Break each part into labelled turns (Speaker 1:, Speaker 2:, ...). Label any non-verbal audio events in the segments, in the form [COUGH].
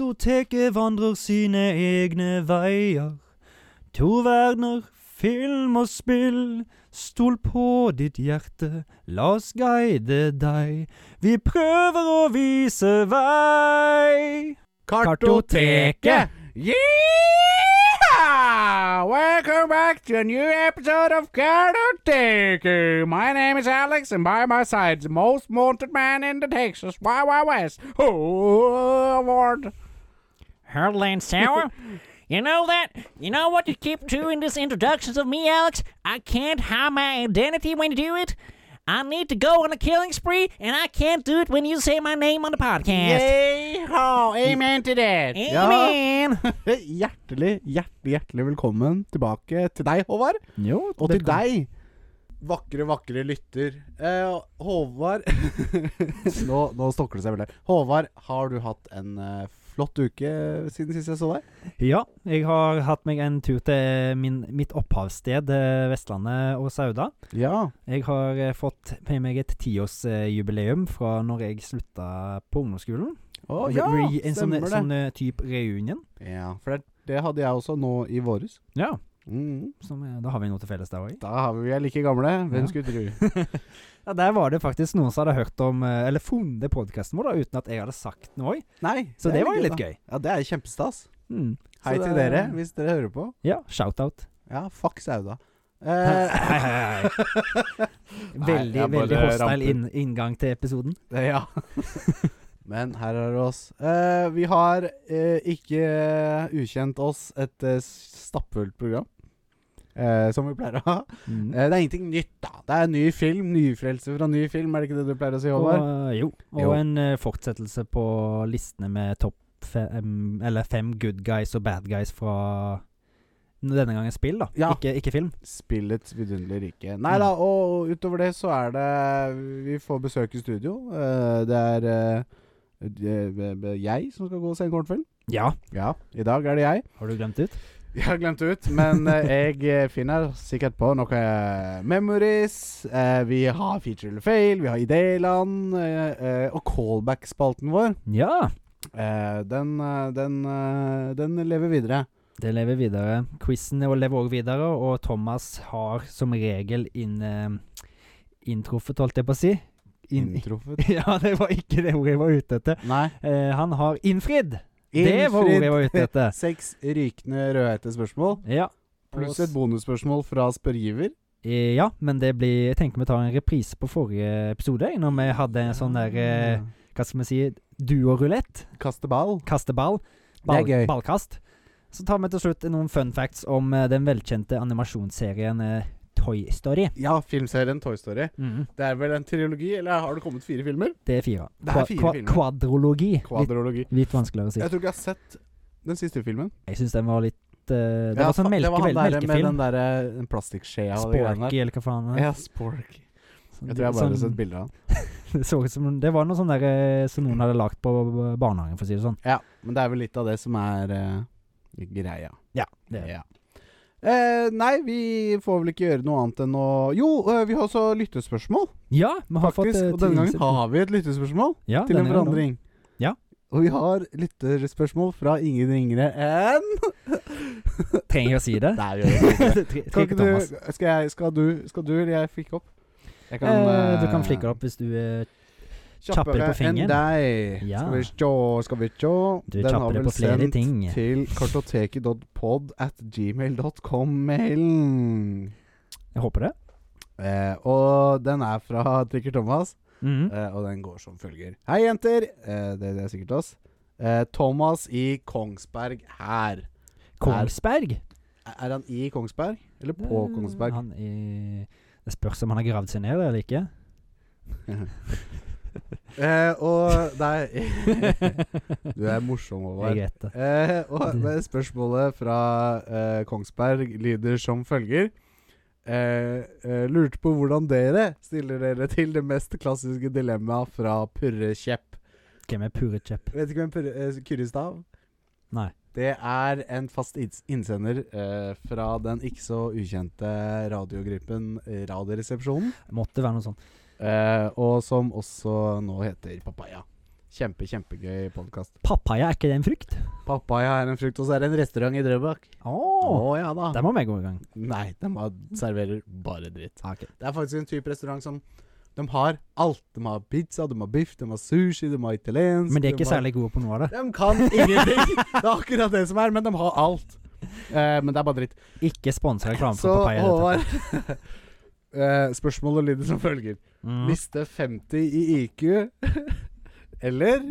Speaker 1: Kartoteket vandrer sine egne veier. Tor Werner, film og spill. Stol på ditt hjerte, la oss guide deg. Vi prøver å vise vei. Kartoteket!
Speaker 2: Yeah! Welcome back to a new episode of Kartoteket. My name is Alex, and by my side, the most wanted man in the Texas Wild West. Oh, Lord.
Speaker 3: Hurdland Sour. you know that? You know what you keep doing these introductions of me, Alex? I can't hide my identity when you do it. I need to go on a killing spree, and I can't do it when you say my name on the podcast.
Speaker 2: Yeehaw! Amen til det.
Speaker 3: Amen.
Speaker 2: Hjertelig, hjertelig, hjertelig velkommen tilbake til deg, Håvard.
Speaker 1: Jo,
Speaker 2: Og til deg, vakre, vakre lytter. Eh, Håvard [LAUGHS] nå, nå stokker det seg veldig. Håvard, har du hatt en eh, flott uke siden sist jeg så deg?
Speaker 1: Ja, jeg har hatt meg en tur til min, mitt opphavssted, eh, Vestlandet og Sauda.
Speaker 2: Ja.
Speaker 1: Jeg har eh, fått med meg et tiårsjubileum fra når jeg slutta på ungdomsskolen.
Speaker 2: Å ja,
Speaker 1: Re- re- en sånn,
Speaker 2: stemmer det.
Speaker 1: sånn eh, type reunion.
Speaker 2: Ja, for det, det hadde jeg også nå i våres.
Speaker 1: Ja.
Speaker 2: Mm.
Speaker 1: Som, eh, da har vi noe til felles der òg.
Speaker 2: Da har vi er like gamle. Hvem
Speaker 1: Ja.
Speaker 2: skulle
Speaker 1: [LAUGHS]
Speaker 2: tro?
Speaker 1: Ja, der var det faktisk noen som hadde hørt om eh, Eller funnet podkasten vår da, uten at jeg hadde sagt noe.
Speaker 2: Nei.
Speaker 1: Så det,
Speaker 2: er
Speaker 1: var jo litt
Speaker 2: da.
Speaker 1: gøy.
Speaker 2: Ja, det er kjempestas.
Speaker 1: Mm.
Speaker 2: Hei
Speaker 1: Så
Speaker 2: til
Speaker 1: det-
Speaker 2: dere, hvis dere hører på.
Speaker 1: Ja, shout-out.
Speaker 2: Ja, fuck
Speaker 1: [LAUGHS]
Speaker 2: Sauda.
Speaker 1: Hei,
Speaker 2: Eh,
Speaker 1: hei, hei. [LAUGHS] Veldig,
Speaker 2: jeg bare
Speaker 1: veldig hostile
Speaker 2: ramper.
Speaker 1: inn, inngang til episoden.
Speaker 2: Eh, Ja. [LAUGHS] Men her er det oss. Eh, vi har eh, ikke ukjent oss et eh, stappfullt program, eh, som vi pleier å ha.
Speaker 1: Mm.
Speaker 2: Eh, det er ingenting nytt, da. Det er ny film. Nyfrelse fra ny film, er det ikke det du pleier å si, Håvard?
Speaker 1: Og, jo. Og
Speaker 2: Jo.
Speaker 1: en eh, fortsettelse på listene med topp fem Eller fem good guys og bad guys fra denne gangen spill, da.
Speaker 2: Ja.
Speaker 1: Ikke, ikke film.
Speaker 2: Spillets vidunderlige rike. Nei da, og utover det så er det Vi får besøk i studio. Eh, det er eh, det- det- det- jeg som skal gå og se en kortfilm.
Speaker 1: Ja.
Speaker 2: Ja, i dag er det jeg.
Speaker 1: Har du glemt ut?
Speaker 2: Jeg har glemt det ut, men eh, jeg eh, finner sikkert på noe eh, memories. Eh, vi har feature eller fail, vi har idéland, eh, eh, og callback-spalten vår,
Speaker 1: Ja.
Speaker 2: eh, den, eh, den, eh, den lever videre.
Speaker 1: Det lever videre. Quizen lever òg videre, og Thomas har som regel inn eh, inntruffet, holdt jeg på å si. Inn-
Speaker 2: Inntruffet.
Speaker 1: [LAUGHS] ja, det var ikke det ordet jeg var ute etter.
Speaker 2: Nei.
Speaker 1: Eh, han har innfridd! [LAUGHS] Det var ordet jeg var ute
Speaker 2: [LAUGHS]
Speaker 1: etter.
Speaker 2: Seks rykende rødhette spørsmål,
Speaker 1: Ja.
Speaker 2: pluss et bonusspørsmål fra spørgiver.
Speaker 1: Eh, Ja, men det blir Jeg tenker vi tar en reprise på forrige episode, når vi hadde en sånn der
Speaker 2: Ah.
Speaker 1: eh, Hva skal vi si Duorulett.
Speaker 2: Kaste ball.
Speaker 1: Kaste ball.
Speaker 2: Det er
Speaker 1: ball
Speaker 2: gøy.
Speaker 1: Ballkast. Så tar vi til slutt noen fun facts om eh, den velkjente animasjonsserien eh, Toy Story.
Speaker 2: Ja, filmserien Toy Story.
Speaker 1: Mhm.
Speaker 2: Det er vel en trilogi, eller har det kommet fire filmer?
Speaker 1: Det er fire.
Speaker 2: Det er
Speaker 1: Kva-
Speaker 2: fire
Speaker 1: kva-
Speaker 2: filmer.
Speaker 1: Kvadrologi. Litt,
Speaker 2: Kvadrologi.
Speaker 1: litt vanskeligere å si.
Speaker 2: Jeg tror ikke jeg har sett den siste filmen.
Speaker 1: Jeg syns den var litt eh, Det
Speaker 2: Ja,
Speaker 1: var sånn
Speaker 2: fa-
Speaker 1: melke,
Speaker 2: han
Speaker 1: vel-
Speaker 2: der Med
Speaker 1: melkefilm.
Speaker 2: den derre den plastikkskjea og de greiene
Speaker 1: Sporky, eller hva faen.
Speaker 2: der.
Speaker 1: det er.
Speaker 2: Ja, spork.
Speaker 1: Sånn-
Speaker 2: Jeg tror jeg bare har
Speaker 1: sånn-
Speaker 2: sett bilder av den.
Speaker 1: Det så ut som Det var noe sånn der eh, som noen hadde lagd på eh, barnehagen, for å si det sånn.
Speaker 2: Ja, men det er vel litt av det som er eh, greia.
Speaker 1: Ja. Det er det.
Speaker 2: Ja. Eh, nei, vi får vel ikke gjøre noe annet enn å Jo, eh, vi har også lyttespørsmål,
Speaker 1: Ja, vi har
Speaker 2: faktisk.
Speaker 1: fått eh,
Speaker 2: og denne gangen har vi et lyttespørsmål
Speaker 1: ja,
Speaker 2: til en
Speaker 1: denne gangen
Speaker 2: forandring.
Speaker 1: Ja.
Speaker 2: Og vi har lytterspørsmål fra ingen ringere enn
Speaker 1: da. Trenger jeg å si det? [LAUGHS]
Speaker 2: Nei, vi gjør det ikke.
Speaker 1: Tre- tre-
Speaker 2: Skal,
Speaker 1: ikke
Speaker 2: ikke
Speaker 1: Thomas.
Speaker 2: du, skal, jeg, skal, du, skal du eller jeg flikke opp? Jeg
Speaker 1: eh, du
Speaker 2: eh,
Speaker 1: kan flikke det opp hvis du eh, er
Speaker 2: Kjappere
Speaker 1: Kjappere på
Speaker 2: enn
Speaker 1: fingeren.
Speaker 2: deg.
Speaker 1: Ja.
Speaker 2: Skal vi sjå, skal vi sjå.
Speaker 1: Du er kjappere på flere ting.
Speaker 2: til kartoteket.pod at gmail.com-mailen.
Speaker 1: Jeg håper det.
Speaker 2: Eh, og den er fra Trikker Thomas,
Speaker 1: Mhm.
Speaker 2: eh, og den går som følger. Hei, jenter. Eh, det, det er sikkert oss. Eh, Thomas i Kongsberg her.
Speaker 1: Kongsberg.
Speaker 2: Er han i Kongsberg, eller på
Speaker 1: Eh,
Speaker 2: Kongsberg?
Speaker 1: Han er, det spørs om han har gravd seg ned eller ikke.
Speaker 2: Eh, og Nei. [LAUGHS] Du er [LAUGHS] morsom,
Speaker 1: [LAUGHS]
Speaker 2: Håvard.
Speaker 1: Jeg vet det.
Speaker 2: Eh, og det spørsmålet fra eh, Kongsberg lyder som følger. Eh, eh, lurte på hvordan dere stiller dere til det mest klassiske dilemmaet fra Purre Kjepp.
Speaker 1: Hvem er Pure Chep?
Speaker 2: Vet ikke hvem Purre eh, Kyrre Stav?
Speaker 1: Nei.
Speaker 2: Det er en fast inns- innsender eh, fra den ikke så ukjente radiogruppen eh, Radioresepsjonen.
Speaker 1: sånn. Måtte være noe sånt.
Speaker 2: Eh, og som også nå heter Papaya. Kjempe, kjempegøy podkast.
Speaker 1: Papaya, er ikke det en frukt?
Speaker 2: Papaya er en frukt, og så er det en restaurant i Drøbak.
Speaker 1: Å,
Speaker 2: Å ja da.
Speaker 1: der må vi gå i gang.
Speaker 2: Nei, de har- serverer bare dritt.
Speaker 1: Ah, ok.
Speaker 2: Det er faktisk en type restaurant som de har alt. De har pizza, de har biff, de har sushi, de har italiensk
Speaker 1: Men de er
Speaker 2: de
Speaker 1: ikke
Speaker 2: har-
Speaker 1: særlig gode på noe av det.
Speaker 2: De kan ingenting! Det er akkurat det som er, men de har alt. Eh, men det er bare dritt.
Speaker 1: Ikke sponsa reklame
Speaker 2: Så
Speaker 1: for papaya. i det hele tatt.
Speaker 2: Håvard [LAUGHS] eh, Spørsmålet lyder som følger.
Speaker 1: Mm.
Speaker 2: Miste 50 i IQ eller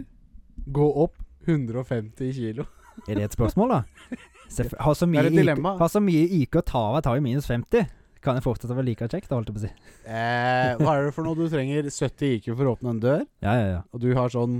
Speaker 2: gå opp 150 kilo?
Speaker 1: Er det et spørsmål, da? Selvf- Har så
Speaker 2: Det
Speaker 1: mye,
Speaker 2: er et
Speaker 1: IQ,
Speaker 2: dilemma.
Speaker 1: har så mye IQ å ta av, jeg tar jo minus 50. Kan jeg fortsette å være like kjekk, da, holdt jeg på å si.
Speaker 2: Eh, hva er det for noe du trenger 70 IQ for å åpne en dør?
Speaker 1: Ja, ja, ja.
Speaker 2: Og du har sånn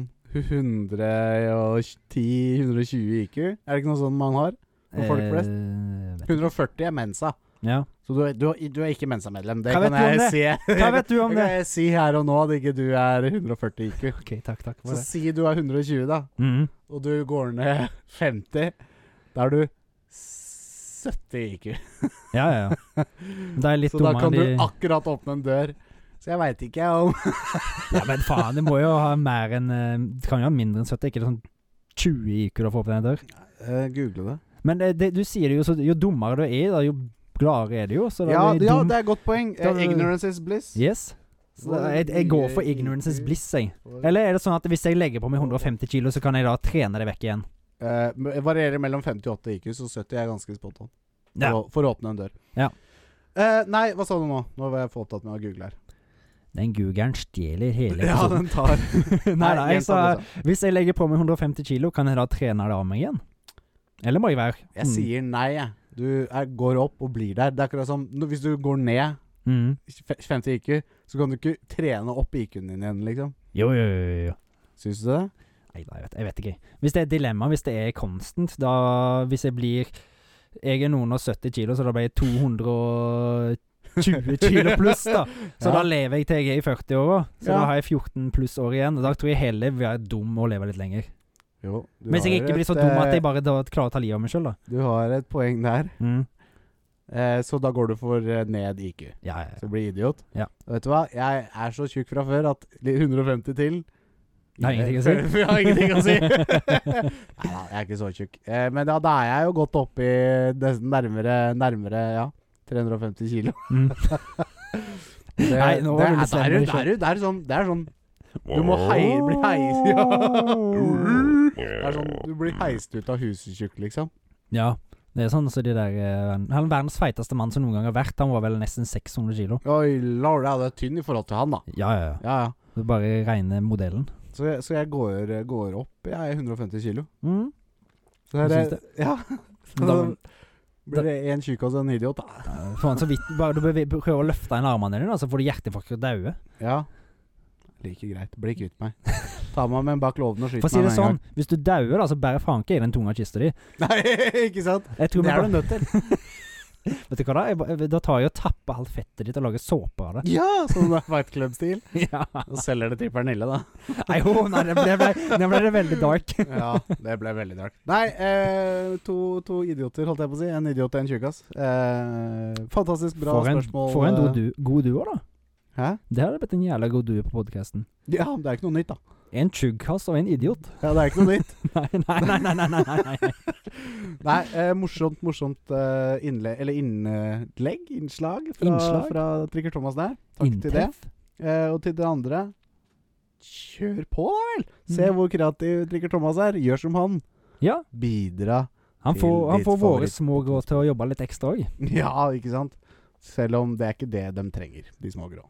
Speaker 2: 110-120 IQ? Er det ikke noe sånn man har? For folk flest?
Speaker 1: Eh, vet-
Speaker 2: 140 er mensa.
Speaker 1: ja.
Speaker 2: Så du, du, du er ikke mensamedlem. Det
Speaker 1: Hva vet
Speaker 2: kan
Speaker 1: du om
Speaker 2: jeg
Speaker 1: det?
Speaker 2: si.
Speaker 1: Hva vet du om
Speaker 2: [LAUGHS] Det
Speaker 1: det?
Speaker 2: kan jeg si her og nå at ikke du er 140 IQ.
Speaker 1: Ok, takk, takk for
Speaker 2: Så
Speaker 1: det.
Speaker 2: si du er 120, da,
Speaker 1: Mhm.
Speaker 2: og du går ned 50. Da er du 70 IQ.
Speaker 1: Ja, ja, ja.
Speaker 2: [LAUGHS]
Speaker 1: Men Det er litt
Speaker 2: Så da
Speaker 1: dummere
Speaker 2: kan
Speaker 1: enn
Speaker 2: du
Speaker 1: de
Speaker 2: akkurat åpne en dør. Så jeg veit ikke om
Speaker 1: Ja, men faen, du må jo ha mer enn eh, Du kan jo ha mindre enn 70, ikke sånn 20 IQ du får opp den dør.
Speaker 2: Google det.
Speaker 1: Men eh, det, du sier det jo, så jo dummere du er, da, jo gladere er du jo. Så da
Speaker 2: Ja,
Speaker 1: er det
Speaker 2: ja,
Speaker 1: dum.
Speaker 2: det er et godt poeng.
Speaker 1: Da-
Speaker 2: Eh, Ignorance is bliss.
Speaker 1: Yes. Så da, jeg, jeg går for ignorance is bliss, jeg. Eller er det sånn at hvis jeg legger på meg 150 kilo, så kan jeg da trene det vekk igjen?
Speaker 2: Eh, men varierer mellom 50 og 80 IQ, så 70 er ganske spot on. For,
Speaker 1: Ja.
Speaker 2: å, for å åpne en dør.
Speaker 1: Ja.
Speaker 2: Eh, nei, hva sa du nå? Nå var jeg for opptatt med å google her.
Speaker 1: Den googeren stjeler hele
Speaker 2: [LAUGHS] Ja,
Speaker 1: episoden.
Speaker 2: den tar
Speaker 1: [LAUGHS] nei, nei, jeg
Speaker 2: gjenta
Speaker 1: sa
Speaker 2: det du sa.
Speaker 1: hvis jeg legger på meg 150 kilo, kan jeg da trene det av meg igjen? Eller må jeg være
Speaker 2: Jeg sier nei, jeg. Du er, går opp og blir der. Det er akkurat som nå, hvis du går ned
Speaker 1: mm. Mm.
Speaker 2: fe- 50 IQ, så kan du ikke trene opp IQ-en din igjen, liksom.
Speaker 1: Jo, jo, jo, jo, jo.
Speaker 2: Syns du det?
Speaker 1: Nei, nei, jeg vet, jeg vet ikke. Hvis det er et dilemma, hvis det er constant, da Hvis jeg blir Jeg er noen og 70 kilo, så da blir jeg [LAUGHS] 220 kilo pluss, da. Så
Speaker 2: [LAUGHS] Ja.
Speaker 1: da lever jeg til jeg er i 40-åra. Så
Speaker 2: Ja.
Speaker 1: da har jeg 14 pluss år igjen. Og da tror jeg heller vil være dum og leve litt lenger.
Speaker 2: Jo. du
Speaker 1: Mens jeg
Speaker 2: har
Speaker 1: ikke blir så
Speaker 2: et,
Speaker 1: dum at
Speaker 2: eh,
Speaker 1: jeg bare da klarer å ta livet av meg sjøl, da.
Speaker 2: Du har et poeng der.
Speaker 1: Mm.
Speaker 2: Eh, så da går du for eh, ned IQ.
Speaker 1: Ja, ja, ja.
Speaker 2: Så blir idiot.
Speaker 1: Ja.
Speaker 2: Og vet du hva? Jeg er så tjukk fra før at li- 150 til
Speaker 1: Det har ingenting å
Speaker 2: [LAUGHS]
Speaker 1: si.
Speaker 2: Jeg har ingenting å
Speaker 1: [LAUGHS]
Speaker 2: si. Nei da, jeg er ikke så tjukk. Eh, men da, da er jeg jo godt oppe i nesten nærmere, nærmere ja, 350 kilo.
Speaker 1: Mm.
Speaker 2: Det,
Speaker 1: Nei, nå var du
Speaker 2: det, er,
Speaker 1: litt slem
Speaker 2: det, er,
Speaker 1: med
Speaker 2: det, er,
Speaker 1: deg
Speaker 2: det, er sånn, det er sånn Du må hei, bli heis.
Speaker 1: [LAUGHS]
Speaker 2: Ja. Det er sånn, du blir heist ut av huset tjukk, liksom.
Speaker 1: [LAUGHS] Ja. Det er sånn så de der eh, Han er verdens feiteste mann som noen gang har vært. Han var vel nesten 600 kilo.
Speaker 2: Oi, lord, ja, du er tynn i forhold til han, da.
Speaker 1: Ja, ja, ja.
Speaker 2: Ja, ja.
Speaker 1: Det er bare reine modellen.
Speaker 2: Så jeg, så jeg går, går opp. Jeg er 150 kilo.
Speaker 1: Mm.
Speaker 2: Så er
Speaker 1: Hva
Speaker 2: det,
Speaker 1: syns
Speaker 2: ja. Så da
Speaker 1: [LAUGHS] Da-
Speaker 2: blir det én tjukk og så en idiot, da.
Speaker 1: Eh, Faen, så vidt Bare du beve- prøver å løfte inn armene dine, da, så får du hjerteinfarkt og daue. [LAUGHS]
Speaker 2: Ja. Like greit. Bli kvitt meg. Ta meg med bak låven og skyt
Speaker 1: For å si det
Speaker 2: meg med
Speaker 1: sånn, hvis du dauer, da, så bærer faen ikke jeg den tunga i kista di.
Speaker 2: en gang. Nei, [LAUGHS] ikke sant?
Speaker 1: Jeg tror
Speaker 2: Det
Speaker 1: vi
Speaker 2: er
Speaker 1: bare
Speaker 2: du nødt til.
Speaker 1: Vet du hva, da? Jeg, ba- da tar jeg og tapper alt fettet ditt og lager såpe
Speaker 2: [LAUGHS]
Speaker 1: av det.
Speaker 2: Ja, sånn Fight Club-stil.
Speaker 1: Ja.
Speaker 2: Og selger det til Pernille, da.
Speaker 1: Nei, jo, nei, det ble, det ble, det ble det veldig dark.
Speaker 2: Ja, [LAUGHS] det ble veldig dark. Nei, eh, to, to idioter, holdt jeg på å si. En idiot og en tjukkas. Eh, fantastisk bra
Speaker 1: for en,
Speaker 2: spørsmål.
Speaker 1: for en
Speaker 2: eh.
Speaker 1: god, du, god duo, da.
Speaker 2: Hæ?
Speaker 1: Det hadde blitt en jævla god duo på podkasten.
Speaker 2: Ja, det er ikke noe nytt, da.
Speaker 1: En tjuggkass og en idiot. [LAUGHS]
Speaker 2: Ja, det er ikke noe nytt.
Speaker 1: Nei, nei, nei. nei, nei, nei, nei.
Speaker 2: Nei, eh, morsomt, morsomt eh, innle eller innlegg, innslag, fra,
Speaker 1: Innslag?
Speaker 2: fra Trikker Thomas der. [LAUGHS] Takk til det.
Speaker 1: Inntreff.
Speaker 2: Eh, og til det andre Kjør på, da vel! Se
Speaker 1: Mm.
Speaker 2: hvor kreativ Trikker Thomas er. Gjør som han.
Speaker 1: Ja.
Speaker 2: Bidra. [LAUGHS]
Speaker 1: Han
Speaker 2: Til
Speaker 1: får, han
Speaker 2: ditt
Speaker 1: får våre
Speaker 2: favoritt-
Speaker 1: små grå til å jobbe litt ekstra òg.
Speaker 2: Ja, ikke sant? Selv om det er ikke det de trenger, de små grå.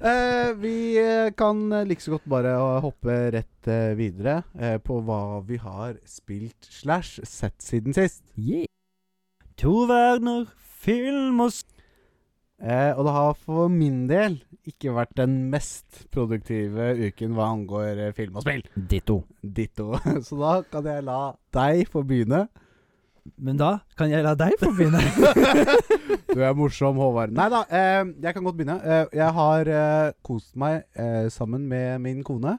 Speaker 2: Eh, vi eh, kan eh, like så godt bare eh, hoppe rett eh, videre eh, på hva vi har spilt slash sett siden sist.
Speaker 1: Yeah. To verdener, film og s-
Speaker 2: Eh, og det har for min del ikke vært den mest produktive uken hva angår eh, film og spill.
Speaker 1: Ditto.
Speaker 2: Ditto. [LAUGHS] Så da kan jeg la deg få begynne.
Speaker 1: Men da kan jeg la deg få begynne.
Speaker 2: [LAUGHS] Du er morsom, Håvard. Nei da, eh, jeg kan godt begynne. Eh, jeg har eh, kost meg eh, sammen med min kone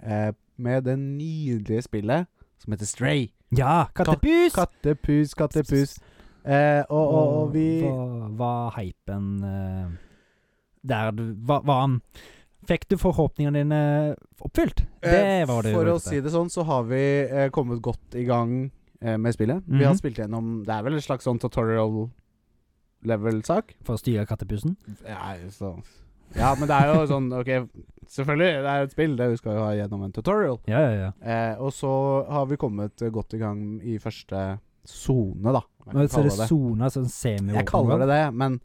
Speaker 2: eh, med det nydelige spillet som heter Stray.
Speaker 1: ja, kattepus!
Speaker 2: Kattepus, kattepus. Eh, og, og, og vi
Speaker 1: Hva var hypen eh, der du Var, var han Fikk du forhåpningene dine oppfylt?
Speaker 2: Eh,
Speaker 1: Det var det
Speaker 2: For
Speaker 1: jo
Speaker 2: å
Speaker 1: ute.
Speaker 2: si det sånn, så har vi eh, kommet godt i gang eh, med spillet. Vi har
Speaker 1: Mhm.
Speaker 2: spilt gjennom Det er vel en slags sånn tutorial level-sak?
Speaker 1: For å styre kattepusen?
Speaker 2: Ja, så- ja, men det er jo sånn OK, selvfølgelig, det er et spill. Det vi skal jo ha gjennom en tutorial.
Speaker 1: Ja, ja, ja.
Speaker 2: Eh, og så har vi kommet eh, godt i gang i første sone, da. om jeg
Speaker 1: Men
Speaker 2: kan
Speaker 1: så er det
Speaker 2: kalle det.
Speaker 1: sona, sånn semi
Speaker 2: Jeg kaller det det, men,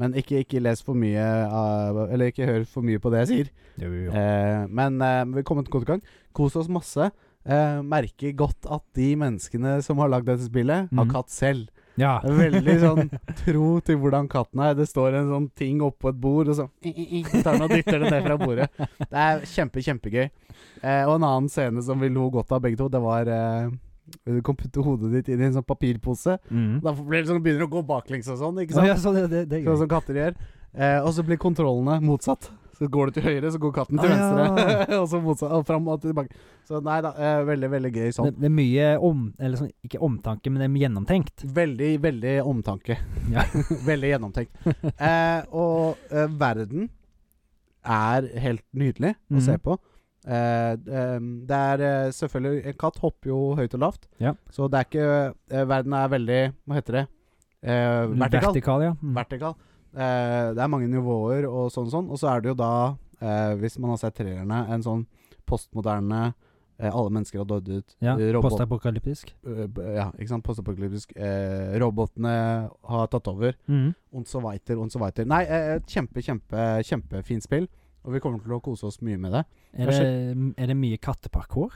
Speaker 2: men ikke, ikke les for mye av- Eller ikke hør for mye på det jeg sier.
Speaker 1: Jo, jo.
Speaker 2: Eh, men eh, vi har kommet godt i gang. Kost oss masse. Eh, merker godt at de menneskene som har lagd dette spillet, har
Speaker 1: Mhm.
Speaker 2: katt selv.
Speaker 1: Ja.
Speaker 2: Det er Veldig
Speaker 1: [LAUGHS]
Speaker 2: sånn tro til hvordan katten er. Det står en sånn ting oppå et bord, og så i, i, i, tar den og dytter det ned fra bordet. Det er kjempe, kjempegøy. Eh, og en annen scene som vi lo godt av begge to, det var eh, du kan putte hodet ditt inn i en sånn papirpose.
Speaker 1: Mm.
Speaker 2: Da blir det sånn, begynner det å gå baklengs og sånn.
Speaker 1: Å,
Speaker 2: ikke sant?
Speaker 1: ja, så det, det, det er
Speaker 2: Sånn
Speaker 1: gøy.
Speaker 2: som katter gjør. Eh, og så blir kontrollene motsatt. Så går du til høyre, så går katten til
Speaker 1: Ah,
Speaker 2: venstre. [LAUGHS] og så motsatt, og fram og tilbake. Så nei da, eh, veldig, veldig gøy
Speaker 1: Det,
Speaker 2: sånn.
Speaker 1: det er mye om... Eller sånn, ikke omtanke, men det er gjennomtenkt.
Speaker 2: [LAUGHS] Veldig, veldig omtanke. [LAUGHS]
Speaker 1: Ja.
Speaker 2: veldig gjennomtenkt. Eh, og eh, verden er helt nydelig å se
Speaker 1: Mhm.
Speaker 2: på. Eh, eh, det er eh, selvfølgelig En katt hopper jo høyt og lavt,
Speaker 1: Ja.
Speaker 2: så det er ikke eh, Verden er veldig Hva heter det? Eh, vertikal.
Speaker 1: Vertikal, ja. Mm.
Speaker 2: vertikal. Eh, det er mange nivåer og sånn sånn. Og så er det jo da, eh, hvis man har sett trærne, en sånn postmoderne eh, alle mennesker har dødd ut.
Speaker 1: Ja,
Speaker 2: eh, robot-
Speaker 1: Postapokalyptisk.
Speaker 2: eh, b- ja, ikke sant? Postapokalyptisk. Eh, robotene har tatt over.
Speaker 1: Mm.
Speaker 2: Und so weiter, und so weiter. Nei, eh, et kjempe, kjempe, kjempefint spill. Og vi kommer til å kose oss mye med det.
Speaker 1: Er, det, er det mye katteparkour?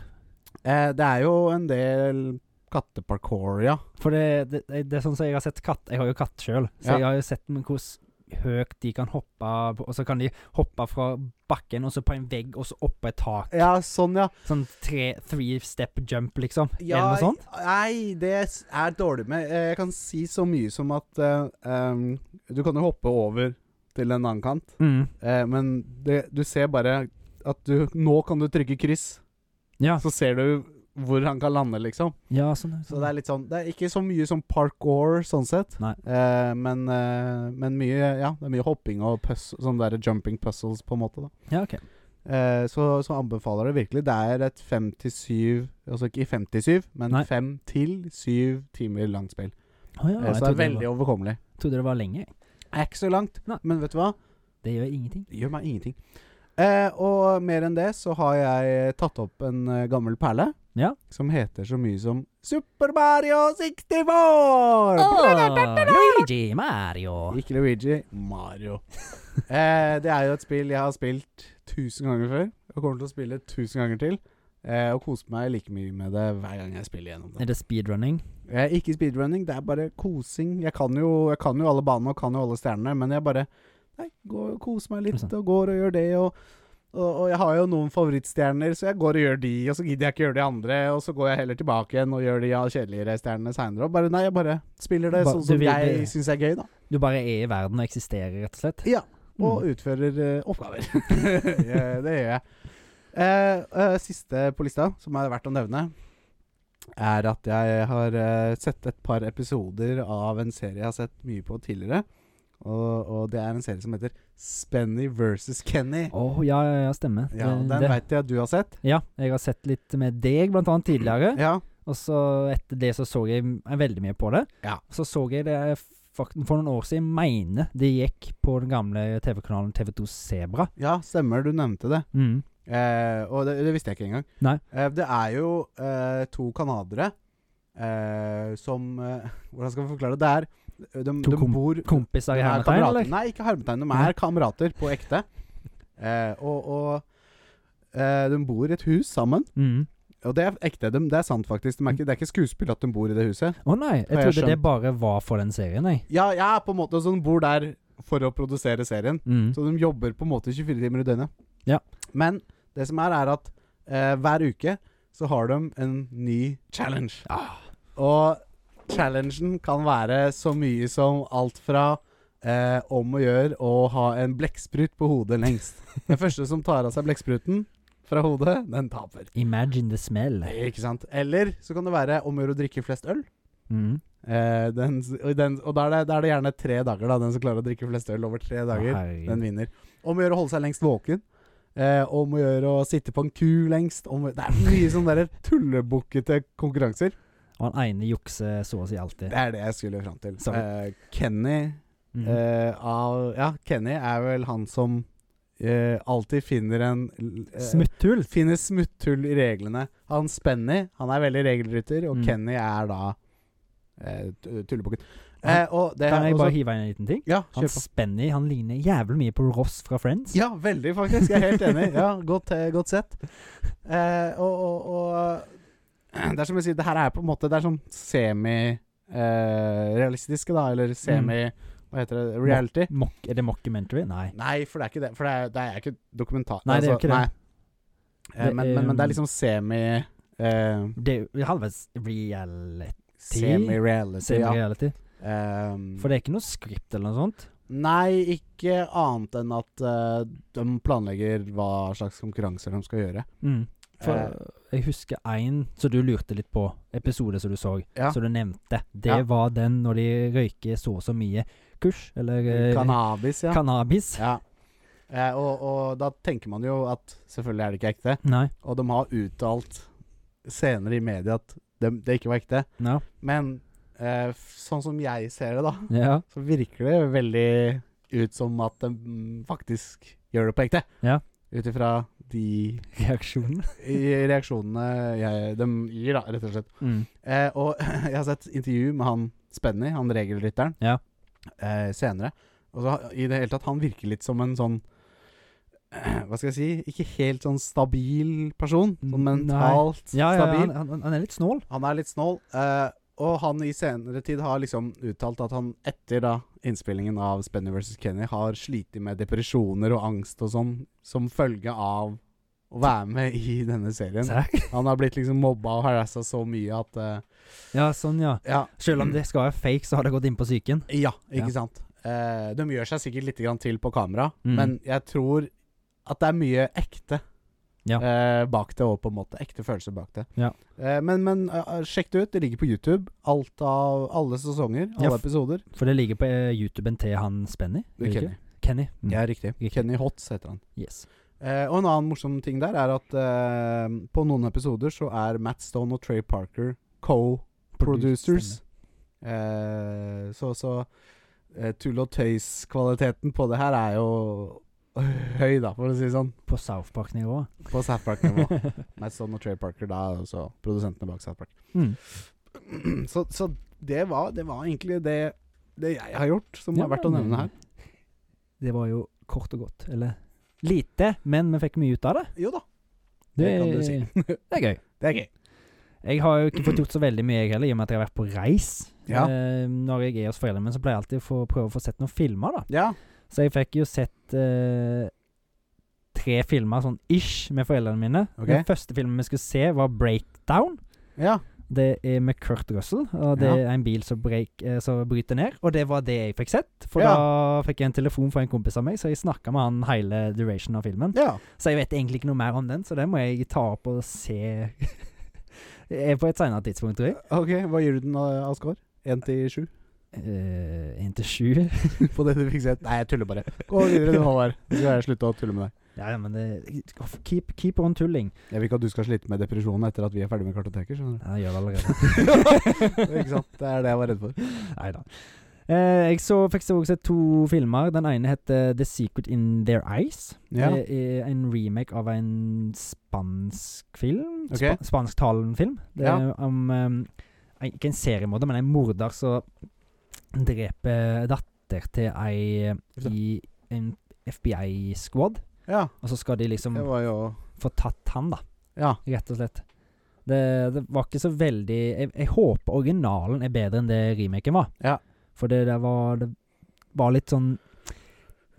Speaker 2: Eh, det er jo en del katteparkour, ja.
Speaker 1: For det, det, det er sånn som jeg har sett katt Jeg har jo katt sjøl, så
Speaker 2: Ja.
Speaker 1: jeg har jo sett med hvordan høyt de kan hoppe, på- og så kan de hoppe fra bakken, og så på en vegg, og så oppå et tak.
Speaker 2: Ja, sånn, ja.
Speaker 1: Sånn tre, three step jump, liksom.
Speaker 2: Ja,
Speaker 1: Eller noe sånt.
Speaker 2: Nei, det s- er dårlig med. Eh, Jeg kan si så mye som at eh, em, Du kan jo hoppe over til en annen kant,
Speaker 1: Mm.
Speaker 2: eh, men det, du ser bare at du Nå kan du trykke kryss,
Speaker 1: Ja.
Speaker 2: så ser du hvor han kan lande, liksom.
Speaker 1: ja, sånn.
Speaker 2: Så det er litt sånn Det er ikke så mye som parkour, sånn sett.
Speaker 1: Nei.
Speaker 2: Eh, men, eh, men mye Ja, det er mye hopping og puzzle, sånne der jumping puzzles, på en måte. da
Speaker 1: Ja, ok.
Speaker 2: Eh, så, så anbefaler jeg det virkelig. Det er et fem til syv Altså ikke fem til syv, men
Speaker 1: Nei.
Speaker 2: fem til syv timer langt spill.
Speaker 1: Å ja,
Speaker 2: Eh,
Speaker 1: jeg
Speaker 2: så det er
Speaker 1: trodde det
Speaker 2: veldig
Speaker 1: var,
Speaker 2: overkommelig.
Speaker 1: trodde det var lenge. jeg.
Speaker 2: Det er ikke så langt,
Speaker 1: Nei.
Speaker 2: men vet du hva?
Speaker 1: Det gjør ingenting.
Speaker 2: Det gjør meg ingenting. Eh, og mer enn det så har jeg tatt opp en eh, gammel perle.
Speaker 1: Ja.
Speaker 2: Som heter så mye som Super Mario 64!
Speaker 3: Oh, Luigi Mario.
Speaker 2: Ikke Luigi,
Speaker 1: [LAUGHS]
Speaker 2: Mario. eh, det er jo et spill jeg har spilt tusen ganger før, og kommer til å spille tusen ganger til. Eh, og koser meg like mye med det hver gang jeg spiller gjennom det.
Speaker 1: Er det speedrunning?
Speaker 2: Eh, ikke speedrunning, det er bare kosing. Jeg kan jo, jeg kan jo alle banene og kan jo alle stjernene, men jeg bare nei, går og koser meg litt,
Speaker 1: Ikke sant.
Speaker 2: og går og gjør det, og og, og jeg har jo noen favorittstjerner, så jeg går og gjør de, og så gidder jeg ikke gjøre de andre, og så går jeg heller tilbake igjen og gjør de ja, kjedeligere stjernene seinere. Og bare nei, jeg bare spiller det
Speaker 1: Ba-
Speaker 2: sånn
Speaker 1: du
Speaker 2: som
Speaker 1: vil
Speaker 2: jeg
Speaker 1: det.
Speaker 2: syns er gøy, da.
Speaker 1: Du bare er i verden og eksisterer, rett og slett?
Speaker 2: Ja, og
Speaker 1: Mm.
Speaker 2: utfører eh, oppgaver. [LAUGHS] Eh, det gjør jeg. Eh, eh, siste på lista, som er verdt å nevne, er at jeg har eh, sett et par episoder av en serie jeg har sett mye på tidligere. Og, og det er en serie som heter Spenny versus Kenny.
Speaker 1: Å, ja, ja, ja, stemmer.
Speaker 2: Ja, Den
Speaker 1: det,
Speaker 2: veit jeg at du har sett.
Speaker 1: ja, jeg har sett litt med deg, blant annet, tidligere.
Speaker 2: Ja,
Speaker 1: Og så etter det så så jeg m- eh, veldig mye på det.
Speaker 2: Ja.
Speaker 1: Så så jeg det eh, fak- for noen år siden, mener det gikk på den gamle TV-kanalen TV2 Sebra.
Speaker 2: ja stemmer, du nevnte det.
Speaker 1: Mm.
Speaker 2: Eh, og det, det visste jeg ikke engang.
Speaker 1: Nei.
Speaker 2: Eh, det er jo eh, to canadere eh, som eh, [LAUGHS] Hvordan skal vi forklare det? Det er De,
Speaker 1: To
Speaker 2: de
Speaker 1: kom-
Speaker 2: bor
Speaker 1: Kompiser i
Speaker 2: de er
Speaker 1: hermetegn,
Speaker 2: kamerater.
Speaker 1: eller?
Speaker 2: Nei, ikke hermetegn. De
Speaker 1: Nei.
Speaker 2: er kamerater på ekte. Eh, og og eh, de bor i et hus sammen.
Speaker 1: Mm.
Speaker 2: Og det er ekte. De, det er sant, faktisk. De er ikke, det er ikke skuespill at de bor i det huset.
Speaker 1: Å nei, jeg
Speaker 2: Har jeg
Speaker 1: trodde det bare var for den serien, jeg.
Speaker 2: Ja, jeg er på en måte sånn bor der for å produsere serien.
Speaker 1: Mm.
Speaker 2: Så de jobber på en måte 24 timer i døgnet.
Speaker 1: Ja.
Speaker 2: Men det som er, er at eh, hver uke så har de en ny challenge.
Speaker 1: Ah.
Speaker 2: Og challengen kan være så mye som alt fra eh, om å gjøre å ha en blekksprut på hodet lengst. Den første som tar av seg blekkspruten fra hodet, den taper.
Speaker 1: Imagine the smell.
Speaker 2: Ikke sant? Eller så kan det være om å gjøre å drikke flest øl.
Speaker 1: Mm.
Speaker 2: Eh, den, og den, og da, er det, da er det gjerne tre dager, da. Den som klarer å drikke flest øl over tre dager.
Speaker 1: Å, herregud.
Speaker 2: Den vinner. Om å gjøre å holde seg lengst våken. eh, om å gjøre å sitte på en ku lengst om, Det er mye sånne der tullebukkete konkurranser.
Speaker 1: Og han ene jukser så å si alltid.
Speaker 2: Det er det jeg skulle fram til.
Speaker 1: Sorry.
Speaker 2: Eh, Kenny
Speaker 1: Mhm.
Speaker 2: eh, av, Ja, Kenny er vel han som eh, alltid finner en eh,
Speaker 1: Smutthull.
Speaker 2: Finner smutthull i reglene. Han Spenny, han er veldig regelrytter, og
Speaker 1: Mm.
Speaker 2: Kenny er da eh, tu- tullebukken.
Speaker 1: Han-
Speaker 2: Eh, og det
Speaker 1: Kan jeg
Speaker 2: og
Speaker 1: bare
Speaker 2: så-
Speaker 1: hive inn en liten ting?
Speaker 2: Ja,
Speaker 1: Han
Speaker 2: kjør på.
Speaker 1: Spenny han ligner jævlig mye på Ross fra Friends.
Speaker 2: Ja, veldig, faktisk. Jeg er helt enig. Ja, Godt, eh, godt sett. Eh, og, og, og Det er som jeg sier, det her er på en måte Det er sånn semi-realistiske, da, eller semi Hva heter det? Reality.
Speaker 1: Mock, er det mockumentary? Nei.
Speaker 2: Mm. Nei, for det er ikke det. For det er, det er ikke dokumentar...
Speaker 1: Nei, det er jo ikke det.
Speaker 2: nei. Eh,
Speaker 1: Det
Speaker 2: men,
Speaker 1: er,
Speaker 2: men, men det
Speaker 1: um,
Speaker 2: er liksom semi eh,
Speaker 1: Det er jo halvveis reality.
Speaker 2: Semi-reality, ja.
Speaker 1: Semi-reality.
Speaker 2: Ehm,
Speaker 1: For det er ikke noe script eller noe sånt.
Speaker 2: Nei, ikke annet enn at eh, de planlegger hva slags konkurranser de skal gjøre.
Speaker 1: Mm. For
Speaker 2: Eh,
Speaker 1: jeg husker én som du lurte litt på, episode som du så,
Speaker 2: Ja.
Speaker 1: som du nevnte. Det
Speaker 2: Ja.
Speaker 1: var den når de røyker så og så mye kurs, eller eh,
Speaker 2: Cannabis, ja.
Speaker 1: cannabis.
Speaker 2: ja. Eh, og, og da tenker man jo at selvfølgelig er det ikke ekte.
Speaker 1: Nei.
Speaker 2: Og de har uttalt senere i media at de, det ikke var ekte.
Speaker 1: No.
Speaker 2: Men eh, f- sånn som jeg ser det, da,
Speaker 1: Ja.
Speaker 2: så virker det veldig ut som at de mm, faktisk gjør det på ekte.
Speaker 1: Ja.
Speaker 2: Ut ifra de
Speaker 1: Reaksjonen.
Speaker 2: i- reaksjonene jeg, de gir, da, rett og slett.
Speaker 1: Mm.
Speaker 2: Eh, og [LAUGHS] jeg har sett intervju med han Spenny, han regelrytteren,
Speaker 1: Ja.
Speaker 2: eh, senere. Og så i det hele tatt, han virker litt som en sånn [CLEARS THROAT] eh, Hva skal jeg si? Ikke helt sånn stabil person. Sånn
Speaker 1: Nei. [LAUGHS]
Speaker 2: mentalt
Speaker 1: Ja, ja,
Speaker 2: stabil.
Speaker 1: han, han, han er litt snål.
Speaker 2: Han er litt snål. eh, og han i senere tid har liksom uttalt at han etter da innspillingen av Spenny vs. Kenny har slitt med depresjoner og angst og sånn som følge av å være med i denne serien.
Speaker 1: Serr?
Speaker 2: Han har blitt liksom mobba og harassa så mye at eh,
Speaker 1: Ja, sånn, ja.
Speaker 2: Ja,
Speaker 1: Selv om det skal være fake, så har det gått inn på psyken.
Speaker 2: ja ikke
Speaker 1: Ja.
Speaker 2: sant. Eh, de gjør seg sikkert litt grann til på kamera,
Speaker 1: Mm.
Speaker 2: men jeg tror at det er mye ekte
Speaker 1: Ja.
Speaker 2: eh, bak det, og på en måte ekte følelser bak det.
Speaker 1: Ja.
Speaker 2: Eh, men men eh, sjekk det ut. Det ligger på YouTube. Alt av alle sesonger,
Speaker 1: Ja,
Speaker 2: alle
Speaker 1: f-
Speaker 2: episoder.
Speaker 1: For det ligger på eh, YouTuben til han Spenny. er det
Speaker 2: Kenny.
Speaker 1: ikke? Kenny. Mm.
Speaker 2: Ja, riktig.
Speaker 1: Riktig.
Speaker 2: Kenny Hotz heter han.
Speaker 1: Yes.
Speaker 2: Eh, og en annen morsom ting der er at eh, på noen episoder så er Matt Stone og Trey Parker co-producers. Eh, så så eh, tull og tøys-kvaliteten på det her er jo [LAUGHS] høy, da, for å si det sånn.
Speaker 1: På South Park-nivå.
Speaker 2: På South Park-nivå.
Speaker 1: [LAUGHS]
Speaker 2: Matt Stone og Trey Parker, da er også produsentene bak South Park. [CLEARS THROAT]
Speaker 1: Mm.
Speaker 2: så så det, var, det var egentlig det, det jeg har gjort, som
Speaker 1: Ja,
Speaker 2: har vært å
Speaker 1: men-
Speaker 2: nevne her.
Speaker 1: Det var jo kort og godt. Eller lite, men vi fikk mye ut av det.
Speaker 2: Jo da, det, kan du si.
Speaker 1: [LAUGHS] Det er gøy.
Speaker 2: det er gøy.
Speaker 1: Jeg har jo ikke fått gjort så veldig mye, jeg heller, i og med at jeg har vært på reis.
Speaker 2: Ja.
Speaker 1: Eh, når jeg er hos foreldrene mine, så pleier jeg alltid å få, prøve å få sett noen filmer, da.
Speaker 2: Ja.
Speaker 1: Så jeg fikk jo sett eh, tre filmer sånn ish med foreldrene mine.
Speaker 2: Ok.
Speaker 1: Den første filmen vi skulle se, var 'Breakdown'.
Speaker 2: ja.
Speaker 1: Det er med Kurt Russell, og det
Speaker 2: Ja.
Speaker 1: er en bil som, break, eh, som bryter ned. Og det var det jeg fikk sett, for
Speaker 2: Ja.
Speaker 1: da fikk jeg en telefon fra en kompis av meg, så jeg snakka med han hele duration av filmen.
Speaker 2: Ja.
Speaker 1: Så jeg vet egentlig ikke noe mer om den, så den må jeg ta opp og se [LAUGHS] Eh, på et seinere tidspunkt, tror jeg.
Speaker 2: Ok, hva gir du den eh, av av score? 1 til 7?
Speaker 1: Eh, Inntil sju.
Speaker 2: På det du fikk sett? Nei, jeg tuller [LAUGHS] bare. Gå videre, du, Håvard. Så skal jeg slutte å tulle med deg.
Speaker 1: Ja, ja, men det Keep, keep on tulling.
Speaker 2: Jeg vil ikke at du skal slite med depresjonen etter at vi er ferdig med kartoteker. skjønner
Speaker 1: Ja, jeg gjør det allerede.
Speaker 2: du? [LAUGHS] ikke sant? Det er det jeg var
Speaker 1: [LAUGHS]
Speaker 2: redd for.
Speaker 1: Nei da. Eh, jeg så, fikk så også sett to filmer. Den ene heter The Secret In Their Eyes.
Speaker 2: Ja.
Speaker 1: Det er en remake av en spansk film.
Speaker 2: Ok.
Speaker 1: Spa Spansktalende film. Det er om em, ei- Ikke en seriemorder, men en morder som dreper datter til ei i en FBI-squad.
Speaker 2: Ja,
Speaker 1: Og så skal de liksom
Speaker 2: det var jo
Speaker 1: få tatt han, da.
Speaker 2: Ja.
Speaker 1: Rett og slett. Det, det var ikke så veldig jeg, jeg håper originalen er bedre enn det remaken var.
Speaker 2: Ja.
Speaker 1: For det der var Det var litt sånn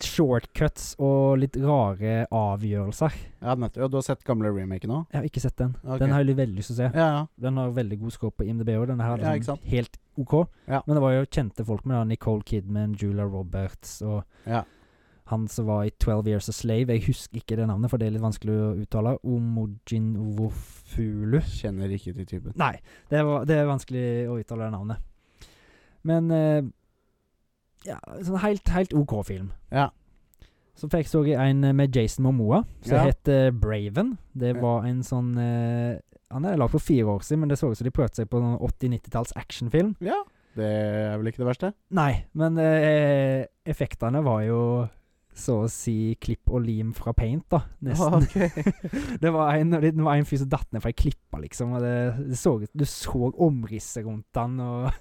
Speaker 1: shortcuts og litt rare avgjørelser.
Speaker 2: ja nettopp. Ja, du har sett gamle remake nå?
Speaker 1: Jeg har ikke sett den.
Speaker 2: Ok.
Speaker 1: Den har jeg litt veldig lyst til å se.
Speaker 2: Ja, ja.
Speaker 1: Den har veldig god score på IMDb òg. Den her
Speaker 2: Ja,
Speaker 1: er
Speaker 2: ikke
Speaker 1: liksom
Speaker 2: sant?
Speaker 1: helt OK.
Speaker 2: Ja.
Speaker 1: Men det var jo kjente folk med da, Nicole Kidman, Julia Roberts og
Speaker 2: Ja.
Speaker 1: han som var i 'Twelve Years a Slave'. Jeg husker ikke det navnet, for det er litt vanskelig å uttale. Omojin Wofulu.
Speaker 2: Kjenner ikke til typen.
Speaker 1: Nei, det, var, det er vanskelig å uttale det navnet. Men eh, Ja, sånn helt, helt OK film.
Speaker 2: Ja.
Speaker 1: Så fikk så jeg en eh, med Jason Momoa, som
Speaker 2: Ja.
Speaker 1: het eh, Braven. Det
Speaker 2: Ja.
Speaker 1: var en sånn eh, Han er lagd for fire år siden, men det så ut som de prøvde seg på en 80-90-talls actionfilm.
Speaker 2: Ja. Det er vel ikke det verste?
Speaker 1: Nei, men eh, effektene var jo så å si klipp og lim fra paint, da.
Speaker 2: Ah,
Speaker 1: Nesten. [LAUGHS] Det var en, det var en fyr som datt ned fra ei klippe, liksom. Og det, det så, ut- du så omrisset rundt han, og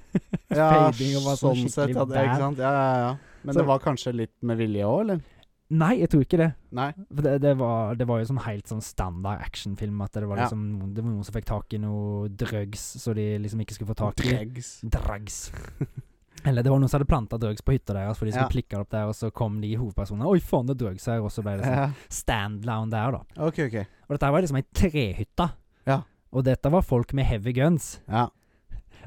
Speaker 2: Ja,
Speaker 1: [LAUGHS] Fading og bare sånn
Speaker 2: sånn sett.
Speaker 1: skikkelig
Speaker 2: Ja, det, ikke
Speaker 1: bad.
Speaker 2: sant? Ja, ja, ja. Men
Speaker 1: Så-
Speaker 2: det var kanskje litt med vilje òg, eller?
Speaker 1: Nei, jeg tror ikke det.
Speaker 2: Nei.
Speaker 1: For det, det, var, det var jo sånn helt sånn standard actionfilm. At det var
Speaker 2: Ja.
Speaker 1: liksom noen- Det var noen som fikk tak i noe drugs så de liksom ikke skulle få tak i.
Speaker 2: Dregs.
Speaker 1: Drugs. [LAUGHS] Eller det var noen som hadde planta drugs på hytta deres, for de skulle
Speaker 2: Ja.
Speaker 1: plikke det opp der, og så kom de hovedpersonene. Oi, faen, det er drugs her, og så ble det sånn
Speaker 2: Ja.
Speaker 1: stand-down der, da.
Speaker 2: OK, OK.
Speaker 1: Og dette her var liksom ei trehytte.
Speaker 2: Ja.
Speaker 1: Og dette var folk med heavy guns.
Speaker 2: Ja,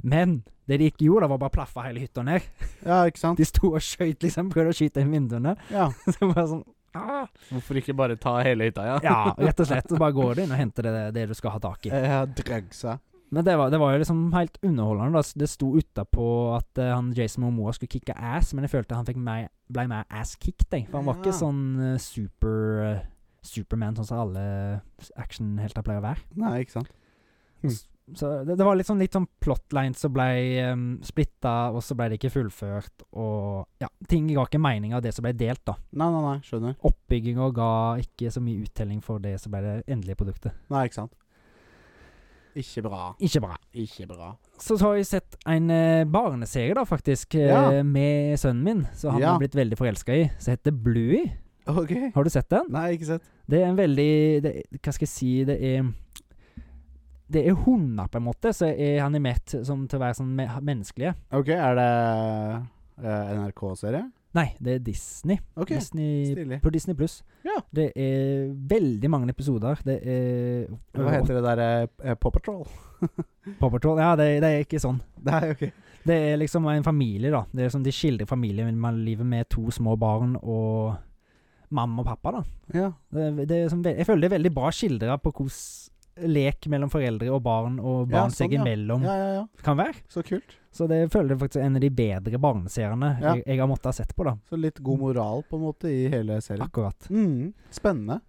Speaker 1: Men det de ikke gjorde, da var bare å plaffe hele hytta ned.
Speaker 2: ja ikke sant?
Speaker 1: De sto og skøyt, liksom. Prøvde å skyte inn vinduene. [LAUGHS]
Speaker 2: Ja.
Speaker 1: Så bare sånn ah.
Speaker 2: Hvorfor ikke bare ta hele hytta, ja?
Speaker 1: Ja, rett og slett. Så bare går du inn og henter det, det du skal ha tak i.
Speaker 2: Ja, Dragsa.
Speaker 1: Men det var, det var jo liksom helt underholdende. Da. Det sto utapå at eh, han Jason Momoa skulle kicke ass, men jeg følte han fikk mer, ble mer ass-kicked, jeg. For han var
Speaker 2: Ja.
Speaker 1: ikke sånn eh, super eh, Superman, sånn som alle actionhelter pleier å være.
Speaker 2: Nei, ikke sant?
Speaker 1: Så det, det var litt sånn, litt sånn plotlines som ble um, splitta, og så ble det ikke fullført, og ja, ting ga ikke mening av det som ble delt, da.
Speaker 2: Nei, nei, nei, skjønner.
Speaker 1: Oppbygginga ga ikke så mye uttelling for det som ble det endelige produktet.
Speaker 2: Nei, ikke sant. Ikke bra.
Speaker 1: Ikke bra.
Speaker 2: Ikke bra.
Speaker 1: Så har jeg sett en eh, barneserie, da, faktisk, eh,
Speaker 2: Ja.
Speaker 1: med sønnen min, som han
Speaker 2: Ja.
Speaker 1: har blitt veldig forelska i, som heter Bluey.
Speaker 2: OK.
Speaker 1: Har du sett den?
Speaker 2: Nei, ikke sett.
Speaker 1: Det er en veldig det, Hva skal jeg si Det er det er hunder, på en måte, som er animert som, til å være sånn me menneskelige.
Speaker 2: OK, er det eh, NRK-serie?
Speaker 1: Nei, det er Disney.
Speaker 2: OK.
Speaker 1: Disney,
Speaker 2: Stilig.
Speaker 1: på Disney Pluss.
Speaker 2: Ja.
Speaker 1: Det er veldig mange episoder. Det er øh,
Speaker 2: Hva heter det der uh, Paw Patrol?
Speaker 1: Paw Patrol. Ja, det, det er ikke sånn.
Speaker 2: Nei, OK.
Speaker 1: Det er liksom en familie, da. Det er som De skildrer familien man lever med to små barn og mamma og pappa, da.
Speaker 2: Ja.
Speaker 1: Det, det er som, ve- jeg føler det er veldig bra skildra på hvordan lek mellom foreldre og barn, og
Speaker 2: Ja,
Speaker 1: barn
Speaker 2: sånn,
Speaker 1: seg
Speaker 2: ja.
Speaker 1: imellom,
Speaker 2: ja, ja, ja.
Speaker 1: kan være.
Speaker 2: Så kult.
Speaker 1: Så det jeg føler jeg faktisk er en av de bedre barneseriene
Speaker 2: Ja.
Speaker 1: jeg, jeg har måttet ha sett på, da.
Speaker 2: Så litt god moral, på en måte, i hele serien.
Speaker 1: Akkurat.
Speaker 2: Mm, spennende.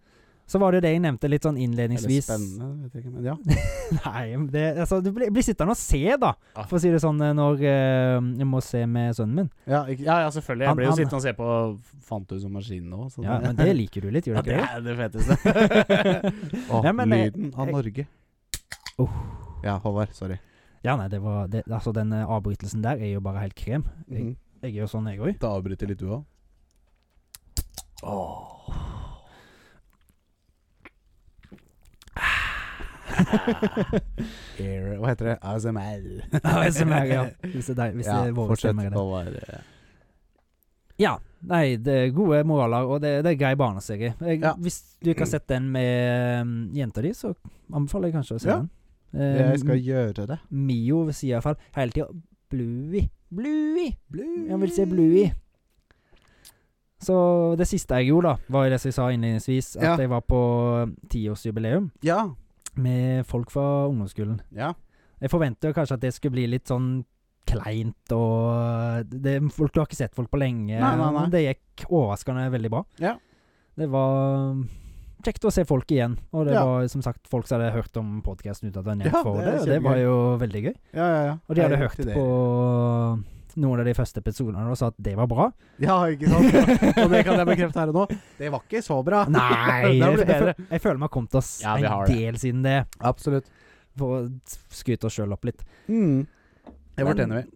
Speaker 1: Så var det jo det jeg nevnte litt sånn
Speaker 2: Eller
Speaker 1: innledningsvis.
Speaker 2: spennende, vet jeg ikke, men ja.
Speaker 1: [LAUGHS] Nei, men det, altså, du blir, blir sittende og se, da.
Speaker 2: Ah.
Speaker 1: For å si det sånn, eh, når eh, jeg må se med sønnen min.
Speaker 2: Ja, ikke, ja, ja selvfølgelig.
Speaker 1: Han-
Speaker 2: Jeg blir jo
Speaker 1: han-
Speaker 2: sittende og se på Fant du som maskin nå? så
Speaker 1: Ja, Men det liker du litt, gjør
Speaker 2: [LAUGHS] Ja,
Speaker 1: du
Speaker 2: det
Speaker 1: ikke det?
Speaker 2: er det feteste. [LAUGHS] Åh,
Speaker 1: Ja, men det-
Speaker 2: lyden av
Speaker 1: jeg-
Speaker 2: Norge.
Speaker 1: Oh.
Speaker 2: eh, Ja, Håvard. Sorry.
Speaker 1: [LAUGHS] Ja, nei, det var det, Altså, den eh, avbrytelsen der er jo bare helt krem.
Speaker 2: Mhm.
Speaker 1: Jeg er jo sånn, jeg
Speaker 2: [LAUGHS]
Speaker 1: òg.
Speaker 2: Da avbryter litt du òg. Hva heter det? ASMR.
Speaker 1: ASMR,
Speaker 2: [LAUGHS]
Speaker 1: ja. Hvis det er deg, hvis det er våre
Speaker 2: fortsett,
Speaker 1: stemmer i det.
Speaker 2: Håvard.
Speaker 1: Ja. Nei, det er gode moraler, og det, det er grei barneserie. Jeg,
Speaker 2: Ja.
Speaker 1: Hvis du ikke har sett den med um, jenta di, så anbefaler jeg kanskje å se
Speaker 2: Ja.
Speaker 1: den. Eh,
Speaker 2: Jeg skal gjøre det.
Speaker 1: Mio sier iallfall hele tida 'Bluey', 'Bluey'. Han vil se Bluey. Så det siste jeg gjorde, da, var jo det som jeg sa innledningsvis, at
Speaker 2: Ja.
Speaker 1: jeg var på eh, tiårsjubileum
Speaker 2: Ja.
Speaker 1: med folk fra ungdomsskolen.
Speaker 2: ja.
Speaker 1: Jeg forventa kanskje at det skulle bli litt sånn kleint og eh, det, folk, Du har ikke sett folk på lenge.
Speaker 2: Nei, nei, nei.
Speaker 1: men Det gikk overraskende veldig bra.
Speaker 2: Ja.
Speaker 1: Det var mm, kjekt å se folk igjen. Og det
Speaker 2: Ja.
Speaker 1: var som sagt folk som hadde hørt om podkasten uten at jeg nevnte
Speaker 2: Ja,
Speaker 1: for
Speaker 2: det
Speaker 1: det,
Speaker 2: er
Speaker 1: og det var
Speaker 2: kjempegøy.
Speaker 1: jo veldig gøy.
Speaker 2: Ja, ja, ja.
Speaker 1: Og de hadde
Speaker 2: Jeg
Speaker 1: hørt
Speaker 2: til det.
Speaker 1: på eh, noen av de første episodene og sa at det var bra.
Speaker 2: Ja,
Speaker 1: [LAUGHS]
Speaker 2: ikke sant? Og det kan jeg bekrefte her og nå. Det var ikke så [LAUGHS] bra.
Speaker 1: Nei!
Speaker 2: det
Speaker 1: jeg,
Speaker 2: ble
Speaker 1: jeg,
Speaker 2: bedre.
Speaker 1: føl- jeg føler vi har kommet oss
Speaker 2: Ja, vi har
Speaker 1: en
Speaker 2: det.
Speaker 1: del siden det,
Speaker 2: Absolutt.
Speaker 1: for å skryte oss sjøl opp litt.
Speaker 2: Mm. Det
Speaker 1: Men-
Speaker 2: fortjener vi.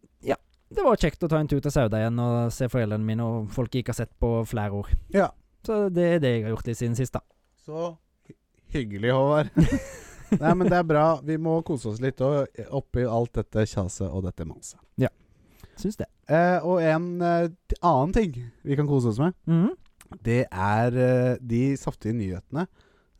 Speaker 1: Det var kjekt å ta en tur til Sauda igjen og se foreldrene mine og folk jeg ikke har sett på flere år.
Speaker 2: Ja.
Speaker 1: Så det er det jeg har gjort litt siden sist, da.
Speaker 2: Så hy- hyggelig, Håvard. [LAUGHS] Nei, men det er bra. Vi må kose oss litt og, eh, oppi alt dette kjaset og dette maset.
Speaker 1: Syns det.
Speaker 2: Eh, og en eh, t- annen ting vi kan kose oss med,
Speaker 1: Mhm.
Speaker 2: det er eh, de saftige nyhetene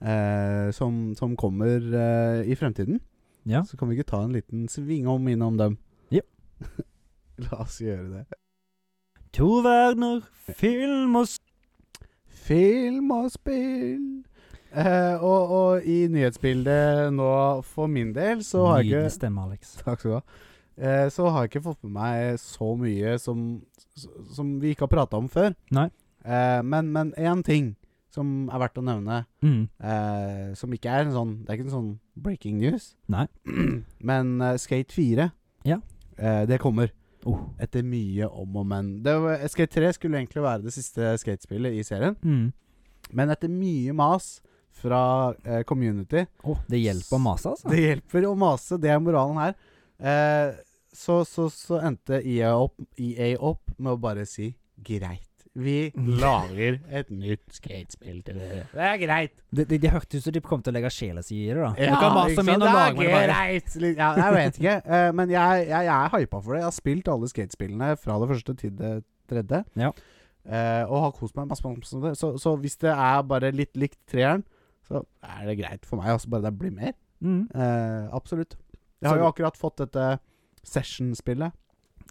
Speaker 2: eh, som, som kommer eh, i fremtiden.
Speaker 1: Ja.
Speaker 2: Så kan vi ikke ta en liten svingom innom dem?
Speaker 1: Jo.
Speaker 2: [LAUGHS] La oss gjøre det.
Speaker 1: To verdener, film og
Speaker 2: Film og spill. Eh, og, og i nyhetsbildet nå, for min del, så har jeg ikke
Speaker 1: Nydelig stemme, Alex.
Speaker 2: [LAUGHS] Takk skal du ha. Eh, så har jeg ikke fått med meg så mye som, som vi ikke har prata om før.
Speaker 1: Nei.
Speaker 2: Eh, men men én ting som er verdt å nevne,
Speaker 1: Mm.
Speaker 2: eh, som ikke er en sånn Det er ikke en sånn breaking news,
Speaker 1: Nei.
Speaker 2: [CLEARS THROAT] men eh, Skate 4
Speaker 1: Ja.
Speaker 2: eh, Det kommer.
Speaker 1: Oh.
Speaker 2: Etter mye om og men. Det var, eh, Skate 3 skulle egentlig være det siste skatespillet i serien,
Speaker 1: Mm.
Speaker 2: men etter mye mas fra eh, community
Speaker 1: Å, det hjelper å mase, altså.
Speaker 2: [LAUGHS] Det hjelper å mase, det er moralen her. Eh, så, så, så endte EA opp, EA opp med å bare si greit. Vi lager et nytt skatespill til dere. Det er greit.
Speaker 1: Det, det, det hørtes ut som de kom til å legge sjela si i det, da.
Speaker 2: Ja,
Speaker 1: du kan mase
Speaker 2: ikke
Speaker 1: om igjen
Speaker 2: sant?
Speaker 1: og lage
Speaker 2: det
Speaker 1: det
Speaker 2: er
Speaker 1: bare.
Speaker 2: greit. Litt- Ja, jeg vet ikke, eh, men jeg, jeg, jeg er hypa for det. Jeg har spilt alle skatespillene fra det første til det tredje.
Speaker 1: Ja.
Speaker 2: Eh, og har kost meg masse masse med det. Så, så hvis det er bare litt likt treeren, så er det greit for meg. Altså bare det blir mer.
Speaker 1: Mm.
Speaker 2: Eh, absolutt. Jeg har
Speaker 1: Så-
Speaker 2: jo akkurat fått dette session-spillet.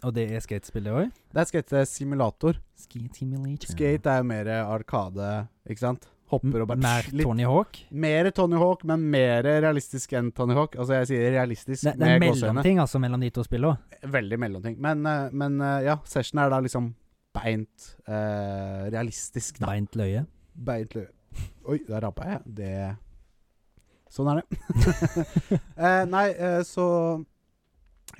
Speaker 1: Og det er skatespill, det òg?
Speaker 2: Det er skate-simulator.
Speaker 1: Skate Simulator.
Speaker 2: Skate er jo mer arkade, ikke sant? Hopper og bare
Speaker 1: Mer
Speaker 2: psh, litt
Speaker 1: Tony Hawk?
Speaker 2: Mer Tony Hawk, men mer realistisk enn Tony Hawk. Altså, jeg sier realistisk
Speaker 1: Det, det er
Speaker 2: med
Speaker 1: en
Speaker 2: gåsehøyne.
Speaker 1: mellomting altså mellom de to spillene.
Speaker 2: Veldig mellomting. Men, eh, men eh, ja, session er da liksom beint eh, realistisk, da.
Speaker 1: Beint løye.
Speaker 2: Beint lø... Oi, der rapa jeg. Det Sånn er det. [LAUGHS] eh, nei, eh, så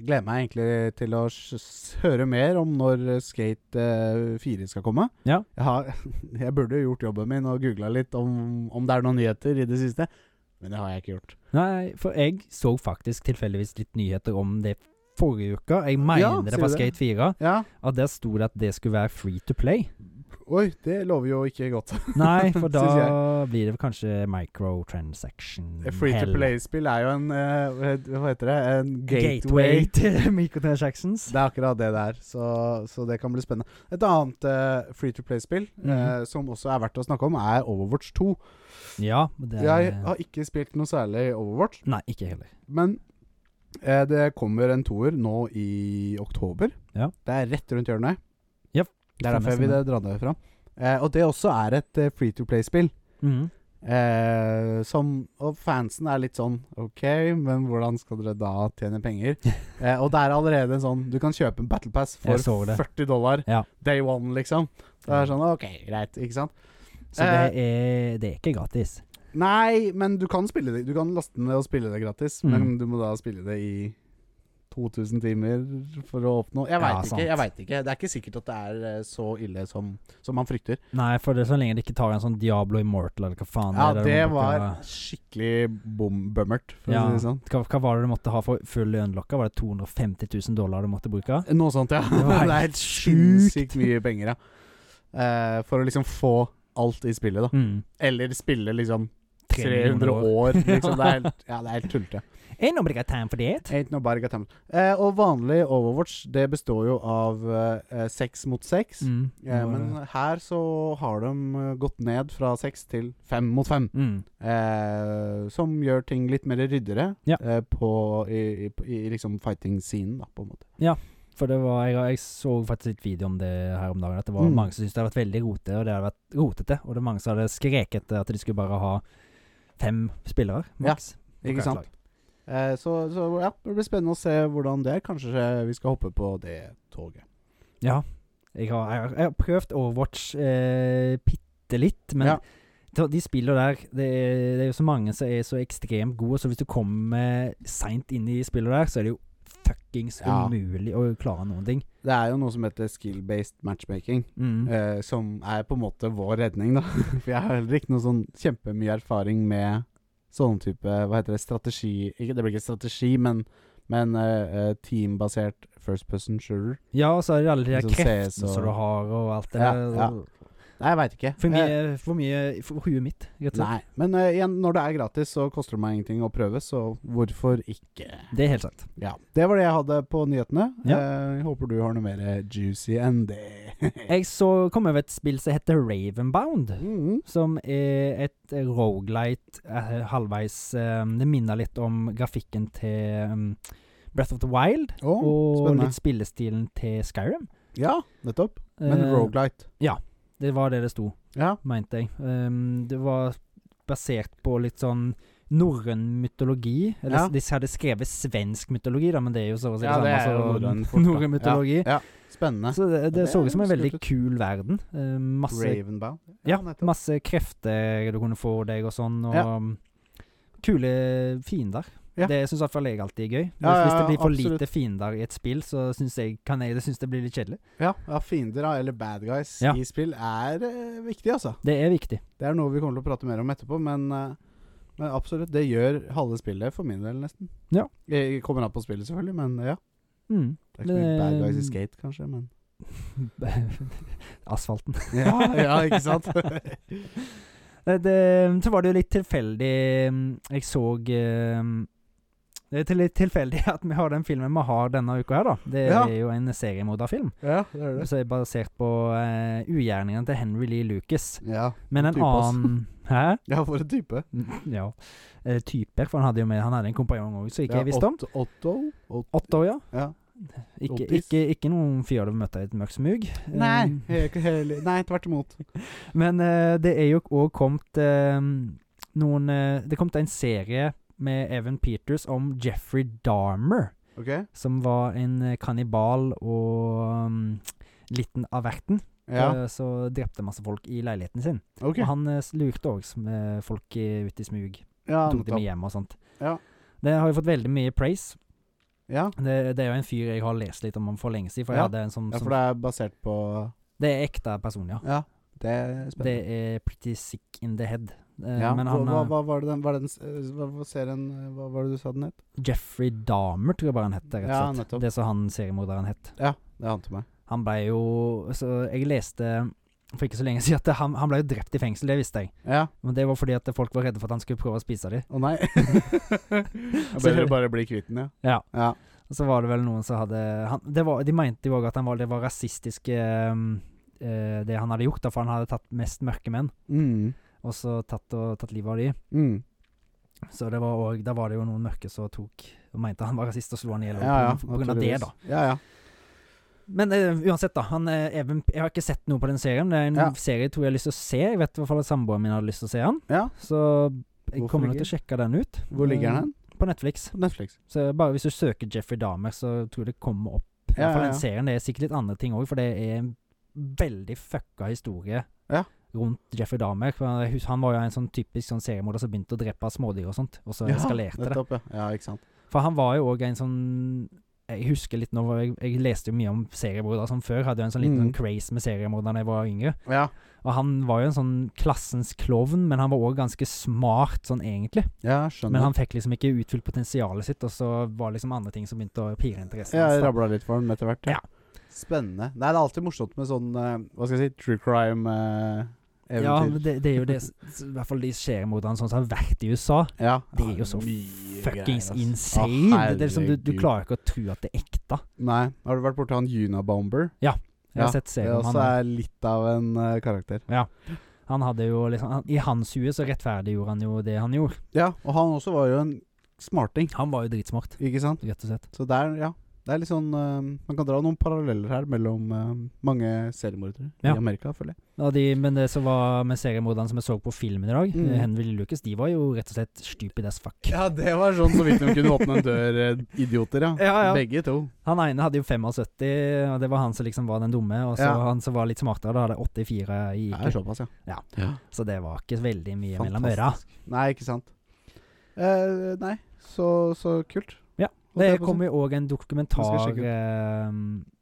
Speaker 2: gleder meg egentlig til å s- s- høre mer om når Skate eh, 4 skal komme.
Speaker 1: Ja.
Speaker 2: Jeg, har, [LAUGHS] jeg burde jo gjort jobben min og googla litt om, om det er noen nyheter i det siste, men det har jeg ikke gjort.
Speaker 1: Nei, for jeg så faktisk tilfeldigvis litt nyheter om det forrige uke. Jeg mener
Speaker 2: Ja,
Speaker 1: det
Speaker 2: sier
Speaker 1: var
Speaker 2: du det?
Speaker 1: Skate 4.
Speaker 2: Ja,
Speaker 1: Og der sto det at det skulle være free to play.
Speaker 2: [LAUGHS] Oi, det lover jo ikke godt.
Speaker 1: Nei, for
Speaker 2: Synes
Speaker 1: da blir det kanskje microtransaction.
Speaker 2: [LAUGHS] Free
Speaker 1: Mm,
Speaker 2: to
Speaker 1: hell.
Speaker 2: play-spill er jo en eh, Hva heter det? En
Speaker 1: Gateway
Speaker 2: gateway
Speaker 1: til [LAUGHS] microtransactions.
Speaker 2: Det er akkurat det det er, så, så det kan bli spennende. Et annet eh, free to play-spill
Speaker 1: Mm.
Speaker 2: eh, som også er verdt å snakke om, er Overwatch 2.
Speaker 1: Ja, det
Speaker 2: Jeg har ikke spilt noe særlig Overwatch,
Speaker 1: Nei, ikke heller.
Speaker 2: men eh, det kommer en toer nå i oktober.
Speaker 1: Ja.
Speaker 2: Det er rett rundt hjørnet.
Speaker 1: Japp.
Speaker 2: Det er derfor jeg vil dra det fram. Eh, og det også er et eh, free to play-spill.
Speaker 1: Mhm.
Speaker 2: Eh, som, og fansen er litt sånn OK, men hvordan skal dere da tjene
Speaker 1: [LAUGHS]
Speaker 2: penger? Eh, og det er allerede en sånn Du kan kjøpe en Battle Pass for
Speaker 1: Jeg så det.
Speaker 2: 40 dollar
Speaker 1: Ja.
Speaker 2: day one, liksom. Det er sånn OK, greit, ikke sant?
Speaker 1: Så det
Speaker 2: Eh.
Speaker 1: er, det er ikke gratis.
Speaker 2: Nei, men du kan spille det Du kan laste den ned og spille det gratis,
Speaker 1: Mm.
Speaker 2: men du må da spille det i 2000 timer for å oppnå Jeg
Speaker 1: Ja,
Speaker 2: veit
Speaker 1: sant.
Speaker 2: ikke, jeg vet ikke. Det er ikke sikkert at det er eh, så ille som, som man frykter.
Speaker 1: Nei, for det er så lenge det ikke tar en sånn Diablo Immortal eller hva faen
Speaker 2: Ja,
Speaker 1: er du
Speaker 2: det
Speaker 1: må
Speaker 2: var
Speaker 1: bruke-
Speaker 2: skikkelig bom bummert, for
Speaker 1: Ja.
Speaker 2: å si det sånn.
Speaker 1: hva, hva var det du måtte ha for full unlocka? Var det 250 000 dollar du måtte bruke?
Speaker 2: Noe sånt, ja. [LAUGHS]
Speaker 1: Det
Speaker 2: Det,
Speaker 1: var helt
Speaker 2: er helt
Speaker 1: sjukt.
Speaker 2: sinnssykt mye penger, ja. Eh, for å liksom få alt i spillet, da.
Speaker 1: Mm.
Speaker 2: Eller spille liksom
Speaker 1: 300
Speaker 2: 300 år. Liksom. [LAUGHS] Det er helt, ja, det er helt tullete.
Speaker 1: Ain't nobody got time for that.
Speaker 2: Ain't no barga time. Eh, og vanlig Overwatch, det består jo av eh, seks mot seks.
Speaker 1: Mm.
Speaker 2: Eh, men her så har de eh, gått ned fra seks til fem mot fem.
Speaker 1: mm.
Speaker 2: Eh, som gjør ting litt mer ryddere
Speaker 1: Ja.
Speaker 2: eh, på, i, i, i liksom fighting-scenen, da, på en måte.
Speaker 1: For det var, jeg, jeg så faktisk litt video om det her om dagen, at det var
Speaker 2: Mm.
Speaker 1: mange som syntes det hadde vært veldig rotete, og det hadde vært rotete, og det var mange som hadde skreket etter at de skulle bare ha fem spillere,
Speaker 2: Ja,
Speaker 1: maks. på
Speaker 2: Ikke
Speaker 1: hvert
Speaker 2: sant?
Speaker 1: lag.
Speaker 2: Eh, så, så ja, det blir spennende å se hvordan det er. Kanskje vi skal hoppe på det toget.
Speaker 1: Ja. Jeg har, jeg har, jeg har prøvd Overwatch eh, bitte litt, men
Speaker 2: Ja.
Speaker 1: de- de spillene der det er, det er jo så mange som er så ekstremt gode, så hvis du kommer seint inn i spillet der, så er det jo fuckings
Speaker 2: Ja.
Speaker 1: umulig å klare noen ting.
Speaker 2: Det er jo noe som heter skill-based matchmaking,
Speaker 1: Mm.
Speaker 2: eh, som er på en måte vår redning, da. [LAUGHS] For jeg har heller ikke noe sånn kjempemye erfaring med sånn type Hva heter det? Strategi ikke, Det blir ikke strategi, men, men eh, eh, teambasert first person shooter.
Speaker 1: Ja, og så er det alle de der
Speaker 2: Liksom CS
Speaker 1: kreftene
Speaker 2: og-
Speaker 1: som du har, og alt det
Speaker 2: Ja,
Speaker 1: der.
Speaker 2: ja. Nei, jeg veit ikke.
Speaker 1: For
Speaker 2: Eh,
Speaker 1: mye, for mye for huet mitt, rett og slett.
Speaker 2: nei, men eh, igjen, når det er gratis, så koster det meg ingenting å prøve, så hvorfor ikke?
Speaker 1: Det er helt sant.
Speaker 2: Ja, Det var det jeg hadde på nyhetene.
Speaker 1: Ja.
Speaker 2: Eh, jeg håper du har noe mer juicy
Speaker 1: [LAUGHS]
Speaker 2: enn det.
Speaker 1: Jeg så kom over et spill som heter Ravenbound.
Speaker 2: Mhm.
Speaker 1: Som er et rogelight eh, halvveis eh, Det minner litt om grafikken til eh, Breath of the Wild.
Speaker 2: Å,
Speaker 1: og
Speaker 2: spennende.
Speaker 1: litt spillestilen til Skyrim.
Speaker 2: Ja, nettopp. Men
Speaker 1: Eh,
Speaker 2: Roguelite
Speaker 1: Det var det det sto, Um,
Speaker 2: Ja.
Speaker 1: mente jeg. Eh, det var basert på litt sånn norrøn mytologi. Eller
Speaker 2: Ja.
Speaker 1: De hadde skrevet svensk mytologi, da, men det er jo så å si det
Speaker 2: Ja, Altså, det
Speaker 1: samme
Speaker 2: er
Speaker 1: som [LAUGHS]
Speaker 2: jo norrøn fort, da.
Speaker 1: norrøn mytologi.
Speaker 2: Ja. Spennende.
Speaker 1: Så det, det
Speaker 2: det
Speaker 1: så
Speaker 2: er
Speaker 1: ut som en veldig
Speaker 2: skummelt.
Speaker 1: kul verden. Eh, masse
Speaker 2: Ravenbound.
Speaker 1: Ja,
Speaker 2: nettopp.
Speaker 1: masse krefter du kunne få deg og sånn, og
Speaker 2: Ja.
Speaker 1: um, kule fiender.
Speaker 2: Ja.
Speaker 1: Det syns i hvert fall jeg alltid er gøy. Hvis,
Speaker 2: Ja, ja,
Speaker 1: hvis det blir for
Speaker 2: absolutt.
Speaker 1: lite fiender i et spill, så syns jeg, kan jeg det, synes det blir litt kjedelig.
Speaker 2: ja, ja, fiender da, eller bad guys
Speaker 1: Ja.
Speaker 2: i spill er eh, viktig, altså.
Speaker 1: Det er viktig.
Speaker 2: Det er noe vi kommer til å prate mer om etterpå, men, eh, men absolutt. Det gjør halve spillet for min del, nesten.
Speaker 1: Ja.
Speaker 2: Jeg kommer an på spillet, selvfølgelig, men ja.
Speaker 1: Mm. [LAUGHS]
Speaker 2: Det er ikke så mye bad guys i
Speaker 1: Eh,
Speaker 2: skate, kanskje, men
Speaker 1: [LAUGHS] Asfalten.
Speaker 2: Ja, ja ikke sant?
Speaker 1: Eh, det, så var det jo litt tilfeldig mm, Jeg så eh, Det er til- litt tilfeldig at vi har den filmen vi har denne uka her, da. Det
Speaker 2: Ja.
Speaker 1: er jo en seriemorderfilm
Speaker 2: ja, det er
Speaker 1: som er basert på uh, ugjerningene til Henry Lee Lucas.
Speaker 2: Ja,
Speaker 1: Men en
Speaker 2: Type, ass. [LAUGHS]
Speaker 1: annen Hæ?
Speaker 2: ja for en type.
Speaker 1: Ja. Eh, typer, for han hadde jo med Han hadde en kompanjong òg, som ikke jeg visste om.
Speaker 2: Ot- Otto? Ot-
Speaker 1: Åtte år, ja.
Speaker 2: ja.
Speaker 1: Ikke,
Speaker 2: Ottis.
Speaker 1: ikke, ikke noen fyr du møtte i et mørkt smug. Eh,
Speaker 2: Nei, he- he- nei, tvert imot.
Speaker 1: Men eh, det er jo òg kommet eh, noen eh, Det kom til en serie med Evan Peters om Jeffrey Dahmer,
Speaker 2: OK?
Speaker 1: som var en eh, kannibal og um, liten av verten.
Speaker 2: Ja.
Speaker 1: eh, Så drepte masse folk i leiligheten sin.
Speaker 2: ok
Speaker 1: Og han eh, lurte òg folk i- ut i smug.
Speaker 2: Ja,
Speaker 1: Tok dem
Speaker 2: nettopp.
Speaker 1: med hjem og sånt.
Speaker 2: Ja.
Speaker 1: Det har jo fått veldig mye praise.
Speaker 2: ja.
Speaker 1: Det, det er jo en fyr jeg har lest litt om han for lenge siden. For
Speaker 2: Ja.
Speaker 1: jeg hadde en sånn,
Speaker 2: ja,
Speaker 1: som-
Speaker 2: for det er basert på
Speaker 1: det er ekte person, ja.
Speaker 2: Ja, det er
Speaker 1: Det
Speaker 2: spennende.
Speaker 1: er pretty sick in the head. Eh,
Speaker 2: ja.
Speaker 1: Men
Speaker 2: hva,
Speaker 1: han
Speaker 2: hva,
Speaker 1: eh,
Speaker 2: hva var det den, var det den s- eh, hva, hva, serien, eh, hva var det du sa den het?
Speaker 1: Jeffrey Dahmer, tror jeg bare han het. Rett og
Speaker 2: Ja,
Speaker 1: slett.
Speaker 2: nettopp.
Speaker 1: det som han seriemorderen het.
Speaker 2: Ja, det ante meg.
Speaker 1: Han ble jo Så jeg leste for ikke så lenge [LAUGHS] siden at han, han ble jo drept i fengsel, det visste jeg.
Speaker 2: Ja.
Speaker 1: Men det var fordi at folk var redde for at han skulle prøve å spise dem.
Speaker 2: Å [LAUGHS] nei. Jeg
Speaker 1: Så-
Speaker 2: bør bare bli kvitt den, ja.
Speaker 1: Ja.
Speaker 2: Ja.
Speaker 1: Og så var det vel noen som hadde han, det var, De mente jo òg at han var, det var rasistisk eh, eh, det han hadde gjort, da, for han hadde tatt mest mørke menn,
Speaker 2: Mm.
Speaker 1: og så tatt, og, tatt livet av de.
Speaker 2: Mm.
Speaker 1: Så det var òg Da var det jo noen mørke som tok og mente han var rasist og slo han i hjel
Speaker 2: Ja, ja.
Speaker 1: på grunn av det,
Speaker 2: naturligvis.
Speaker 1: da.
Speaker 2: Ja, ja.
Speaker 1: Men eh, uansett, da. Han, eh, Even, jeg har ikke sett noe på den serien. Det er en
Speaker 2: Ja.
Speaker 1: serie jeg tror jeg har lyst til å se. Jeg vet i hvert fall at samboeren min hadde lyst til å se han.
Speaker 2: Ja.
Speaker 1: Så jeg
Speaker 2: Hvorfor
Speaker 1: kommer nok
Speaker 2: ikke?
Speaker 1: til å sjekke den ut.
Speaker 2: Hvor ligger
Speaker 1: Eh,
Speaker 2: den?
Speaker 1: På Netflix.
Speaker 2: På Netflix.
Speaker 1: Så bare hvis du søker Jeffrey Dahmer, så tror jeg det kommer opp. I
Speaker 2: Ja,
Speaker 1: hvert fall
Speaker 2: ja,
Speaker 1: den
Speaker 2: ja.
Speaker 1: serien. Det er sikkert litt andre ting òg, for det er en veldig fucka historie
Speaker 2: Ja.
Speaker 1: rundt Jeffrey Dahmer. For jeg hus- Han var jo en sånn typisk sånn seriemorder som begynte å drepe smådyr og sånt, og så
Speaker 2: Ja,
Speaker 1: eskalerte det.
Speaker 2: Nettopp, ja. ja. Ikke sant.
Speaker 1: For han var jo òg en sånn Jeg husker litt nå, hvor jeg, jeg leste jo mye om seriemordere som før. Hadde jo en sånn liten
Speaker 2: Mm.
Speaker 1: sånn craze med seriemordere da jeg var yngre.
Speaker 2: Ja.
Speaker 1: Og han var jo en sånn klassens klovn, men han var òg ganske smart sånn egentlig.
Speaker 2: ja, skjønner.
Speaker 1: Men han fikk liksom ikke utfylt potensialet sitt, og så var det liksom andre ting som begynte å pire interessen
Speaker 2: ja,
Speaker 1: hans.
Speaker 2: jeg
Speaker 1: da.
Speaker 2: rabla litt for den etter hvert.
Speaker 1: Ja.
Speaker 2: Spennende. Nei, det er alltid morsomt med sånn eh, Hva skal jeg si True eh, crime-eventyr.
Speaker 1: Ja, men det, det er jo det s- s- I hvert fall de seriemorderne sånn som har vært i USA.
Speaker 2: ja.
Speaker 1: Det er jo så
Speaker 2: mye
Speaker 1: Fuckings
Speaker 2: greier, altså. ass.
Speaker 1: insane!
Speaker 2: Å,
Speaker 1: det er liksom, du, du
Speaker 2: herregud.
Speaker 1: klarer ikke å tro at det er ekte.
Speaker 2: Nei. Har du vært borti han Junabomber?
Speaker 1: Jeg har
Speaker 2: Ja,
Speaker 1: sett
Speaker 2: Det
Speaker 1: serien om
Speaker 2: også
Speaker 1: han.
Speaker 2: er litt av en eh, karakter.
Speaker 1: Han hadde jo liksom han, I hans hue så rettferdiggjorde han jo det han gjorde.
Speaker 2: Ja, og han også var jo en smarting,
Speaker 1: Han var jo dritsmart,
Speaker 2: ikke sant?
Speaker 1: rett og slett.
Speaker 2: Så der, ja. Det er litt sånn eh, Man kan dra noen paralleller her mellom eh, mange seriemordere
Speaker 1: Ja.
Speaker 2: i Amerika, føler jeg.
Speaker 1: Ja, de, men det som var med seriemorderne som jeg så på filmen i dag,
Speaker 2: Mm.
Speaker 1: mm. Henry Lucas, de var jo rett og slett stupid as fuck.
Speaker 2: Ja, det var sånn så vidt de kunne åpne en dør, eh, idioter, ja.
Speaker 1: Ja, ja.
Speaker 2: Begge to.
Speaker 1: Han ene hadde jo 75, og det var han som liksom var den dumme. Og så
Speaker 2: Ja.
Speaker 1: han som var litt smartere, da hadde 84 i
Speaker 2: Det
Speaker 1: IQ.
Speaker 2: er såpass, ja.
Speaker 1: Ja. Så det var ikke veldig mye mellom
Speaker 2: Fantastisk.
Speaker 1: øra.
Speaker 2: Nei, ikke sant. Eh, nei, så, så kult.
Speaker 1: Ja,
Speaker 2: Holdt
Speaker 1: Det
Speaker 2: jeg på å si.
Speaker 1: kom jo òg en
Speaker 2: Jeg
Speaker 1: dokumentar
Speaker 2: skal
Speaker 1: eh,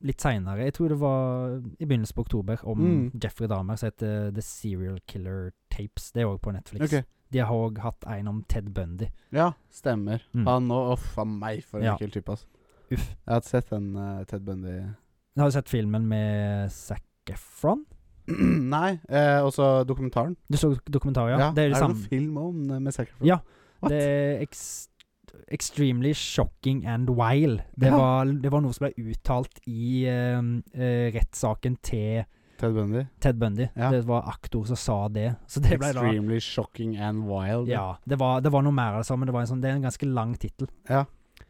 Speaker 1: litt seinere, jeg tror det var i begynnelsen på oktober, om
Speaker 2: Mm.
Speaker 1: Jeffrey Dahmer som heter The Serial Killer Tapes. Det er òg på Netflix.
Speaker 2: Ok.
Speaker 1: De har òg hatt en om Ted Bundy.
Speaker 2: Ja, stemmer.
Speaker 1: Mm.
Speaker 2: Han og Uff a meg, for en
Speaker 1: Ja.
Speaker 2: ekkel type, ass.
Speaker 1: Uff.
Speaker 2: Jeg har sett den eh, Ted Bundy [CLEARS THROAT]
Speaker 1: Har du sett filmen med Zac Efron?
Speaker 2: Nei, eh, også dokumentaren.
Speaker 1: Du så dokumentar, ja? Det er det
Speaker 2: er
Speaker 1: samme.
Speaker 2: det en film om den med Zac Efron?
Speaker 1: Ja,
Speaker 2: What?
Speaker 1: Det er ex extremely shocking and wild. Det,
Speaker 2: Ja.
Speaker 1: var, det var noe som ble uttalt i eh, eh, rettssaken til
Speaker 2: Ted Bundy.
Speaker 1: Ted Bundy.
Speaker 2: Ja.
Speaker 1: Det var aktor som sa det. Så det ble da
Speaker 2: Extremely shocking and wild.
Speaker 1: Ja, det var, det var noe mer av det samme. Det, var en sånn, det er en ganske lang tittel.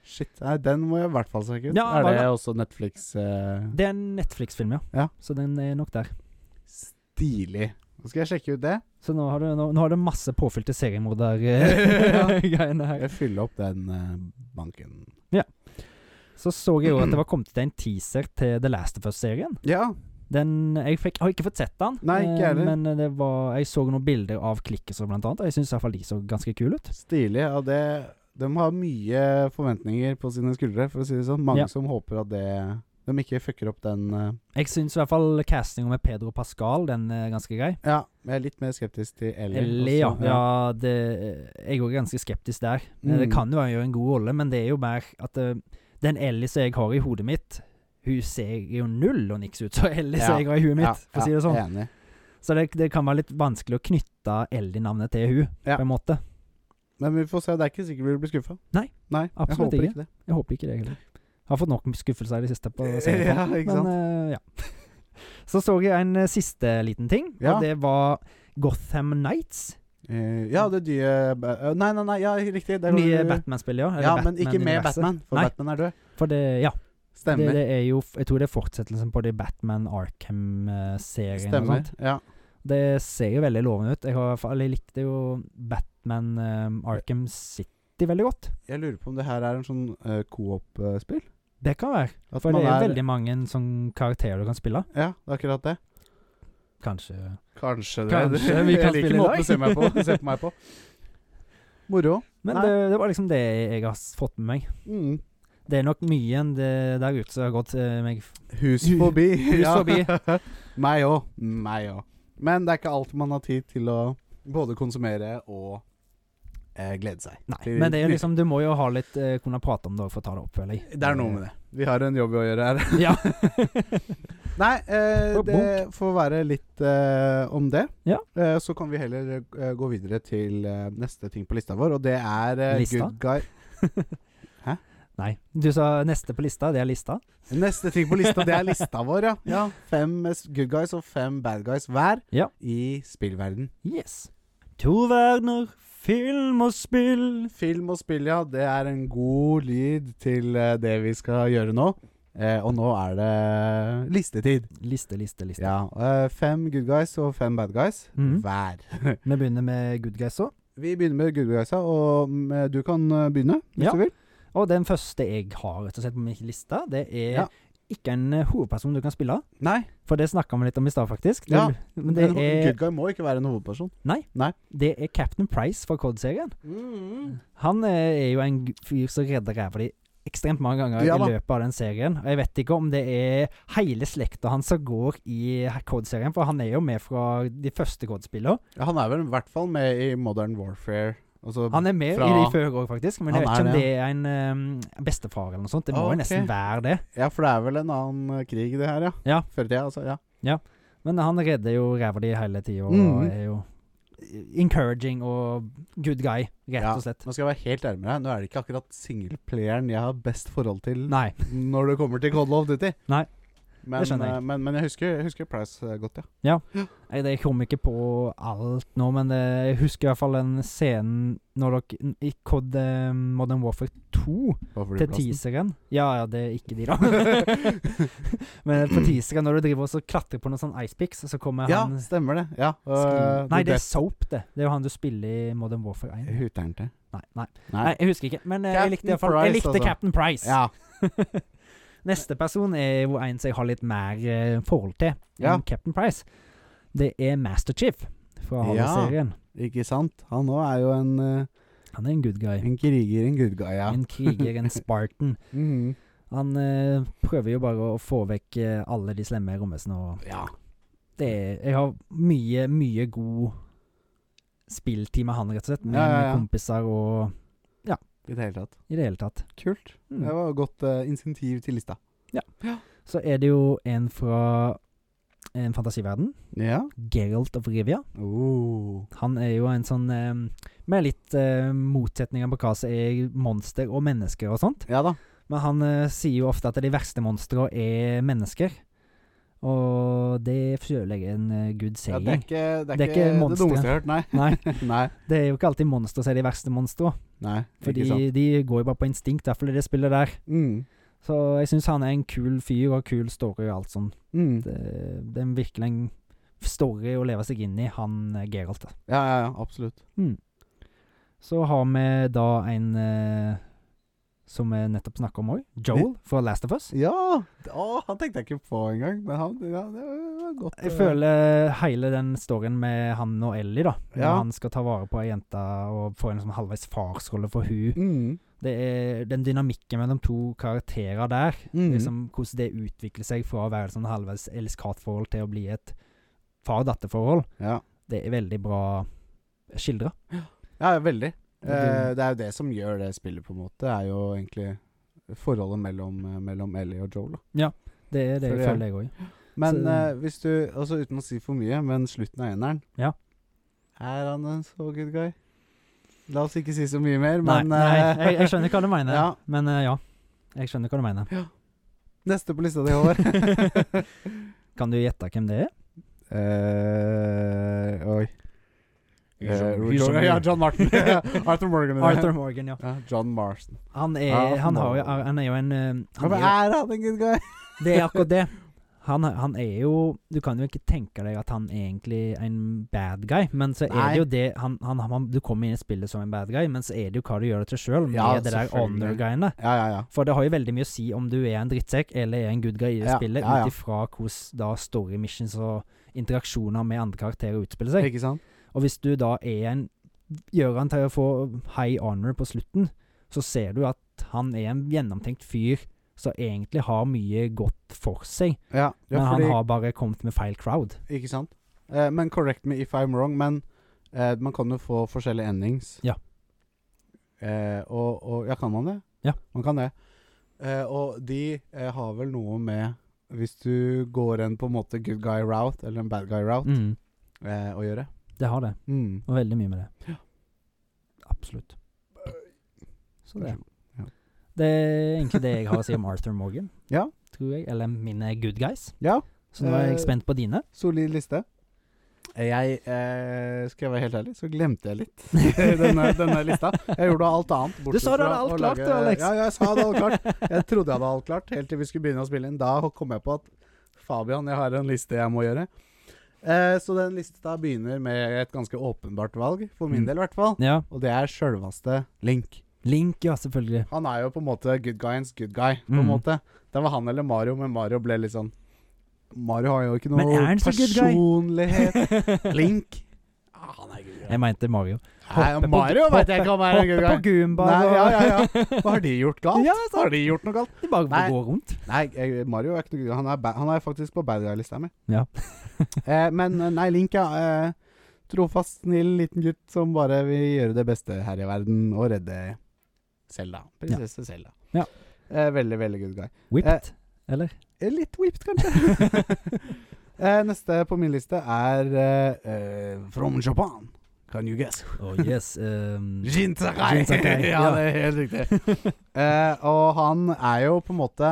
Speaker 2: Shit, nei, den må jeg i hvert fall sjekke ut.
Speaker 1: Ja,
Speaker 2: er
Speaker 1: hva-
Speaker 2: det også Netflix eh,
Speaker 1: Det er en Netflix-film, ja.
Speaker 2: Ja.
Speaker 1: Så den er nok der.
Speaker 2: Stilig. Nå skal jeg sjekke ut det.
Speaker 1: Så nå har du, nå, nå har du masse påfylte [LAUGHS]
Speaker 2: [LAUGHS] Ja.
Speaker 1: seriemorder-greiene her.
Speaker 2: Jeg fyller opp den eh, banken.
Speaker 1: Så så jeg jo at det var kommet ut en teaser til The Last of Us-serien.
Speaker 2: Ja.
Speaker 1: Den, jeg fikk, har ikke fått sett den,
Speaker 2: Nei, ikke
Speaker 1: eh,
Speaker 2: heller.
Speaker 1: men det var, jeg så noen bilder av klikkelser, blant annet. Og jeg syns iallfall de så ganske kule ut.
Speaker 2: Stilig. Ja, det, de har mye forventninger på sine skuldre, for å si det sånn. Mange
Speaker 1: Ja.
Speaker 2: som håper at det, de ikke fucker opp den eh,
Speaker 1: Jeg syns i hvert fall castinga med Pedro Pascal den er ganske grei.
Speaker 2: Ja, men jeg er litt mer skeptisk til Ellie.
Speaker 1: Eller, ja.
Speaker 2: også.
Speaker 1: ja det, jeg er jo ganske skeptisk der. Eh,
Speaker 2: Mm.
Speaker 1: Det kan jo være en god rolle, men det er jo mer at eh, den Ellie som jeg har i hodet mitt, hun ser jo null og niks ut som [LAUGHS] Ellie som
Speaker 2: Ja.
Speaker 1: jeg har i hodet mitt, for å si det sånn.
Speaker 2: Enig.
Speaker 1: Så det, det kan være litt vanskelig å knytte Ellie-navnet til hun,
Speaker 2: Ja.
Speaker 1: på en måte.
Speaker 2: Men vi får se. Det er ikke sikkert vi blir skuffa.
Speaker 1: Nei,
Speaker 2: Nei jeg
Speaker 1: absolutt
Speaker 2: håper
Speaker 1: ikke.
Speaker 2: ikke det.
Speaker 1: Jeg håper ikke det heller. Har fått nok skuffelser i det
Speaker 2: [LAUGHS]
Speaker 1: siste på serien.
Speaker 2: Ja, ikke
Speaker 1: men
Speaker 2: sant?
Speaker 1: eh, ja. [LAUGHS] Så så jeg en eh, siste liten ting,
Speaker 2: Ja.
Speaker 1: og det var Gotham Nights.
Speaker 2: Eh, ja, det nye ba- eh, Nei, nei, nei, ja, riktig. Det er-
Speaker 1: Nye Batman-spill, ja. eller
Speaker 2: Ja, men ikke med
Speaker 1: Batman-universet.
Speaker 2: Batman, for
Speaker 1: Nei.
Speaker 2: Batman er død.
Speaker 1: For det, ja. Det,
Speaker 2: Stemmer.
Speaker 1: det er jo, f- jeg tror det er fortsettelsen på det Batman Arkham-serien. og
Speaker 2: Stemmer.
Speaker 1: sånt.
Speaker 2: Ja.
Speaker 1: Det ser jo veldig lovende ut. Jeg, har, i hvert fall- jeg likte jo Batman eh, Arkham City veldig godt.
Speaker 2: Jeg lurer på om det her er en sånn eh, coop-spill?
Speaker 1: Det kan være.
Speaker 2: At
Speaker 1: For det
Speaker 2: man
Speaker 1: er veldig mange sånn karakterer du kan spille.
Speaker 2: Ja, det er akkurat det.
Speaker 1: Kanskje
Speaker 2: Kanskje det.
Speaker 1: Kanskje vi kan
Speaker 2: jeg liker
Speaker 1: spille i
Speaker 2: måten
Speaker 1: dag. [LAUGHS]
Speaker 2: du ser meg på. Se på meg på. Moro.
Speaker 1: Men
Speaker 2: Nei.
Speaker 1: det, det var liksom det jeg har s- fått med meg.
Speaker 2: Mm.
Speaker 1: Det er nok mye enn det der ute som har gått eh, meg f-
Speaker 2: Hus [LAUGHS] forbi.
Speaker 1: Hus forbi.
Speaker 2: [LAUGHS] meg òg. Meg òg. Men det er ikke alt man har tid til å både konsumere og eh, glede seg.
Speaker 1: Nei. Men det er jo liksom, du må jo ha litt eh, kunne prate om det for å ta det opp, føler jeg.
Speaker 2: Det er
Speaker 1: [LAUGHS]
Speaker 2: noe med det. Vi har en jobb å gjøre her. [LAUGHS]
Speaker 1: Ja.
Speaker 2: Nei, eh,
Speaker 1: Og
Speaker 2: det får være litt eh, om det.
Speaker 1: Ja.
Speaker 2: Eh, så kan vi heller eh, gå videre til eh, neste ting på lista vår, og det er eh,
Speaker 1: Lista?
Speaker 2: Good Guy.
Speaker 1: Nei. Du sa neste på lista, det er lista.
Speaker 2: Neste ting på lista, det er lista vår, ja. ja. Fem eh, good guys og fem bad guys hver
Speaker 1: Ja.
Speaker 2: i spillverden.
Speaker 1: Yes. To verdener, film og spill.
Speaker 2: Film og spill, ja. Det er en god lyd til eh, det vi skal gjøre nå. Eh, og nå er det listetid.
Speaker 1: Liste, liste, liste.
Speaker 2: Ja, eh, Fem good guys og fem bad guys
Speaker 1: Mhm.
Speaker 2: hver.
Speaker 1: Vi begynner med Good Guys òg.
Speaker 2: Vi begynner med good guysa, og mm, du kan eh, begynne hvis
Speaker 1: Ja.
Speaker 2: du vil.
Speaker 1: Og den første jeg har rett og slett på min liste, det er
Speaker 2: Ja.
Speaker 1: ikke en eh, hovedperson du kan spille.
Speaker 2: Nei,
Speaker 1: For det snakka vi litt om i stad, faktisk. Det,
Speaker 2: Ja,
Speaker 1: men det,
Speaker 2: en ho-
Speaker 1: er,
Speaker 2: good guy må ikke være en hovedperson.
Speaker 1: det er Captain Price fra Cod-serien. Han eh, er jo en g- fyr som redder ræva di ekstremt mange ganger
Speaker 2: Ja
Speaker 1: i
Speaker 2: da.
Speaker 1: løpet av den serien. Og jeg vet ikke om det er hele slekta hans som går i Cod-serien, for han er jo med fra de første Cod-spillene.
Speaker 2: Ja, han er vel i hvert fall med i Modern Warfare. Altså,
Speaker 1: Han er med
Speaker 2: fra-
Speaker 1: i de før òg, faktisk. Men jeg
Speaker 2: Han
Speaker 1: vet ikke
Speaker 2: er
Speaker 1: om
Speaker 2: det,
Speaker 1: det er en ehm, bestefar eller noe sånt. Det må
Speaker 2: Ah, ok.
Speaker 1: jo nesten være det.
Speaker 2: ja, for det er vel en annen eh, krig, det her, ja.
Speaker 1: Ja.
Speaker 2: Før i tida, altså. Ja.
Speaker 1: Men han redder jo ræva di hele tida og
Speaker 2: Mhm.
Speaker 1: er jo encouraging og good guy, rett
Speaker 2: Ja.
Speaker 1: og slett.
Speaker 2: Nå skal jeg være helt ærlig med deg, nå er det ikke akkurat singleplayeren jeg har best forhold til
Speaker 1: Nei.
Speaker 2: når det kommer til Call of Duty.
Speaker 1: Nei,
Speaker 2: men,
Speaker 1: skjønner jeg.
Speaker 2: eh, Men, men jeg husker, jeg husker Price eh, godt, ja.
Speaker 1: Jeg, jeg kom ikke på alt nå, men eh, jeg husker i hvert fall den scenen når dere I Cod eh, Modern Warfare 2,
Speaker 2: På
Speaker 1: til teaseren Ja, ja, det er ikke
Speaker 2: [LAUGHS]
Speaker 1: de, da. [LAUGHS] men på teaseren, når du driver og så klatrer på noen sånn ice picks, så kommer
Speaker 2: Ja,
Speaker 1: han
Speaker 2: stemmer det. Ja.
Speaker 1: Skriv-
Speaker 2: eh,
Speaker 1: nei,
Speaker 2: The
Speaker 1: det er
Speaker 2: Death-
Speaker 1: Soap, det. Det er jo han du spiller i Modern Warfare 1.
Speaker 2: Huter han til?
Speaker 1: Nei, nei.
Speaker 2: Nei.
Speaker 1: nei jeg husker ikke. Men eh, jeg likte, i hvert fall,
Speaker 2: Captain
Speaker 1: jeg likte
Speaker 2: Price, altså.
Speaker 1: Captain Price.
Speaker 2: Ja.
Speaker 1: Neste person er jo en som jeg har litt mer eh, forhold til enn
Speaker 2: Ja.
Speaker 1: Captain Price. Det er Master Chief fra
Speaker 2: Ja.
Speaker 1: Halo-serien.
Speaker 2: Ikke sant? Han òg er jo en, eh,
Speaker 1: Han er en good guy.
Speaker 2: en kriger, en good guy, ja.
Speaker 1: En kriger,
Speaker 2: [LAUGHS]
Speaker 1: en Spartan.
Speaker 2: Mhm.
Speaker 1: Han eh, prøver jo bare å få vekk eh, alle de slemme rommesene og
Speaker 2: ja.
Speaker 1: det er, Jeg har mye, mye god spilltid med han, rett og slett. Med
Speaker 2: Ja, ja, ja.
Speaker 1: kompiser og
Speaker 2: I det hele tatt.
Speaker 1: i det hele tatt.
Speaker 2: Kult.
Speaker 1: Mm.
Speaker 2: Det var godt eh, insentiv til lista.
Speaker 1: Så er det jo en fra en fantasiverden.
Speaker 2: Ja.
Speaker 1: Geralt of Rivia.
Speaker 2: Oh.
Speaker 1: Han er jo en sånn eh, Med litt eh, motsetninger på hva som er monster og mennesker og sånt.
Speaker 2: Ja da.
Speaker 1: Men han eh, sier jo ofte at de verste monstrene er mennesker. Og det føler jeg er en eh, good
Speaker 2: Ja, det er
Speaker 1: saying.
Speaker 2: ikke det, er
Speaker 1: Det er ikke
Speaker 2: ikke det
Speaker 1: monster.
Speaker 2: dummeste jeg har hørt, nei.
Speaker 1: Nei,
Speaker 2: nei.
Speaker 1: det er jo ikke alltid monstre som er de verste monstrene.
Speaker 2: Nei,
Speaker 1: Fordi
Speaker 2: ikke sant.
Speaker 1: de går jo bare på instinkt, i hvert fall i det spillet der.
Speaker 2: Mm.
Speaker 1: Så jeg syns han er en kul fyr, og kul story og alt sånt.
Speaker 2: Mm.
Speaker 1: Det, det er virkelig en story å leve seg inn i, han eh, Geralt. da.
Speaker 2: Ja, ja, ja, absolutt.
Speaker 1: Så har vi da en eh, som vi nettopp snakka om òg, Joel fra Last of Us.
Speaker 2: Ja! Å, han tenkte jeg ikke på engang, men han ja, det var godt.
Speaker 1: Jeg
Speaker 2: eh,
Speaker 1: føler hele den storyen med han og Ellie, da. Når
Speaker 2: Ja.
Speaker 1: han skal ta vare på ei jente og få en sånn halvveis farsrolle for hun
Speaker 2: mm,
Speaker 1: Det er den dynamikken mellom to karakterer der.
Speaker 2: mm.
Speaker 1: Liksom Hvordan det utvikler seg fra å være et sånn halvveis elsk-hat-forhold til å bli et far-datter-forhold.
Speaker 2: ja.
Speaker 1: Det er veldig bra skildra.
Speaker 2: ja, ja, veldig.
Speaker 1: Det
Speaker 2: Eh,
Speaker 1: er-
Speaker 2: det er jo det som gjør det spillet, på en måte. Er jo egentlig forholdet mellom, eh, mellom Ellie og Joel. Da.
Speaker 1: Det er det jeg
Speaker 2: Så det er-
Speaker 1: føler, jeg òg.
Speaker 2: Men
Speaker 1: Så-
Speaker 2: eh, hvis du Altså uten å si for mye, men slutten av eneren
Speaker 1: Ja.
Speaker 2: Er han en så good guy? La oss ikke si så mye mer,
Speaker 1: Nei,
Speaker 2: men
Speaker 1: nei
Speaker 2: eh,
Speaker 1: jeg, jeg skjønner hva du mener.
Speaker 2: Ja.
Speaker 1: Men eh, ja, jeg skjønner hva du mener.
Speaker 2: [LAUGHS] Neste på lista di, Håvard.
Speaker 1: [LAUGHS]
Speaker 2: [LAUGHS]
Speaker 1: Kan du gjette hvem det er?
Speaker 2: Eh, oi
Speaker 3: He's a-
Speaker 2: Eh,
Speaker 3: he's
Speaker 2: John,
Speaker 3: a man.
Speaker 2: ja, [LAUGHS] John Martin. [LAUGHS] Arthur Morgan.
Speaker 1: Arthur Morgan, ja.
Speaker 2: Ja, John Marston.
Speaker 1: Han er,
Speaker 2: Ja,
Speaker 1: han har jo,
Speaker 2: Morgan.
Speaker 1: han er jo en eh,
Speaker 2: Ja,
Speaker 1: han
Speaker 2: men
Speaker 1: er,
Speaker 2: er han en good guy?
Speaker 1: jo- Det er akkurat det. Han, er- han er jo Du kan jo ikke tenke deg at han er egentlig en bad guy, men så er
Speaker 2: Nei.
Speaker 1: det jo det han, han, han, Du kommer inn i spillet som en bad guy, men så er det jo hva du gjør det til sjøl, med
Speaker 2: Ja,
Speaker 1: det der
Speaker 2: selvfølgelig.
Speaker 1: honor-greiene.
Speaker 2: Ja, ja, ja.
Speaker 1: For det har jo veldig mye å si om du er en drittsekk eller er en good guy i det
Speaker 2: Ja,
Speaker 1: spillet,
Speaker 2: ja, ja.
Speaker 1: ut ifra hvordan da story missions og interaksjoner med andre karakterer utspiller seg.
Speaker 2: Ikke sant?
Speaker 1: Og hvis du da er en Gjør han til å få high honor på slutten, så ser du at han er en gjennomtenkt fyr som egentlig har mye godt for seg,
Speaker 2: Ja, ja
Speaker 1: men
Speaker 2: fordi,
Speaker 1: han har bare kommet med feil crowd.
Speaker 2: Ikke sant? Eh, men correct me if I'm wrong, men eh, man kan jo få forskjellige endings.
Speaker 1: Ja.
Speaker 2: Eh, og, og Ja, kan man det?
Speaker 1: Ja.
Speaker 2: Man kan det. Eh, og de eh, har vel noe med Hvis du går en på en måte good guy route, eller en bad guy route,
Speaker 1: Mm,
Speaker 2: eh, å gjøre.
Speaker 1: det har det,
Speaker 2: Mm.
Speaker 1: og veldig mye med det. Absolutt. Så det.
Speaker 2: Ja.
Speaker 1: Det er egentlig det jeg har å si om Arthur Morgan,
Speaker 2: [LAUGHS] Ja.
Speaker 1: tror jeg. Eller mine good guys.
Speaker 2: Ja,
Speaker 1: Så nå er
Speaker 2: Eh,
Speaker 1: jeg spent på dine.
Speaker 2: solid liste. Eh, Jeg, eh, skal jeg være helt ærlig, så glemte jeg litt [LAUGHS] denne, denne lista. Jeg gjorde alt annet. bortsett
Speaker 1: sa du hadde
Speaker 2: fra
Speaker 1: alt
Speaker 2: å
Speaker 1: klart,
Speaker 2: lage-
Speaker 1: du, Alex.
Speaker 2: Ja, ja, jeg sa jeg hadde alt
Speaker 1: [LAUGHS]
Speaker 2: klart. Jeg trodde jeg hadde alt klart, helt til vi skulle begynne å spille inn. Da kom jeg på at Fabian, jeg har en liste jeg må gjøre. Eh, så den lista begynner med et ganske åpenbart valg, for min
Speaker 1: Mm.
Speaker 2: del i hvert fall.
Speaker 1: Ja.
Speaker 2: Og det er sjølveste Link.
Speaker 1: Link, ja, selvfølgelig.
Speaker 2: Han er jo på en måte good guyens good guy, på en
Speaker 1: Mm.
Speaker 2: måte. Det var han eller Mario, men Mario ble litt sånn Mario har jo ikke
Speaker 1: Men er
Speaker 2: noe
Speaker 1: han så good guy?
Speaker 2: personlighet. Link. Ja, Ah, han er good guy.
Speaker 1: [LAUGHS] Jeg mente Mario.
Speaker 2: Nei,
Speaker 1: Hoppe på-
Speaker 2: Mario vet jeg ikke om er en good
Speaker 1: Hoppe på
Speaker 2: guy.
Speaker 1: Goomba.
Speaker 2: Nei,
Speaker 1: og- [LAUGHS]
Speaker 2: ja, ja, ja. Hva har de gjort galt?
Speaker 1: Ja,
Speaker 2: har de gjort noe galt?
Speaker 1: De bare
Speaker 2: Nei.
Speaker 1: går rundt.
Speaker 2: Nei, jeg, Mario er ikke noe good guy. Han er, ba han er faktisk på bad guy-lista mi.
Speaker 1: Ja.
Speaker 2: eh, men eh, nei, Link er eh, trofast, snill liten gutt som bare vil gjøre det beste her i verden og redde Selda. Prinsesse Selda.
Speaker 1: Ja.
Speaker 2: Eh, veldig, veldig good guy.
Speaker 1: Whipped, eller?
Speaker 2: Eh, Litt whipped, kanskje. [LAUGHS] eh, neste på min liste er eh, eh, From Japan. Can you guess?
Speaker 1: Oh yes. Um,
Speaker 2: Jin Sakai.
Speaker 1: Jin Sakai,
Speaker 2: [LAUGHS] ja,
Speaker 1: ja.
Speaker 2: det er helt [LAUGHS] riktig. eh, og han er jo på en måte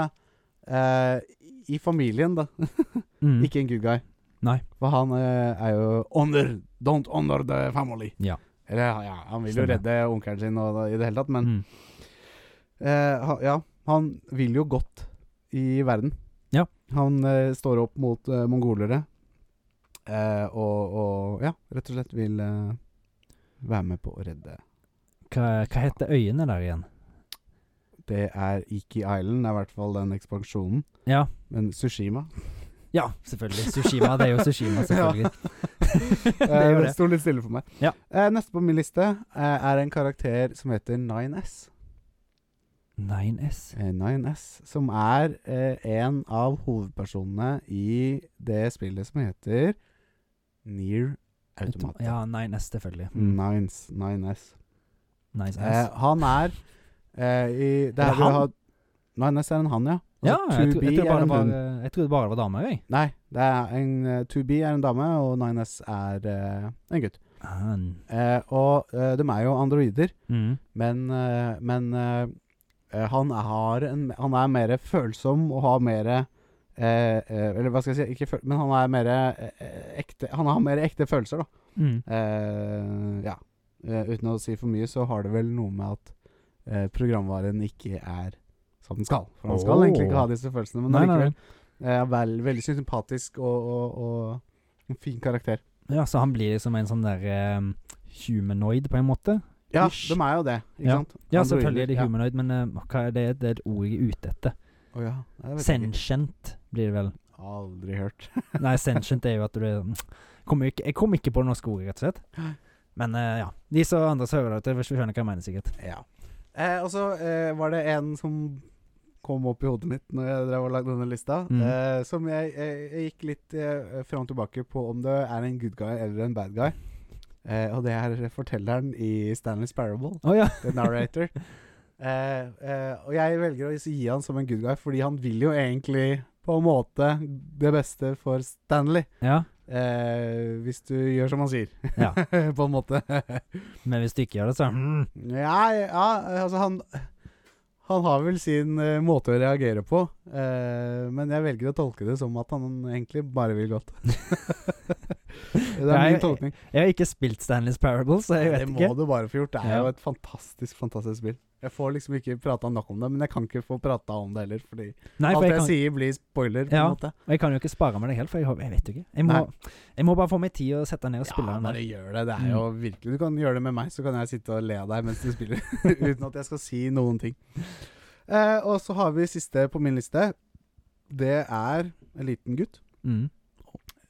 Speaker 2: eh, i familien, da.
Speaker 1: mm,
Speaker 2: Ikke en good guy.
Speaker 1: Nei.
Speaker 2: For han eh, er jo Honor, don't honor the family.
Speaker 1: Ja.
Speaker 2: Eller, ja, han vil jo
Speaker 1: Stemmer.
Speaker 2: redde onkelen sin og, i det hele tatt, men
Speaker 1: mm.
Speaker 2: eh, han, Ja, han vil jo godt i verden.
Speaker 1: Ja.
Speaker 2: Han eh, står opp mot eh, mongolere. Eh, og, og ja, rett og slett vil eh, være med på å redde
Speaker 1: Hva, hva heter øyene der igjen?
Speaker 2: Det er Iki Island, det er i hvert fall den ekspansjonen.
Speaker 1: Ja.
Speaker 2: Men Sushima
Speaker 1: Ja, selvfølgelig. Sushima. Det er jo
Speaker 2: [LAUGHS]
Speaker 1: Sushima, selvfølgelig.
Speaker 2: Det
Speaker 1: er jo det.
Speaker 2: sto litt stille for meg.
Speaker 1: Ja.
Speaker 2: Eh, neste på min liste eh, er en karakter som heter 9S.
Speaker 1: 9S.
Speaker 2: Eh, 9S, som er eh, en av hovedpersonene i det spillet som heter Near Automata. Mm.
Speaker 1: Ja, 9S, selvfølgelig.
Speaker 2: Nines, 9S.
Speaker 1: Nice
Speaker 2: Eh,
Speaker 1: ass.
Speaker 2: han er eh, i Det
Speaker 1: Er
Speaker 2: er
Speaker 1: det
Speaker 2: vi
Speaker 1: han?
Speaker 2: har 9S er en han, ja. Og
Speaker 1: Ja, jeg,
Speaker 2: 2B
Speaker 1: tro, jeg, tror
Speaker 2: er
Speaker 1: bare
Speaker 2: en
Speaker 1: det var,
Speaker 2: hun.
Speaker 1: jeg trodde bare det var damer, jeg.
Speaker 2: Nei, det er en eh, 2B er en dame, og 9S er eh, en gutt.
Speaker 1: Ah,
Speaker 2: Eh, og eh, de er jo androider,
Speaker 1: Mm.
Speaker 2: men, eh, men eh, eh, han, har en, han er mer følsom og har mer eh, eh, Eller hva skal jeg si ikke føl Men han er mer eh, eh, ekte Han har mer ekte følelser, da.
Speaker 1: Mm.
Speaker 2: Eh, ja. Eh, uten å si for mye, så har det vel noe med at eh, programvaren ikke er som den skal. For han skal
Speaker 1: Åh.
Speaker 2: egentlig ikke ha disse følelsene, men Eh,
Speaker 1: Nei, nei,
Speaker 2: allikevel
Speaker 1: nei.
Speaker 2: jeg er vel, veldig sympatisk og, og, og En fin karakter.
Speaker 1: Ja, så han blir liksom en sånn der eh, humanoid, på en måte.
Speaker 2: Ja,
Speaker 1: Ish.
Speaker 2: de er jo det, ikke
Speaker 1: Ja.
Speaker 2: sant?
Speaker 1: Ja,
Speaker 2: Androider,
Speaker 1: selvfølgelig er det
Speaker 2: ja.
Speaker 1: humanoid, men eh, hva er det, det er et ord jeg er ute etter.
Speaker 2: Å ja. Nei, jeg vet ikke.
Speaker 1: Sentient blir det vel.
Speaker 2: Aldri hørt. [LAUGHS]
Speaker 1: Nei, sentient er jo at du er kom ikke, Jeg kom ikke på det norske ordet, rett og slett. Men eh, ja. De som andre som hører det, hvis vi skjønner hva jeg mener, sikkert.
Speaker 2: Ja. Eh, og så eh, var det en som kom opp i hodet mitt når jeg drev og lagde denne lista,
Speaker 1: Mm.
Speaker 2: eh, som jeg, jeg, jeg gikk litt eh, fram og tilbake på om det er en good guy eller en bad guy. Eh, og det er fortelleren i Stanley's Parable,
Speaker 1: Å ja.
Speaker 2: The
Speaker 1: [LAUGHS]
Speaker 2: Narrator. eh, eh, og jeg velger å gi han som en good guy, fordi han vil jo egentlig på en måte det beste for Stanley.
Speaker 1: ja.
Speaker 2: Eh, hvis du gjør som han sier,
Speaker 1: Ja.
Speaker 2: [LAUGHS] på en måte.
Speaker 1: Men hvis du ikke gjør det, så mm.
Speaker 2: Ja, ja altså han Han har vel sin eh, måte å reagere på, eh, men jeg velger å tolke det som at han egentlig bare vil godt. det er
Speaker 1: Nei,
Speaker 2: min tolkning.
Speaker 1: Jeg har ikke spilt Stanley's Parable, så jeg
Speaker 2: Det
Speaker 1: vet
Speaker 2: må
Speaker 1: ikke.
Speaker 2: du bare få gjort. Det er
Speaker 1: Ja.
Speaker 2: jo et fantastisk, fantastisk spill. Jeg får liksom ikke prata nok om det, men jeg kan ikke få prata om det heller, fordi
Speaker 1: Nei, for
Speaker 2: alt
Speaker 1: jeg
Speaker 2: jeg
Speaker 1: kan,
Speaker 2: sier, blir spoiler. på
Speaker 1: Ja,
Speaker 2: en måte.
Speaker 1: jeg kan jo ikke spare meg det helt, for jeg, har- jeg vet jo ikke. Jeg må, jeg må bare få meg tid og sette ned og
Speaker 2: Ja,
Speaker 1: spille den
Speaker 2: bare
Speaker 1: der. Mm.
Speaker 2: gjør det. Det er jo virkelig Du kan gjøre det med meg, så kan jeg sitte og le av deg mens du spiller. [LAUGHS] uten at jeg skal si noen ting. Eh, og så har vi siste på min liste. Det er en liten gutt
Speaker 1: Mm.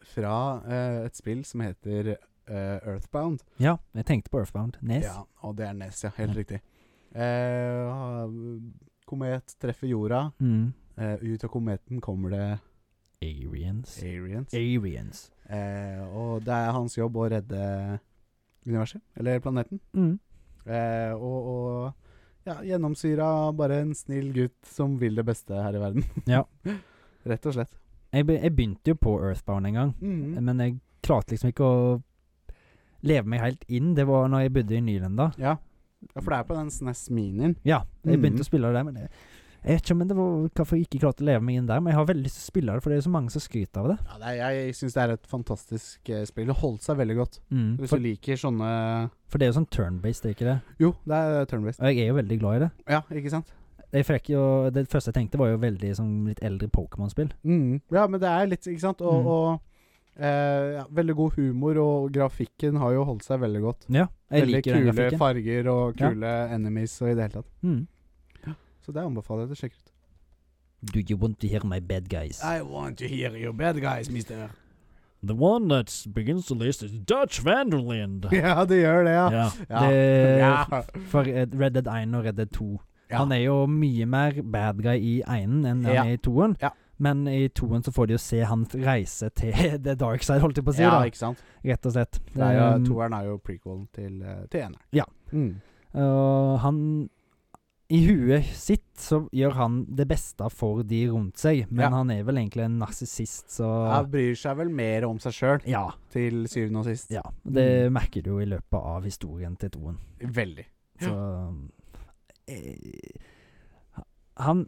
Speaker 2: fra eh, et spill som heter eh, Earthbound.
Speaker 1: Ja, jeg tenkte på Earthbound. Nes.
Speaker 2: Ja, og det er Ness, ja. Helt riktig. Eh, komet treffer jorda.
Speaker 1: Mm.
Speaker 2: Eh, ut av kometen kommer det
Speaker 1: Arians.
Speaker 2: aliens.
Speaker 1: Arians.
Speaker 2: Eh, og det er hans jobb å redde universet, eller planeten.
Speaker 1: Mm.
Speaker 2: Eh, og og ja, gjennomsyra bare en snill gutt som vil det beste her i verden. [LAUGHS]
Speaker 1: Ja.
Speaker 2: Rett og slett.
Speaker 1: Jeg, be, jeg begynte jo på Earthbound en gang.
Speaker 2: Mhm.
Speaker 1: Men jeg klarte liksom ikke å leve meg helt inn. Det var når jeg bodde i Nyland, da.
Speaker 2: Ja. ja, for det er på den SNES Minien.
Speaker 1: Ja, jeg begynte
Speaker 2: Mhm.
Speaker 1: å spille det, men jeg, jeg vet ikke om det var hvorfor jeg ikke klarte å leve meg inn der. Men jeg har veldig lyst til å spille det, for det er så mange som skryter av det.
Speaker 2: Ja, det er, jeg syns det er et fantastisk eh, spill. Det holdt seg veldig godt. Hvis du
Speaker 1: For,
Speaker 2: liker sånne
Speaker 1: for det er jo sånn turn-based, er det ikke det?
Speaker 2: Jo, det er eh, turn-based.
Speaker 1: Og jeg er jo veldig glad i det.
Speaker 2: Ja, ikke sant?
Speaker 1: Jeg fikk jo, det første jeg tenkte, var jo veldig sånn litt eldre Pokémon-spill.
Speaker 2: Mhm. Ja, men det er litt, ikke sant? Og,
Speaker 1: Mhm.
Speaker 2: og eh, ja, veldig god humor, og grafikken har jo holdt seg veldig godt.
Speaker 1: Ja, jeg
Speaker 2: veldig
Speaker 1: liker den
Speaker 2: kule
Speaker 1: grafikken.
Speaker 2: farger og
Speaker 1: Ja.
Speaker 2: kule enemies og i det hele tatt.
Speaker 1: Mm.
Speaker 2: Så det anbefaler jeg å sjekke ut.
Speaker 1: Do you want to hear my bad guys?
Speaker 2: I want to hear your bad guys, mister.
Speaker 3: [LAUGHS] The one that begins the list is Dutch Vanderland.
Speaker 2: [LAUGHS] Ja, det gjør det, ja.
Speaker 3: Yeah.
Speaker 2: Ja.
Speaker 1: Det-
Speaker 2: ja.
Speaker 1: For eh, Red Dead 1 og Red Dead 2.
Speaker 2: Ja.
Speaker 1: Han er jo mye mer bad guy i einen enn han
Speaker 2: Ja.
Speaker 1: er i toen.
Speaker 2: Ja.
Speaker 1: Men i toen så får de jo se han reise til [LAUGHS] the dark side, holdt jeg på å si.
Speaker 2: ja,
Speaker 1: da.
Speaker 2: ikke sant.
Speaker 1: Rett og slett.
Speaker 2: Det er jo,
Speaker 1: Um,
Speaker 2: toeren er jo prequelen til, eh, til eneren.
Speaker 1: Ja.
Speaker 2: Mm.
Speaker 1: og han I huet sitt så gjør han det beste for de rundt seg, men
Speaker 2: Ja.
Speaker 1: han er vel egentlig en narsissist, så
Speaker 2: Han bryr seg vel mer om seg sjøl,
Speaker 1: ja.
Speaker 2: til syvende og sist.
Speaker 1: ja. Det
Speaker 2: Mm.
Speaker 1: merker du jo i løpet av historien til toen.
Speaker 2: Veldig.
Speaker 1: Så eh, Han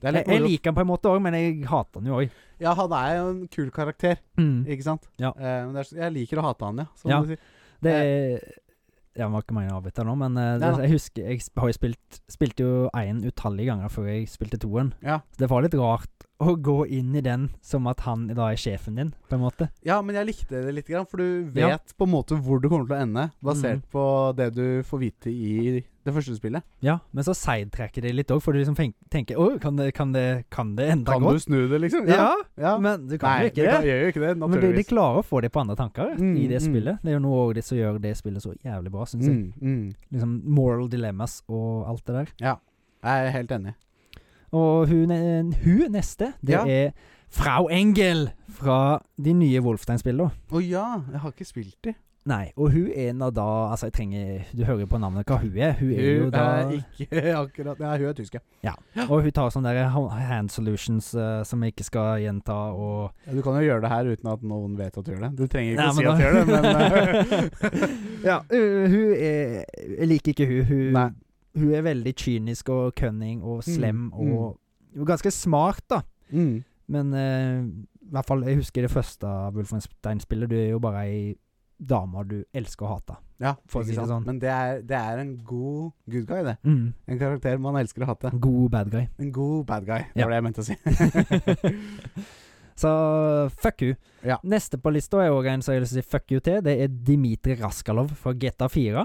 Speaker 2: Det er
Speaker 1: jeg,
Speaker 2: litt
Speaker 1: jeg
Speaker 2: moro.
Speaker 1: liker han på en måte òg, men jeg hater han jo òg.
Speaker 2: Ja, han er jo en kul karakter, ikke sant?
Speaker 1: Mm. Ja.
Speaker 2: Eh, men det er, så- jeg liker å hate han, ja. Som
Speaker 1: Ja.
Speaker 2: du sier.
Speaker 1: Det Jeg må ikke mene å avbryte nå, men eh, det,
Speaker 2: Nei da.
Speaker 1: jeg husker Jeg sp- har jo spilt Spilte jo én utallige ganger før jeg spilte toen.
Speaker 2: Ja.
Speaker 1: Så det var litt rart å gå inn i den som at han da er sjefen din, på en måte.
Speaker 2: ja, men jeg likte det litt, grann, for du vet
Speaker 1: Ja.
Speaker 2: på en måte hvor du kommer til å ende, basert
Speaker 1: Mm.
Speaker 2: på det du får vite i det første spillet.
Speaker 1: Ja, men så sidetracker det litt òg, for du liksom tenk- tenker Å, kan det, kan det, kan det enda
Speaker 2: Kan du
Speaker 1: godt?
Speaker 2: snu det, liksom?
Speaker 1: Ja,
Speaker 2: ja.
Speaker 1: men du kan
Speaker 2: Nei,
Speaker 1: jo
Speaker 2: det
Speaker 1: ikke
Speaker 2: kan-
Speaker 1: det.
Speaker 2: gjør jo ikke det,
Speaker 1: Men de, de
Speaker 2: naturligvis.
Speaker 1: klarer å få det på andre tanker
Speaker 2: Mm,
Speaker 1: i det
Speaker 2: mm.
Speaker 1: spillet. Det er jo noe av det som gjør det spillet så jævlig bra, syns jeg.
Speaker 2: Mm, mm.
Speaker 1: Liksom moral dilemmas og alt det der.
Speaker 2: Jeg er helt enig.
Speaker 1: Og hun, eh, hun neste, det
Speaker 2: Ja.
Speaker 1: er Frau Engel fra de nye Wolfstein-spillene.
Speaker 2: Å ja, jeg har ikke spilt de.
Speaker 1: Nei, og hun er nå da Altså, jeg trenger Du hører jo på navnet hva hun er. Hun er jo
Speaker 2: Hun
Speaker 1: da
Speaker 2: er ikke [LAUGHS] akkurat Nei, hun er tysk, ja.
Speaker 1: Og hun tar sånne der ha- hand solutions eh, som jeg ikke skal gjenta, og
Speaker 2: Ja, Du kan jo gjøre det her uten at noen vet at du gjør det. Du trenger ikke
Speaker 1: Nei,
Speaker 2: å
Speaker 1: men
Speaker 2: si at du
Speaker 1: [LAUGHS]
Speaker 2: gjør det, men eh, [LAUGHS]
Speaker 1: Ja, øh, hun er Jeg liker ikke hun. Hun,
Speaker 2: Nei.
Speaker 1: hun er veldig kynisk og cunning og slem
Speaker 2: Mm,
Speaker 1: og Hun er Ganske smart, da.
Speaker 2: mm.
Speaker 1: Men eh, i hvert fall, jeg husker det første Wolfenstein-spillet. Du er jo bare ei dame du elsker å hate.
Speaker 2: Ja,
Speaker 1: For å
Speaker 2: ikke
Speaker 1: si det
Speaker 2: sant?
Speaker 1: sånn.
Speaker 2: Men det er, det er en god good guy, det.
Speaker 1: Mm.
Speaker 2: En karakter man elsker å hate. [LAUGHS]
Speaker 1: God bad guy.
Speaker 2: En god bad guy, det
Speaker 1: Ja.
Speaker 2: var det jeg mente å si.
Speaker 1: Så fuck you.
Speaker 2: Ja.
Speaker 1: Neste på lista er òg en som jeg har lyst til å si fuck you til. Det er Dimitri Raskalov fra GTA 4.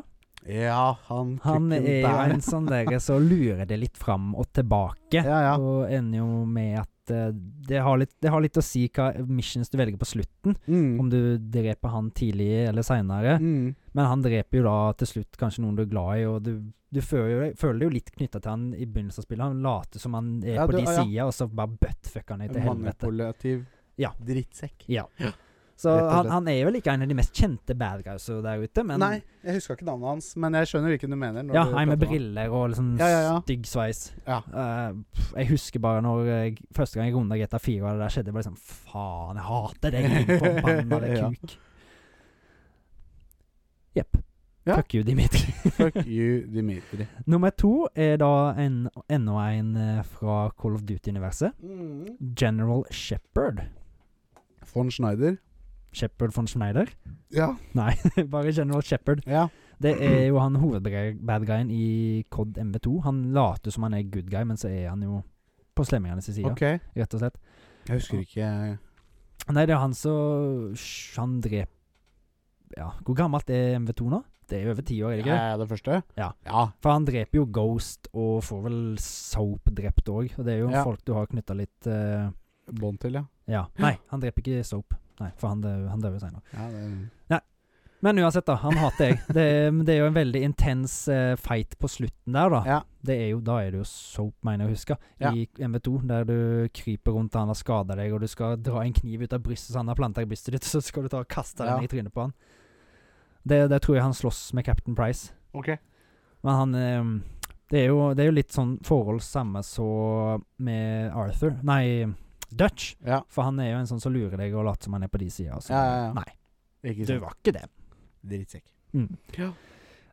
Speaker 2: Ja, han
Speaker 1: Han
Speaker 2: kukken
Speaker 1: er jo
Speaker 2: der.
Speaker 1: en sånn der som lurer det litt fram og tilbake.
Speaker 2: Ja, ja.
Speaker 1: Og ender jo med at eh, det har, litt, det har litt å si hva missions du velger på slutten.
Speaker 2: Mm.
Speaker 1: Om du dreper han tidlig eller seinere.
Speaker 2: Mm.
Speaker 1: Men han dreper jo da til slutt kanskje noen du er glad i, og du, du føler, jo, deg- føler deg jo litt knytta til han i begynnelsen av spillet. Han later som han er
Speaker 2: Ja,
Speaker 1: på
Speaker 2: du-
Speaker 1: de
Speaker 2: ja.
Speaker 1: sida, og så bare buttfucker han deg til helvete.
Speaker 2: Manipulativ
Speaker 1: Ja.
Speaker 2: drittsekk.
Speaker 1: Så
Speaker 2: rett og
Speaker 1: han,
Speaker 2: slett.
Speaker 1: han er vel ikke en av de mest kjente bad guys der ute, men
Speaker 2: Nei, jeg huska ikke navnet hans, men jeg skjønner hvilken du mener. når
Speaker 1: ja,
Speaker 2: du
Speaker 1: han med
Speaker 2: prater om han.
Speaker 1: briller og liksom
Speaker 2: Ja, ja, ja.
Speaker 1: stygg sveis.
Speaker 2: Ja.
Speaker 1: Eh, pff, jeg husker bare når jeg, første gang jeg runda GTA 4 og det der skjedde, jeg bare liksom Faen, jeg hater deg,
Speaker 2: [LAUGHS]
Speaker 1: din forbannede
Speaker 2: Ja.
Speaker 1: kuk. Jepp.
Speaker 2: Ja.
Speaker 1: Fuck you, Dimitri.
Speaker 2: Fuck you, Dimitri.
Speaker 1: Nummer to er da en, enda en eh, fra Call of Duty-universet.
Speaker 2: Mm.
Speaker 1: General Shepherd.
Speaker 2: Von Schneider.
Speaker 1: Shepherd von Schneider? [LAUGHS]
Speaker 2: Ja.
Speaker 1: Nei, bare General Shepherd.
Speaker 2: ja.
Speaker 1: Det er jo han hovedbadguyen i Cod MV2. Han later som han er good guy, men så er han jo på slemmingenes side,
Speaker 2: Ok. Jeg
Speaker 1: rett og slett.
Speaker 2: husker ikke
Speaker 1: Nei, det er han som sj- Han drep Ja, hvor gammelt er MV2 nå? Det er jo over ti år, er det ikke? det?
Speaker 2: Er det første?
Speaker 1: Ja.
Speaker 2: ja.
Speaker 1: For han dreper jo Ghost, og får vel Soap drept òg. Og det er jo
Speaker 2: Ja.
Speaker 1: folk du har knytta litt eh,
Speaker 2: Bånd til, ja.
Speaker 1: Ja. Nei, han dreper ikke Soap. Nei, for han, dø- han dør jo senere.
Speaker 2: ja det,
Speaker 1: Men uansett, da. Han hater jeg. Det, er- men det er jo en veldig intens eh, fight på slutten der, da.
Speaker 2: Ja.
Speaker 1: Det er jo, da er det jo Soap, mener jeg å huske,
Speaker 2: Ja.
Speaker 1: i MV2. Der du kryper rundt og han har skada deg, og du skal dra en kniv ut av brystet så han har planta i brystet ditt, så skal du ta og kaste den
Speaker 2: Ja.
Speaker 1: i trynet på han. Det, der tror jeg han slåss med Captain Price.
Speaker 2: Ok.
Speaker 1: Men han ehm, det, er jo, det er jo litt sånn forhold samme så med Arthur Nei, Dutch.
Speaker 2: Ja.
Speaker 1: For han er jo en sånn som lurer deg og later som han er på de sida.
Speaker 2: Ja, ja, ja.
Speaker 1: Nei,
Speaker 2: Ikke
Speaker 1: du
Speaker 2: sant.
Speaker 1: var ikke det. [LAUGHS]
Speaker 2: Drittsekk.
Speaker 1: Mm.
Speaker 2: Ja.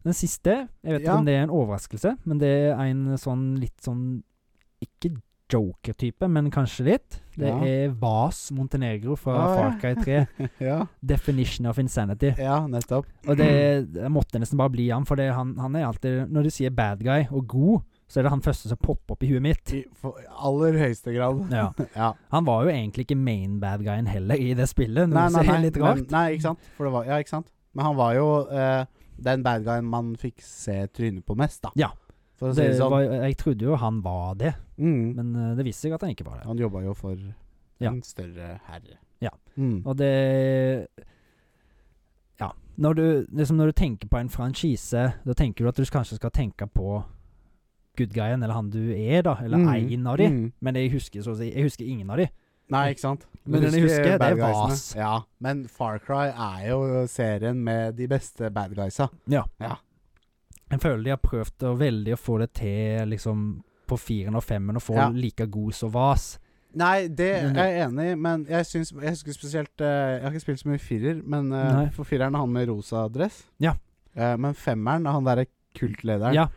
Speaker 1: Den siste, jeg vet ikke
Speaker 2: Ja.
Speaker 1: om det er en overraskelse, men det er en sånn litt sånn Ikke joker-type, men kanskje litt. Det
Speaker 2: Ja.
Speaker 1: er Vas Montenegro fra
Speaker 2: Ah, ja.
Speaker 1: Far Cry
Speaker 2: [LAUGHS]
Speaker 1: 3.
Speaker 2: Ja,
Speaker 1: Definition of Insanity.
Speaker 2: ja, nettopp.
Speaker 1: Og det, det måtte nesten bare bli han, for det, han, han er alltid Når de sier bad guy og god, så er det han første som popper opp i huet mitt.
Speaker 2: I for, aller høyeste
Speaker 1: [LAUGHS]
Speaker 2: grad.
Speaker 1: Ja.
Speaker 2: Ja.
Speaker 1: Han var jo egentlig ikke main bad guyen heller i det spillet, noe
Speaker 2: Nei, nei,
Speaker 1: som
Speaker 2: nei,
Speaker 1: er litt
Speaker 2: men,
Speaker 1: rart.
Speaker 2: nei, ikke sant. For det var, ja, ikke sant. Men han var jo eh, den bad guyen man fikk se trynet på mest, da.
Speaker 1: Ja.
Speaker 2: For å si
Speaker 1: det
Speaker 2: det sånn.
Speaker 1: var, jeg trodde jo han var det,
Speaker 2: mm.
Speaker 1: men eh, det viste seg at han ikke var det.
Speaker 2: Han jobba jo for
Speaker 1: Ja.
Speaker 2: en større herre.
Speaker 1: Ja.
Speaker 2: Mm.
Speaker 1: Og det Ja. Når du, liksom når du tenker på en franchise, da tenker du at du kanskje skal tenke på good guyen, eller han du er, da. Eller
Speaker 2: Mm.
Speaker 1: en av de.
Speaker 2: Mm.
Speaker 1: Men jeg husker, så å si, jeg husker ingen av de.
Speaker 2: Nei, ikke sant.
Speaker 1: Men den jeg husker, det
Speaker 2: bad
Speaker 1: er
Speaker 2: guysene.
Speaker 1: Vas.
Speaker 2: Ja, men Far Cry er jo serien med de beste bad guysa.
Speaker 1: Jeg føler de har prøvd å veldig å få det til liksom på firen og femmen, og få
Speaker 2: Ja.
Speaker 1: like god som Vas.
Speaker 2: Nei, det
Speaker 1: Men
Speaker 2: er jeg enig i, men jeg syns Jeg husker spesielt eh, Jeg har ikke spilt så mye firer, men eh,
Speaker 1: Nei.
Speaker 2: for fireren er han med rosa dress.
Speaker 1: Ja.
Speaker 2: Eh, men femmeren er han derre kultlederen.
Speaker 1: Ja,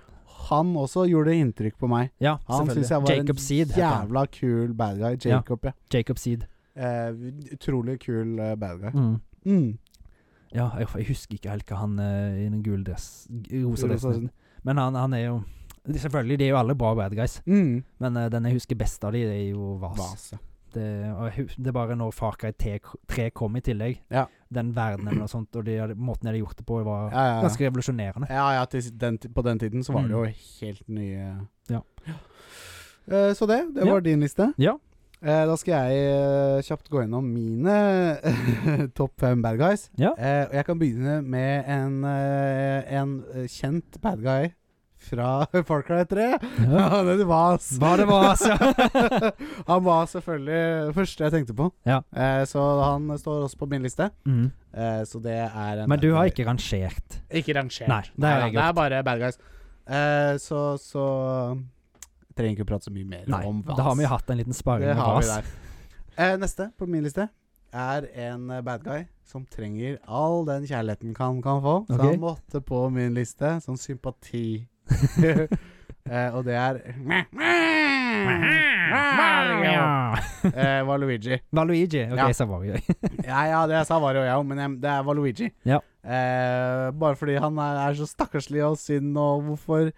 Speaker 2: Han også gjorde inntrykk på meg.
Speaker 1: ja
Speaker 2: Han
Speaker 1: selvfølgelig.
Speaker 2: syns jeg var
Speaker 1: Jacob
Speaker 2: en
Speaker 1: Seed. heter han.
Speaker 2: jævla kul bad guy.
Speaker 1: Ja.
Speaker 2: Jacob, ja.
Speaker 1: Jacob Seed.
Speaker 2: Eh, utrolig kul eh, bad guy.
Speaker 1: Mm.
Speaker 2: Mm.
Speaker 1: Ja, jeg, jeg husker ikke helt hva han eh, i den gule dress g- rosa
Speaker 2: Rosa
Speaker 1: dressen Men han, han er jo det- Selvfølgelig, de er jo alle bra bad guys,
Speaker 2: Mm.
Speaker 1: men eh, den jeg husker best av de, det er jo Vas.
Speaker 2: Vas, ja.
Speaker 1: Det, og jeg, hus- det er bare når Far Cry 3 kom i tillegg,
Speaker 2: Ja.
Speaker 1: den verdenen og sånt, og de, hadde- måten de hadde gjort det på, var
Speaker 2: Ja, ja, ja.
Speaker 1: ganske revolusjonerende.
Speaker 2: Ja, ja til den, ti- på den tiden så var det
Speaker 1: Mm.
Speaker 2: jo helt nye
Speaker 1: Ja.
Speaker 2: Eh, så det, det
Speaker 1: Ja.
Speaker 2: var din liste.
Speaker 1: Ja.
Speaker 2: Eh, da skal jeg eh, kjapt gå gjennom mine [LAUGHS] topp fem bad guys.
Speaker 1: Ja.
Speaker 2: Eh, og jeg kan begynne med en, eh, en eh, kjent bad guy fra [LAUGHS] Far Cry 3. [LAUGHS] Han heter Vas.
Speaker 1: Hva det var, altså!
Speaker 2: [LAUGHS] han var selvfølgelig første jeg tenkte på,
Speaker 1: Ja.
Speaker 2: Eh, så han står også på min liste.
Speaker 1: mm.
Speaker 2: Eh, så det er en
Speaker 1: Men
Speaker 2: bad
Speaker 1: du har
Speaker 2: guy.
Speaker 1: ikke rangert.
Speaker 2: Ikke rangert.
Speaker 1: Nei, det har jeg
Speaker 2: da, er bare bad guys. Eh, så så Trenger ikke å prate så mye mer
Speaker 1: Nei,
Speaker 2: om Vas.
Speaker 1: da har vi jo hatt en liten sparing
Speaker 2: Det
Speaker 1: med
Speaker 2: har vi
Speaker 1: Vas. [LAUGHS]
Speaker 2: der. Eh, neste på min liste er en eh, bad guy som trenger all den kjærligheten han kan få. Så
Speaker 1: Ok.
Speaker 2: han måtte på min liste
Speaker 1: [LAUGHS]
Speaker 2: som sympati. eh, og det er [LAUGHS] Mario. Eh, var Luigi.
Speaker 1: Valuigi. Ok,
Speaker 2: Ja.
Speaker 1: så var vi
Speaker 2: Ja, ja, det sa Vario og jeg òg, men jeg, det var Luigi.
Speaker 1: Ja.
Speaker 2: Eh, bare fordi han er, er så stakkarslig og synd, og hvorfor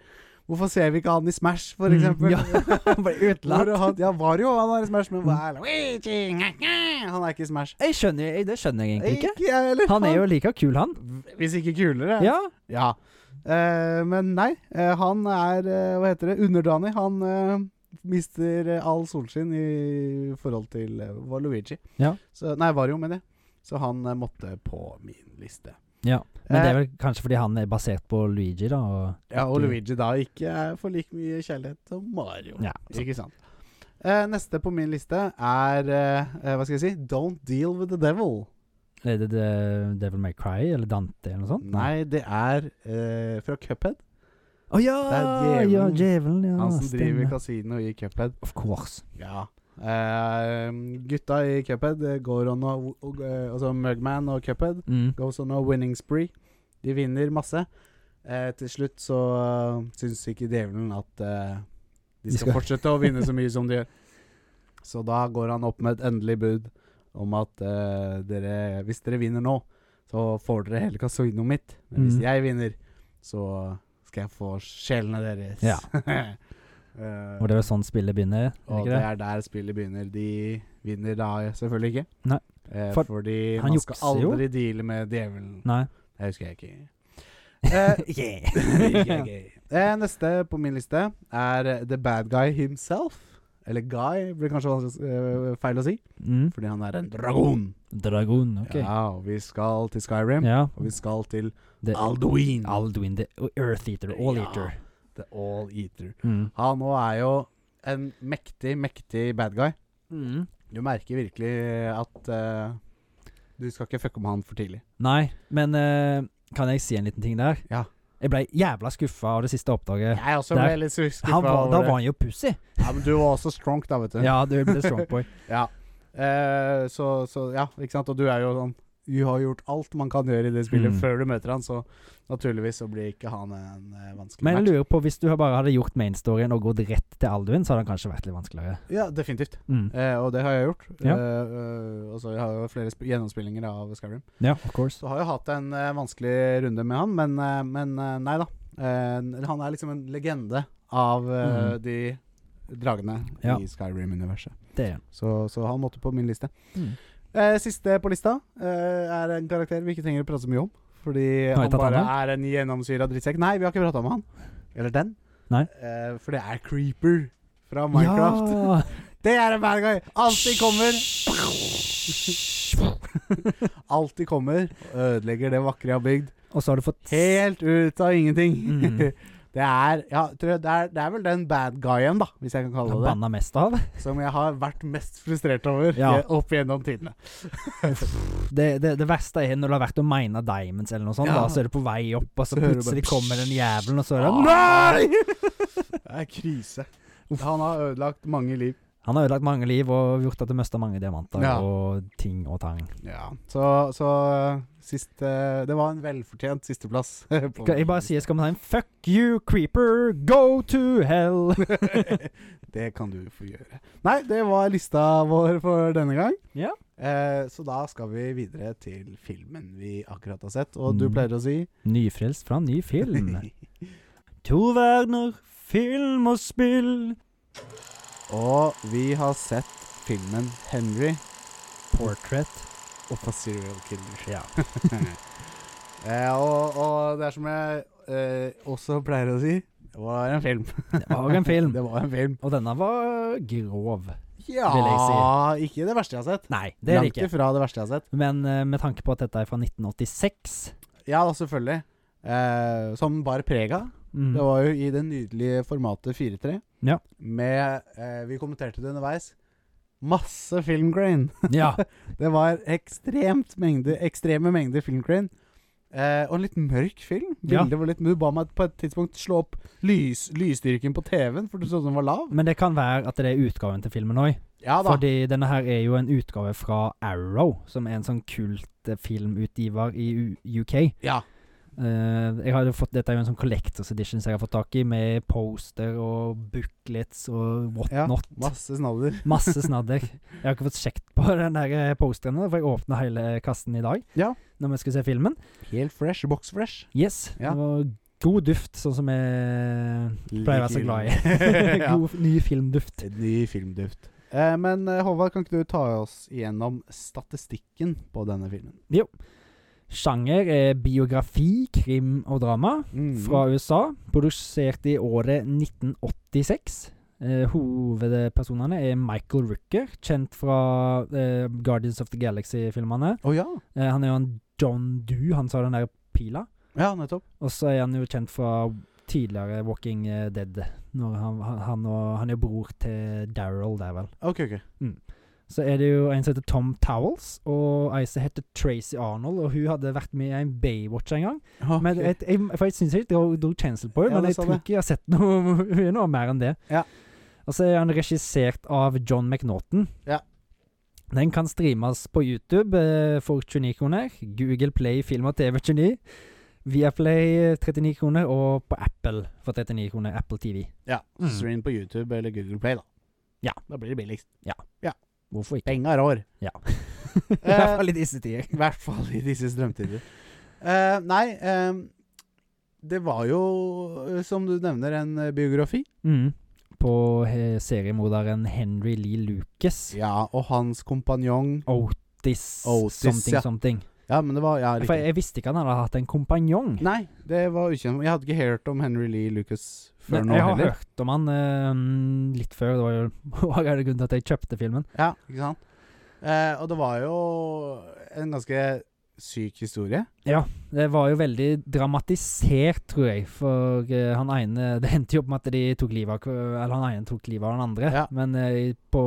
Speaker 2: Hvorfor ser vi ikke han i Smash, for
Speaker 1: Mm,
Speaker 2: eksempel? [LAUGHS]
Speaker 1: ja. Han ble
Speaker 2: Hvor er
Speaker 1: utelatt.
Speaker 2: han, ja, Wario han er i Smash, men hva er Luigi? Han er ikke i Smash.
Speaker 1: Jeg skjønner, jeg, det skjønner jeg egentlig ikke.
Speaker 2: Ikke jeg heller.
Speaker 1: Han er jo like kul, han.
Speaker 2: Hvis ikke kulere.
Speaker 1: Ja.
Speaker 2: Ja. Eh, men nei, eh, han er eh, Hva heter det? Underdanig. Han eh, mister eh, all solskinn i forhold til eh, var Luigi.
Speaker 1: Ja.
Speaker 2: Så, nei, Vario, mener jeg. Så han eh, måtte på min liste.
Speaker 1: ja. Men det
Speaker 2: Eh,
Speaker 1: er vel kanskje fordi han er basert på Luigi, da. Og
Speaker 2: Ja, og
Speaker 1: Du-
Speaker 2: Luigi da ikke er for like mye kjærlighet som Mario.
Speaker 1: Ja, så-
Speaker 2: Ikke sant. Eh, neste på min liste er eh, eh, Hva skal jeg si? Don't deal with the devil.
Speaker 1: er det The Devil May Cry eller Dante eller noe sånt?
Speaker 2: Nei, det er eh, fra Cuphead.
Speaker 1: Å ja!
Speaker 2: Det er
Speaker 1: ja,
Speaker 2: djevelen.
Speaker 1: djevelen. Ja,
Speaker 2: Han som driver
Speaker 1: stemmer.
Speaker 2: kasino i Cuphead.
Speaker 1: Of course.
Speaker 2: Ja. Eh, gutta i Cuphead eh, går on a, og, eh, altså Mugman og Cuphead
Speaker 1: Mm.
Speaker 2: goes on a winning spree. De vinner masse. Eh, til slutt så uh, syns ikke djevelen at eh, de
Speaker 1: De skal-
Speaker 2: skal, fortsette å vinne så mye som de gjør. Så da går han opp med et endelig bud om at eh, dere, hvis dere vinner nå, så får dere hele kasinoet mitt. Men hvis
Speaker 1: Mhm.
Speaker 2: jeg vinner, så skal jeg få sjelene deres. [LAUGHS]
Speaker 1: Ja.
Speaker 2: Eh,
Speaker 1: Og det er jo sånn spillet begynner, er det
Speaker 2: og
Speaker 1: ikke
Speaker 2: det
Speaker 1: det?
Speaker 2: er der spillet begynner. De vinner da selvfølgelig ikke.
Speaker 1: Nei.
Speaker 2: Eh,
Speaker 1: For
Speaker 2: fordi
Speaker 1: han
Speaker 2: man skal
Speaker 1: jukser jo.
Speaker 2: aldri deale med djevelen.
Speaker 1: Nei.
Speaker 2: Det husker
Speaker 1: [LAUGHS]
Speaker 2: jeg ikke. Eh, [LAUGHS] yeah. eh, neste på min liste er eh, The Bad Guy himself. Eller Guy blir kanskje vanskelig, å s- eh, feil å si,
Speaker 1: Mm.
Speaker 2: fordi han er en dragon.
Speaker 1: Dragon, OK. Ja.
Speaker 2: Ja, og vi skal til Skyrim, og vi skal til
Speaker 1: det-
Speaker 2: Alduin.
Speaker 1: Alduin, the Earth Eater, All
Speaker 2: Ja.
Speaker 1: Eater.
Speaker 2: The All Eater.
Speaker 1: Mm.
Speaker 2: Han nå er jo en mektig, mektig bad guy. Du merker virkelig at eh, du skal ikke fucke med han for tidlig.
Speaker 1: Nei, men eh, kan jeg si en liten ting der?
Speaker 2: Ja.
Speaker 1: Jeg ble jævla skuffa av det siste oppdraget.
Speaker 2: Jeg også
Speaker 1: Der-
Speaker 2: ble litt skuffa
Speaker 1: Han var, da
Speaker 2: over
Speaker 1: var
Speaker 2: det.
Speaker 1: han jo pussy.
Speaker 2: Ja, men du var også strong, da, vet du.
Speaker 1: Ja, du ble strongboy.
Speaker 2: Ja. Eh, så, så ja, ikke sant. Og du er jo sånn Du har gjort alt man kan gjøre i det spillet
Speaker 1: Mm.
Speaker 2: før du møter han, så naturligvis så blir ikke han en eh, vanskelig
Speaker 1: Men jeg
Speaker 2: match.
Speaker 1: lurer på, hvis du bare hadde gjort mainstoryen og gått rett til Alduin, så hadde han kanskje vært litt vanskeligere.
Speaker 2: Ja, definitivt.
Speaker 1: Mm.
Speaker 2: Eh, og det har jeg gjort.
Speaker 1: Ja.
Speaker 2: Eh, eh, og så jeg har jo flere sp gjennomspillinger av Skyrim.
Speaker 1: Ja, of course.
Speaker 2: Så har jeg hatt en eh, vanskelig runde med han, men, eh, men eh, nei da. Eh, han er liksom en legende av eh,
Speaker 1: Mhm.
Speaker 2: de dragene
Speaker 1: Ja.
Speaker 2: i Skyrim-universet.
Speaker 1: Det er han.
Speaker 2: Så, så han måtte på min liste.
Speaker 1: Mm.
Speaker 2: Eh, siste på lista eh, er en karakter vi ikke trenger å prate så mye om. Fordi han
Speaker 1: tatt
Speaker 2: bare
Speaker 1: han
Speaker 2: er en gjennomsyra drittsekk. Nei, vi har ikke prata om han. Eller den.
Speaker 1: Nei.
Speaker 2: Eh, for det er Creeper fra Minecraft.
Speaker 1: Ja.
Speaker 2: Det er en bad guy! Alltid kommer. Alltid kommer og ødelegger det vakre jeg har bygd.
Speaker 1: Og så har du fått
Speaker 2: Helt ut av ingenting.
Speaker 1: Mm.
Speaker 2: [LAUGHS] det, er, ja, tror jeg, det, er, det er vel den bad guyen, da, hvis jeg kan kalle det det.
Speaker 1: banna mest av.
Speaker 2: Som jeg har vært mest frustrert over
Speaker 1: Ja.
Speaker 2: eh, opp gjennom tidene.
Speaker 1: Det, det, det verste er når det har vært å mine diamonds eller noe sånt,
Speaker 2: Ja.
Speaker 1: da, så er det på vei opp, og så,
Speaker 2: Så hører du
Speaker 1: plutselig
Speaker 2: bare-
Speaker 1: kommer den jævelen, og så er det
Speaker 2: Ah. [LAUGHS] Det er krise. Han har ødelagt mange liv.
Speaker 1: Han har ødelagt mange liv og gjort at du mista mange diamanter
Speaker 2: Ja.
Speaker 1: og ting og tang.
Speaker 2: Ja. Så, så sist eh, Det var en velfortjent sisteplass. [LAUGHS]
Speaker 1: Skal jeg bare si skal vi ta en fuck you, creeper, go to hell?
Speaker 2: [LAUGHS] det kan du få gjøre. Nei, det var lista vår for denne gang.
Speaker 1: Ja.
Speaker 2: Eh, så da skal vi videre til filmen vi akkurat har sett, og du
Speaker 1: Mm.
Speaker 2: pleier å si
Speaker 1: Nyfrelst fra en ny
Speaker 2: [LAUGHS]
Speaker 1: film. To verdener, film og spill.
Speaker 2: Og vi har sett filmen 'Henry
Speaker 1: Portrait.
Speaker 2: of a Serial
Speaker 1: Ja.
Speaker 2: Killer'. [LAUGHS] Eh, og, og det er som jeg eh, også pleier å si, det var en film.
Speaker 1: Det var en film.
Speaker 2: [LAUGHS] det var en film.
Speaker 1: Og denne var grov.
Speaker 2: Ja,
Speaker 1: Vil
Speaker 2: ikke det verste jeg har sett.
Speaker 1: Nei, det er det
Speaker 2: Langt
Speaker 1: ikke.
Speaker 2: ifra det verste jeg har sett.
Speaker 1: Men eh, med tanke på at dette er fra 1986
Speaker 2: Ja da, selvfølgelig. Eh, som bar prega.
Speaker 1: mm.
Speaker 2: Det var jo i det nydelige formatet 4-3.
Speaker 1: Ja.
Speaker 2: Med eh, Vi kommenterte det underveis. Masse filmgrain.
Speaker 1: Ja.
Speaker 2: Det var ekstremt mengde, ekstreme mengder filmgrain. Eh, og en litt mørk film.
Speaker 1: Ja.
Speaker 2: Bildet var litt Du ba meg på et tidspunkt slå opp lys, lysstyrken på TV-en, for du trodde den var lav.
Speaker 1: Men det kan være at det er utgaven til filmen òg.
Speaker 2: Ja da.
Speaker 1: Fordi denne her er jo en utgave fra Arrow, som er en sånn kult eh, filmutgiver i U UK.
Speaker 2: Ja.
Speaker 1: Eh, jeg har jo fått, dette er jo en sånn collectors edition som jeg har fått tak i, med poster og booklets og
Speaker 2: Ja,
Speaker 1: whatnot.
Speaker 2: Masse snadder.
Speaker 1: Masse snadder. Jeg har ikke fått sjekt på [LAUGHS] den der eh, posteren, nå, for jeg åpna hele kassen i dag
Speaker 2: Ja.
Speaker 1: når vi skulle se filmen.
Speaker 2: Helt fresh. Box fresh.
Speaker 1: Yes.
Speaker 2: Ja.
Speaker 1: Det var God duft, sånn som jeg pleier å være så glad [LAUGHS] i.
Speaker 2: [LAUGHS] Ja.
Speaker 1: God ny filmduft.
Speaker 2: Ny filmduft. Eh, men eh, Håvard, kan ikke du ta oss igjennom statistikken på denne filmen?
Speaker 1: Sjanger er biografi, krim og drama.
Speaker 2: Mm.
Speaker 1: Fra USA. Produsert i året 1986. Eh, hovedpersonene er Michael Rooker, kjent fra eh, Guardians of the Galaxy-filmene.
Speaker 2: Å ja.
Speaker 1: Eh, han er jo en John Doo, han sa den der pila.
Speaker 2: Ja, nettopp.
Speaker 1: Og så er han jo kjent fra tidligere Walking eh, Dead. Når han, han, han, og, han er jo bror til Daryl der, vel.
Speaker 2: Ok, ok.
Speaker 1: Så er det jo en som heter Tom Towels, og ei som heter Tracy Arnold. Og hun hadde vært med i en Baywatch en gang. Men jeg, jeg, for jeg syns jeg dro, dro cancel på
Speaker 2: Ja,
Speaker 1: henne,
Speaker 2: det
Speaker 1: men jeg
Speaker 2: sa
Speaker 1: tror
Speaker 2: det.
Speaker 1: ikke jeg har sett noe, [LAUGHS] hun er noe mer enn det.
Speaker 2: Ja.
Speaker 1: Og så er han regissert av John McNaughton.
Speaker 2: Ja.
Speaker 1: Den kan streames på YouTube eh, for 29 kroner. Google Play Film og TV 29. Viaplay eh, 39 kroner, og på Apple for 39 kroner. Apple TV.
Speaker 2: ja.
Speaker 1: Mm.
Speaker 2: Stream på YouTube eller Google Play, da.
Speaker 1: Ja.
Speaker 2: Da blir det billigst.
Speaker 1: Hvorfor ikke?
Speaker 2: Penga rår.
Speaker 1: Ja. [LAUGHS]
Speaker 2: I
Speaker 1: I hvert
Speaker 2: Eh.
Speaker 1: fall i disse tider.
Speaker 2: I hvert fall i disse strømtider. Eh, nei, eh, det var jo, eh, som du nevner, en eh, biografi.
Speaker 1: Mm. På eh, seriemorderen Henry Lee Lucas.
Speaker 2: Ja, og hans kompanjong
Speaker 1: Otis,
Speaker 2: Otis,
Speaker 1: something
Speaker 2: ja.
Speaker 1: something.
Speaker 2: Ja, men det var ja,
Speaker 1: For
Speaker 2: riktig.
Speaker 1: jeg visste ikke han hadde hatt en kompanjong.
Speaker 2: Nei, det var ukjent. Jeg hadde ikke hørt om Henry Lee Lucas før
Speaker 1: Men
Speaker 2: nå
Speaker 1: jeg har
Speaker 2: heller.
Speaker 1: hørt om han eh, litt før. Det var jo [LAUGHS] var det grunnen til at jeg kjøpte filmen.
Speaker 2: Ja, ikke sant? Eh, og det var jo en ganske syk historie.
Speaker 1: Det var jo veldig dramatisert, tror jeg. For eh, han ene [LAUGHS] Det hendte jo opp med at de tok livet av hver- Eller han ene tok livet av den andre.
Speaker 2: Ja.
Speaker 1: Men eh, på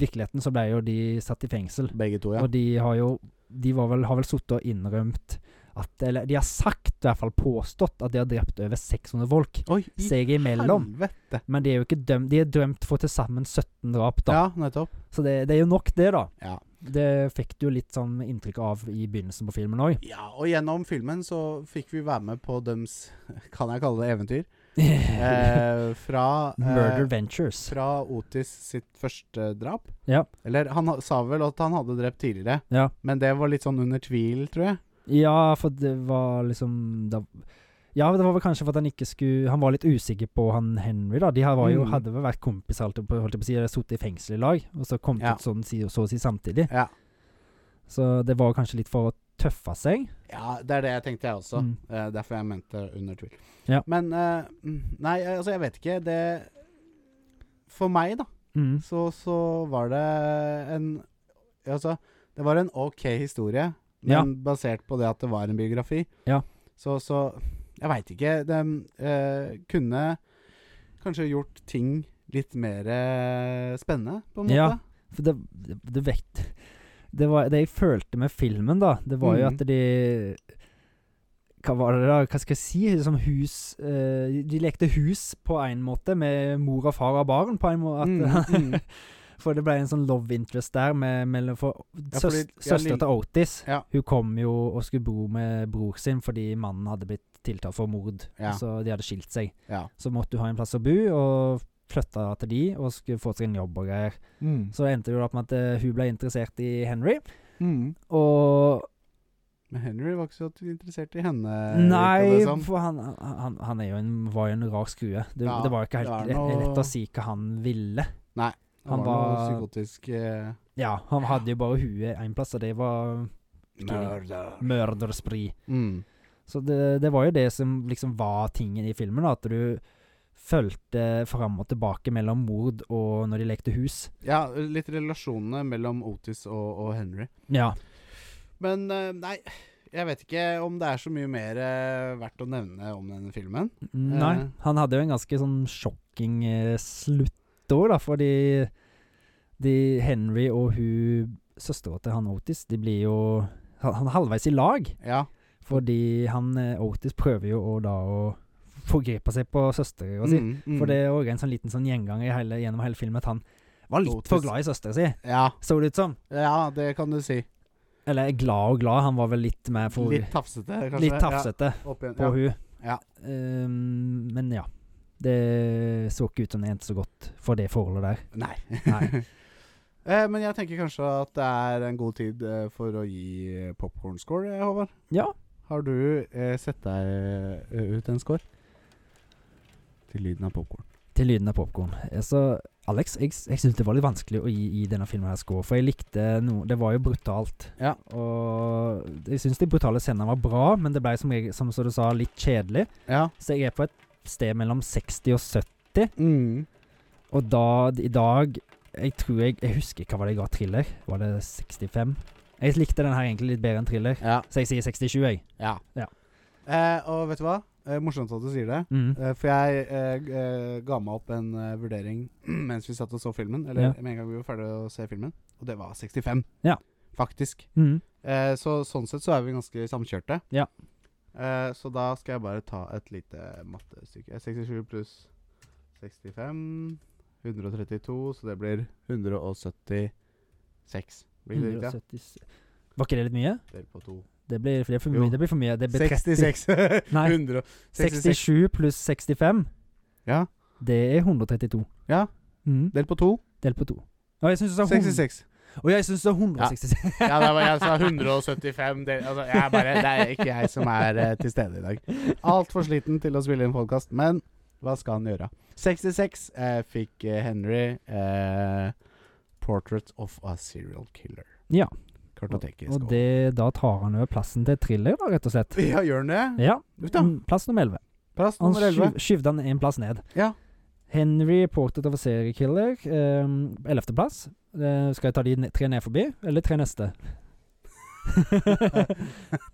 Speaker 1: virkeligheten så ble jo de satt i fengsel.
Speaker 2: Begge to, ja.
Speaker 1: Og de har jo De var vel, har vel sittet og innrømt at Eller de har sagt, i hvert fall påstått, at de har drept over 600 folk
Speaker 2: Oi, i
Speaker 1: seg imellom.
Speaker 2: helvete.
Speaker 1: Men de er jo ikke dømt De er dømt for til sammen 17 drap, da.
Speaker 2: Ja, nettopp.
Speaker 1: Så det, det er jo nok, det, da.
Speaker 2: Ja.
Speaker 1: Det fikk du jo litt sånn inntrykk av i begynnelsen på filmen
Speaker 2: [LAUGHS]
Speaker 1: òg.
Speaker 2: ja, og gjennom filmen så fikk vi være med på dems, [LAUGHS] kan jeg kalle det
Speaker 1: [LAUGHS]
Speaker 2: eventyr,
Speaker 1: Murder
Speaker 2: eh, fra eh,
Speaker 1: Ventures.
Speaker 2: fra Otis sitt første drap.
Speaker 1: Ja.
Speaker 2: Eller han ha- sa vel at han hadde drept tidligere,
Speaker 1: Ja.
Speaker 2: men det var litt sånn under tvil, tror jeg.
Speaker 1: ja, for det var liksom da, Ja, det var vel kanskje for at han ikke skulle Han var litt usikker på han Henry, da. De her var jo,
Speaker 2: Mm.
Speaker 1: hadde vel vært kompiser, holdt jeg på- holdt jeg på å si, eller sittet i fengsel i lag, og så kom de
Speaker 2: Ja.
Speaker 1: ut sånn, si- så å si samtidig.
Speaker 2: Ja.
Speaker 1: Så det var kanskje litt for å tøffe seg.
Speaker 2: Ja, det er det jeg tenkte jeg også.
Speaker 1: Mm.
Speaker 2: Eh, derfor jeg mente under tvil.
Speaker 1: Ja.
Speaker 2: Men eh, mm, Nei, eh, altså, jeg vet ikke. Det For meg, da,
Speaker 1: Mm.
Speaker 2: så, så var det en Altså, det var en ok historie, men
Speaker 1: Ja.
Speaker 2: basert på det at det var en biografi.
Speaker 1: Ja.
Speaker 2: Så, så Jeg veit ikke. De eh, kunne kanskje gjort ting litt mer eh, spennende, på en måte.
Speaker 1: Ja. For det, det, det vekt det, var, det jeg følte med filmen, da, det var jo
Speaker 2: Mm.
Speaker 1: at de Hva var det da? Hva skal jeg si? Som hus eh, De lekte hus på en måte, med mor og far og barn på en måte. At,
Speaker 2: Mm, mm.
Speaker 1: [LAUGHS] for det ble en sånn love interest der med, mellom for, søs,
Speaker 2: fordi- ja,
Speaker 1: Søstera
Speaker 2: lille-
Speaker 1: til Otis
Speaker 2: Ja.
Speaker 1: Hun kom jo og skulle bo med bror sin fordi mannen hadde blitt tiltalt for mord.
Speaker 2: Ja.
Speaker 1: Så de hadde skilt seg.
Speaker 2: Ja.
Speaker 1: Så måtte hun ha en plass å bo, og flytta til de og skulle få seg en jobb og greier. Så endte det jo opp med at eh, hun ble interessert i Henry,
Speaker 2: Mm.
Speaker 1: og
Speaker 2: Men Henry var ikke så interessert i henne. virker
Speaker 1: Nei,
Speaker 2: Eh, det som.
Speaker 1: for han, han, han er jo en, var jo en rar skrue. Det,
Speaker 2: Ja,
Speaker 1: det var jo ikke helt lett,
Speaker 2: det er noe-
Speaker 1: lett å si hva han ville.
Speaker 2: Han,
Speaker 1: Han
Speaker 2: var noe
Speaker 1: var-
Speaker 2: psykotisk eh,
Speaker 1: Ja, han hadde jo bare huet én plass, og det var
Speaker 2: Mørder.
Speaker 1: mørderspri.
Speaker 2: Mm.
Speaker 1: Så det, det var jo det som liksom var tingen i filmen, da, at du fulgte fram og tilbake mellom mord og når de lekte hus.
Speaker 2: Ja, litt relasjonene mellom Otis og, og Henry.
Speaker 1: Ja.
Speaker 2: Men eh, nei, jeg vet ikke om det er så mye mer eh, verdt å nevne om denne filmen.
Speaker 1: Nei,
Speaker 2: Eh.
Speaker 1: han hadde jo en ganske sånn sjokking eh, slutt òg, da, fordi de Henry og hun søstera til han Otis, de blir jo han, han er halvveis i lag,
Speaker 2: Ja,
Speaker 1: fordi han eh, Otis prøver jo å da å forgripe seg på søstera si.
Speaker 2: mm, mm.
Speaker 1: For det er òg en sånn liten sånn gjengang i hele, gjennom hele filmen at han var litt for
Speaker 2: Otis.
Speaker 1: glad i søstera si,
Speaker 2: ja,
Speaker 1: så det ut som.
Speaker 2: ja, det kan du si.
Speaker 1: Eller glad og glad, han var vel litt mer for
Speaker 2: Litt tafsete, kanskje.
Speaker 1: litt tafsete
Speaker 2: Ja, opp igjen.
Speaker 1: på
Speaker 2: Ja.
Speaker 1: hun.
Speaker 2: Ja.
Speaker 1: Ehm, men ja. Det så ikke ut som det endte så godt for det forholdet der.
Speaker 2: Nei.
Speaker 1: Nei.
Speaker 2: [LAUGHS] Eh, men jeg tenker kanskje at det er en god tid eh, for å gi popkornscore, Håvard.
Speaker 1: Ja,
Speaker 2: har du eh, sett deg eh, ut en skår? Til lyden av popkorn.
Speaker 1: Til lyden av popkorn. Eh, Så Alex, jeg, s- jeg syns det var litt vanskelig å gi, gi denne filmen her score, for jeg likte noe Det var jo brutalt.
Speaker 2: Ja.
Speaker 1: Og jeg syns de brutale scenene var bra, men det ble som, jeg, som så du sa, litt kjedelig.
Speaker 2: Ja.
Speaker 1: Så jeg er på et sted mellom 60 og 70,
Speaker 2: Mm.
Speaker 1: og da i dag Jeg tror jeg Jeg husker ikke hva det ga thriller. Var det 65? Jeg likte den her egentlig litt bedre enn thriller,
Speaker 2: Ja.
Speaker 1: så jeg sier 67, jeg.
Speaker 2: ja.
Speaker 1: Ja.
Speaker 2: Eh, og vet du hva? Eh, morsomt at du sier det.
Speaker 1: Mm.
Speaker 2: Eh, for jeg eh, g- eh, ga meg opp en eh, vurdering [CLEARS THROAT] mens vi satt og så filmen. Eller
Speaker 1: Ja.
Speaker 2: med en gang vi var ferdig å se filmen. Og det var 65.
Speaker 1: Ja.
Speaker 2: Faktisk.
Speaker 1: Mm.
Speaker 2: Eh, så sånn sett så er vi ganske samkjørte.
Speaker 1: Ja.
Speaker 2: Eh, så da skal jeg bare ta et lite mattestykke. 67 pluss 65 132, så det blir 176. Blir det riktig?
Speaker 1: 176 Var ikke det litt mye?
Speaker 2: Del på to.
Speaker 1: Det blir, det blir for
Speaker 2: Jo.
Speaker 1: mye. Det blir for mye. Det blir 30.
Speaker 2: 66. [LAUGHS]
Speaker 1: Nei.
Speaker 2: 166.
Speaker 1: 67 pluss 65,
Speaker 2: Ja.
Speaker 1: det er 132.
Speaker 2: ja.
Speaker 1: Mm.
Speaker 2: Del på to.
Speaker 1: Delt på to. Og jeg syns du sa 100
Speaker 2: 66.
Speaker 1: Og jeg syns du sa 166.
Speaker 2: Ja, det var, jeg sa 175 del, altså, jeg er bare, Det er ikke jeg som er eh, til stede i dag. Altfor sliten til å spille inn podkast, men hva skal han gjøre? 66 eh, fikk eh, Henry eh, 'Portrait of a Serial Killer'.
Speaker 1: Ja.
Speaker 2: Kartoteket i
Speaker 1: Og
Speaker 2: skål.
Speaker 1: det, da tar han over plassen til Thriller, da, rett og slett.
Speaker 2: Ja, gjør han det?
Speaker 1: Ja.
Speaker 2: Uff da.
Speaker 1: Mm, Plass nummer 11.
Speaker 2: Plass
Speaker 1: Han
Speaker 2: nummer 11.
Speaker 1: skyv- skyvde han en plass ned.
Speaker 2: Ja.
Speaker 1: Henry, Portrait of a Serial Killer, ehm, ellevteplass. Eh, skal jeg ta de ne- tre ned forbi, eller tre
Speaker 2: [LAUGHS]
Speaker 1: neste?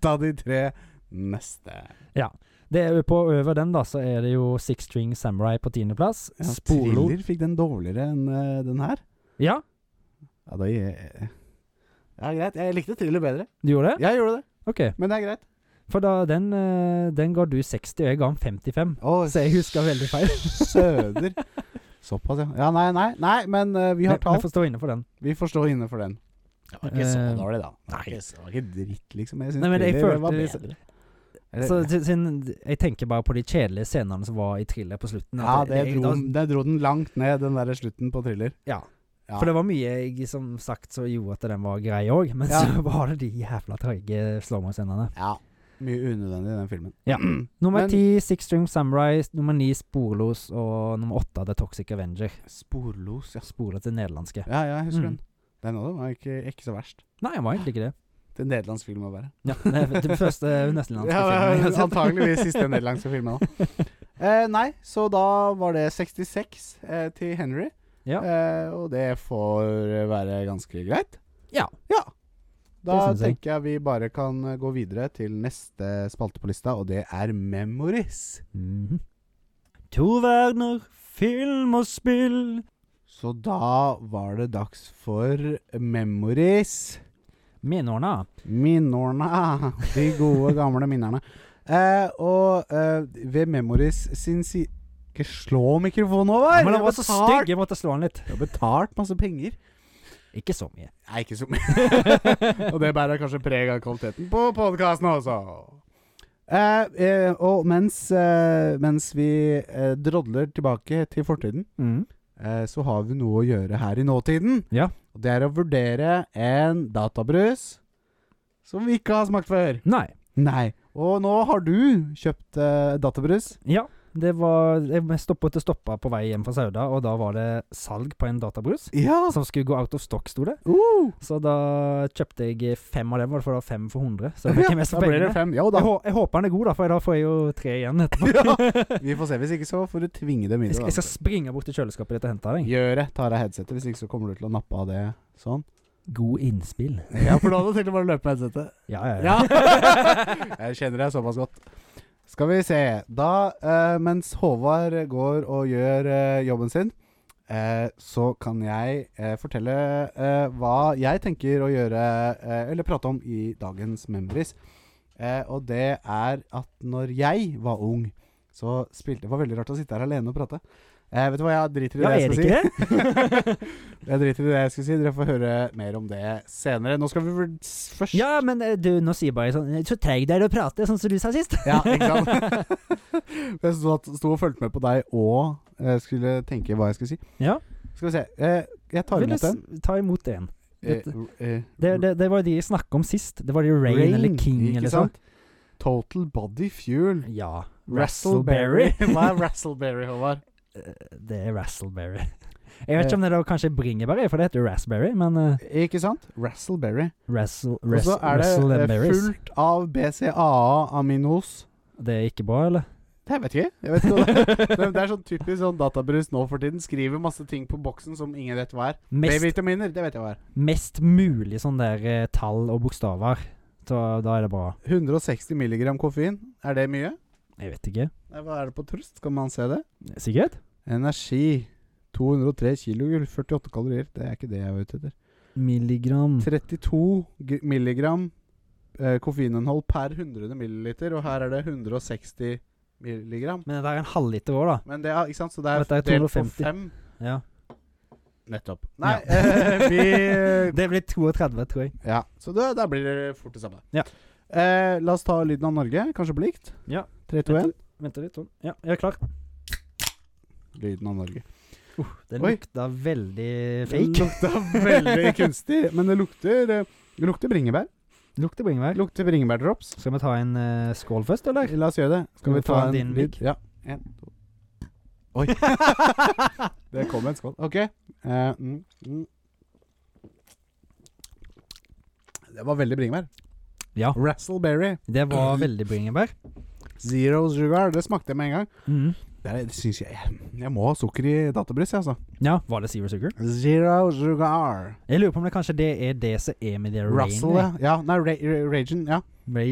Speaker 2: Ta de tre neste.
Speaker 1: det er jo på Over den, da, så er det jo Six String Samurai på tiendeplass.
Speaker 2: Ja,
Speaker 1: Spolo
Speaker 2: Thriller fikk den dårligere enn eh, den her.
Speaker 1: Ja,
Speaker 2: Ja, da eh, Ja, greit. Jeg likte Thriller bedre.
Speaker 1: du gjorde det?
Speaker 2: Jeg gjorde det,
Speaker 1: Ok.
Speaker 2: men det er greit.
Speaker 1: For da, den, eh, den ga du 60, og jeg ga den 55.
Speaker 2: Å,
Speaker 1: Så jeg husker veldig feil.
Speaker 2: [LAUGHS] Søder. Såpass, ja. ja nei, nei, nei, men eh, vi har
Speaker 1: Men- men
Speaker 2: tall.
Speaker 1: får stå inne for den.
Speaker 2: Vi får stå inne for den. Det var ikke så
Speaker 1: Eh,
Speaker 2: dårlig, da. Det
Speaker 1: nei.
Speaker 2: var ikke, så- det var ikke dritt, liksom. Jeg syns
Speaker 1: Nei, men jeg
Speaker 2: Thriller var
Speaker 1: følte
Speaker 2: bedre. Eller-
Speaker 1: Så, si- siden jeg tenker bare på de kjedelige scenene som var i thriller på slutten.
Speaker 2: ja,
Speaker 1: at
Speaker 2: det
Speaker 1: jeg-
Speaker 2: dro,
Speaker 1: da-
Speaker 2: det dro den langt ned, den derre slutten på thriller.
Speaker 1: Ja.
Speaker 2: Ja.
Speaker 1: For det var mye jeg som sagt så gjorde at den var grei òg, men
Speaker 2: Ja.
Speaker 1: så [LAUGHS] var det de jævla treige slowmo-scenene.
Speaker 2: Ja. Mye unødvendig i den filmen.
Speaker 1: Ja. Nummer
Speaker 2: Men-
Speaker 1: ti Six String Samurai, nummer ni Sporlos, og nummer åtte The Toxic Avenger.
Speaker 2: Sporlos, ja.
Speaker 1: Sporlos til nederlandske.
Speaker 2: Ja, ja, jeg husker
Speaker 1: Mm.
Speaker 2: den. Den også var ikke, ikke så verst.
Speaker 1: Nei, han var egentlig ikke det.
Speaker 2: Det er en nederlandsk film å være.
Speaker 1: Ja, [LAUGHS] det er den første nestenlandske
Speaker 2: Ja, [LAUGHS]
Speaker 1: filmen altså. jeg har sett.
Speaker 2: antageligvis
Speaker 1: [LAUGHS]
Speaker 2: siste nederlandske filmen òg. Eh, nei, så da var det 66 eh, til Henry.
Speaker 1: Ja.
Speaker 2: Eh, og det får være ganske greit.
Speaker 1: Ja.
Speaker 2: Da
Speaker 1: Det synes jeg.
Speaker 2: tenker jeg vi bare kan eh, gå videre til neste spalte på lista, og det er Memories.
Speaker 1: Mhm.
Speaker 3: To verdener, film og spill.
Speaker 2: Så da var det dags for Memories.
Speaker 1: Minneårene.
Speaker 2: Minnorna. [LAUGHS] De gode, gamle minnerne. Eh, og eh, ved Memories sin side Ikke slå mikrofonen over!
Speaker 1: Men han var
Speaker 2: Jeg
Speaker 1: så
Speaker 2: betalt-
Speaker 1: stygg, jeg måtte slå han litt.
Speaker 2: Jeg har betalt masse penger.
Speaker 1: Ikke så mye.
Speaker 2: Nei, ikke så mye. [LAUGHS] og det bærer kanskje preg av kvaliteten på podkasten også. Eh, eh, og mens, eh, mens vi eh, drodler tilbake til fortiden, eh, så har vi noe å gjøre her i nåtiden.
Speaker 1: Ja.
Speaker 2: Og det er å vurdere en databrus som vi ikke har smakt før.
Speaker 1: Nei.
Speaker 2: Nei. Og nå har du kjøpt eh, databrus.
Speaker 1: Ja, det var Jeg stoppet og stoppa på vei hjem fra Sauda, og da var det salg på en databrus.
Speaker 2: Ja.
Speaker 1: Som skulle gå out of stock, sto det.
Speaker 2: Uh.
Speaker 1: Så da kjøpte jeg fem av dem, var det for da fem for 100. Så det ble
Speaker 2: Ja,
Speaker 1: ikke mest
Speaker 2: da
Speaker 1: for
Speaker 2: blir det
Speaker 1: pengene.
Speaker 2: fem. Ja
Speaker 1: Jeg,
Speaker 2: da.
Speaker 1: hå jeg håper han er god, da, for da får jeg jo tre
Speaker 2: [LAUGHS]
Speaker 1: igjen etterpå.
Speaker 2: Vi får se. Hvis ikke, så får du tvinge dem inn. i
Speaker 1: Jeg skal, jeg skal
Speaker 2: databrus.
Speaker 1: springe bort til kjøleskapet ditt og hente deg.
Speaker 2: Gjør det. Tar av headsetet. Hvis ikke så kommer du til å nappe av det sånn.
Speaker 1: God innspill.
Speaker 2: Ja, for da hadde du tenkt å bare løpe med headsetet.
Speaker 1: Ja, ja, ja.
Speaker 2: Ja. [LAUGHS] jeg kjenner deg såpass godt. Skal vi se. Da, eh, mens Håvard går og gjør eh, jobben sin, eh, så kan jeg eh, fortelle eh, hva jeg tenker å gjøre, eh, eller prate om, i dagens Memories. Eh, og det er at når jeg var ung, så spilte Det var veldig rart å sitte her alene og prate. Eh, vet du hva, jeg driter i
Speaker 1: Ja,
Speaker 2: det
Speaker 1: er
Speaker 2: jeg
Speaker 1: det
Speaker 2: skal si.
Speaker 1: ikke det?
Speaker 2: Jeg driter i [LAUGHS] det jeg skulle si. Dere får høre mer om det senere. Nå skal vi vurd- s- først
Speaker 1: Ja, men eh, du, nå sier bare jeg sånn Så treig du er til å prate, sånn som du sa sist.
Speaker 2: Ja, ikke sant? [LAUGHS] jeg sto, at- sto og fulgte med på deg og eh, skulle tenke hva jeg skulle si.
Speaker 1: Ja.
Speaker 2: Skal vi se. Eh, jeg tar
Speaker 1: Vil du
Speaker 2: imot den.
Speaker 1: s- Ta imot en.
Speaker 2: Eh,
Speaker 1: dette-
Speaker 2: eh,
Speaker 1: Det, det, det var de jeg snakket om sist. Det var de Rain, eller King
Speaker 2: ikke
Speaker 1: eller sånn.
Speaker 2: sant? Total Body Fuel.
Speaker 1: Ja. [LAUGHS]
Speaker 2: Rassleberry. Hva er Rassleberry, Håvard?
Speaker 1: Det er Rassleberry. Jeg
Speaker 2: Eh.
Speaker 1: vet ikke om det da kanskje er bringebær, for det heter jo raspberry, men uh,
Speaker 2: Ikke sant? Rassleberry.
Speaker 1: rassle,
Speaker 2: Og
Speaker 1: ras,
Speaker 2: så er det
Speaker 1: rassle and
Speaker 2: eh,
Speaker 1: berries.
Speaker 2: fullt av BCAA-aminos.
Speaker 1: Det er ikke bra, eller?
Speaker 2: Det vet jeg ikke. Jeg vet ikke hva [LAUGHS] det, men det er sånn typisk sånn databrus nå for tiden. Skriver masse ting på boksen som ingen vet hva er.
Speaker 1: Mest,
Speaker 2: B-vitaminer, det vet jeg hva er.
Speaker 1: mest mulig sånn der eh, tall og bokstaver. Så da er det bra.
Speaker 2: 160 milligram koffein, er det mye?
Speaker 1: Jeg vet ikke.
Speaker 2: Nei, Hva er det på trust? Skal man se det?
Speaker 1: Sikkert?
Speaker 2: Energi. 203 kilo, 48 kalorier. Det er ikke det jeg var ute etter.
Speaker 1: Milligram.
Speaker 2: 32 g- milligram eh, koffeininnhold per 100 milliliter, og her er det 160 milligram.
Speaker 1: Men det der er en halvliter òg, da.
Speaker 2: Men det er, ikke sant, så det er,
Speaker 1: Dette er
Speaker 2: delt på
Speaker 1: 250.
Speaker 2: fem.
Speaker 1: Ja.
Speaker 2: Nettopp. Nei,
Speaker 1: Ja.
Speaker 2: [LAUGHS] eh, vi eh,
Speaker 1: [LAUGHS] Det blir 32, tror jeg.
Speaker 2: Ja, så da, da blir det fort det samme.
Speaker 1: Ja.
Speaker 2: Eh, la oss ta lyden av Norge, kanskje på likt.
Speaker 1: Ja.
Speaker 2: 3, 2, 1.
Speaker 1: Vent litt, Trond. Ja, jeg er klar.
Speaker 2: Lyden av Norge.
Speaker 1: Den
Speaker 2: Oi.
Speaker 1: lukta veldig
Speaker 2: Det
Speaker 1: fake.
Speaker 2: lukta
Speaker 3: [LAUGHS]
Speaker 2: veldig
Speaker 1: [LAUGHS]
Speaker 2: kunstig, men det lukter, eh, det lukter bringebær.
Speaker 1: Lukter bringebær.
Speaker 2: Det lukter bringebærdrops.
Speaker 1: Skal vi ta en eh, skål først, eller?
Speaker 2: La oss gjøre det.
Speaker 1: Skal vi ta din mic?
Speaker 2: Ja. En, to. Oi. [LAUGHS] det kom en skål. OK. Eh, mm, mm. Det var veldig bringebær.
Speaker 1: Ja.
Speaker 2: Rassleberry.
Speaker 1: Det var veldig bringebær.
Speaker 2: Zero sugar. Det smakte jeg med en gang. Det, er, det synes jeg, jeg må ha sukker i databrys, jeg, altså.
Speaker 1: Ja, var det Zero Sugar?
Speaker 2: Zero sugar.
Speaker 1: Jeg lurer på om det kanskje det er det som er med det rain.
Speaker 2: Russell, ja. ja. Nei, Ra Ra Ragen. Ja.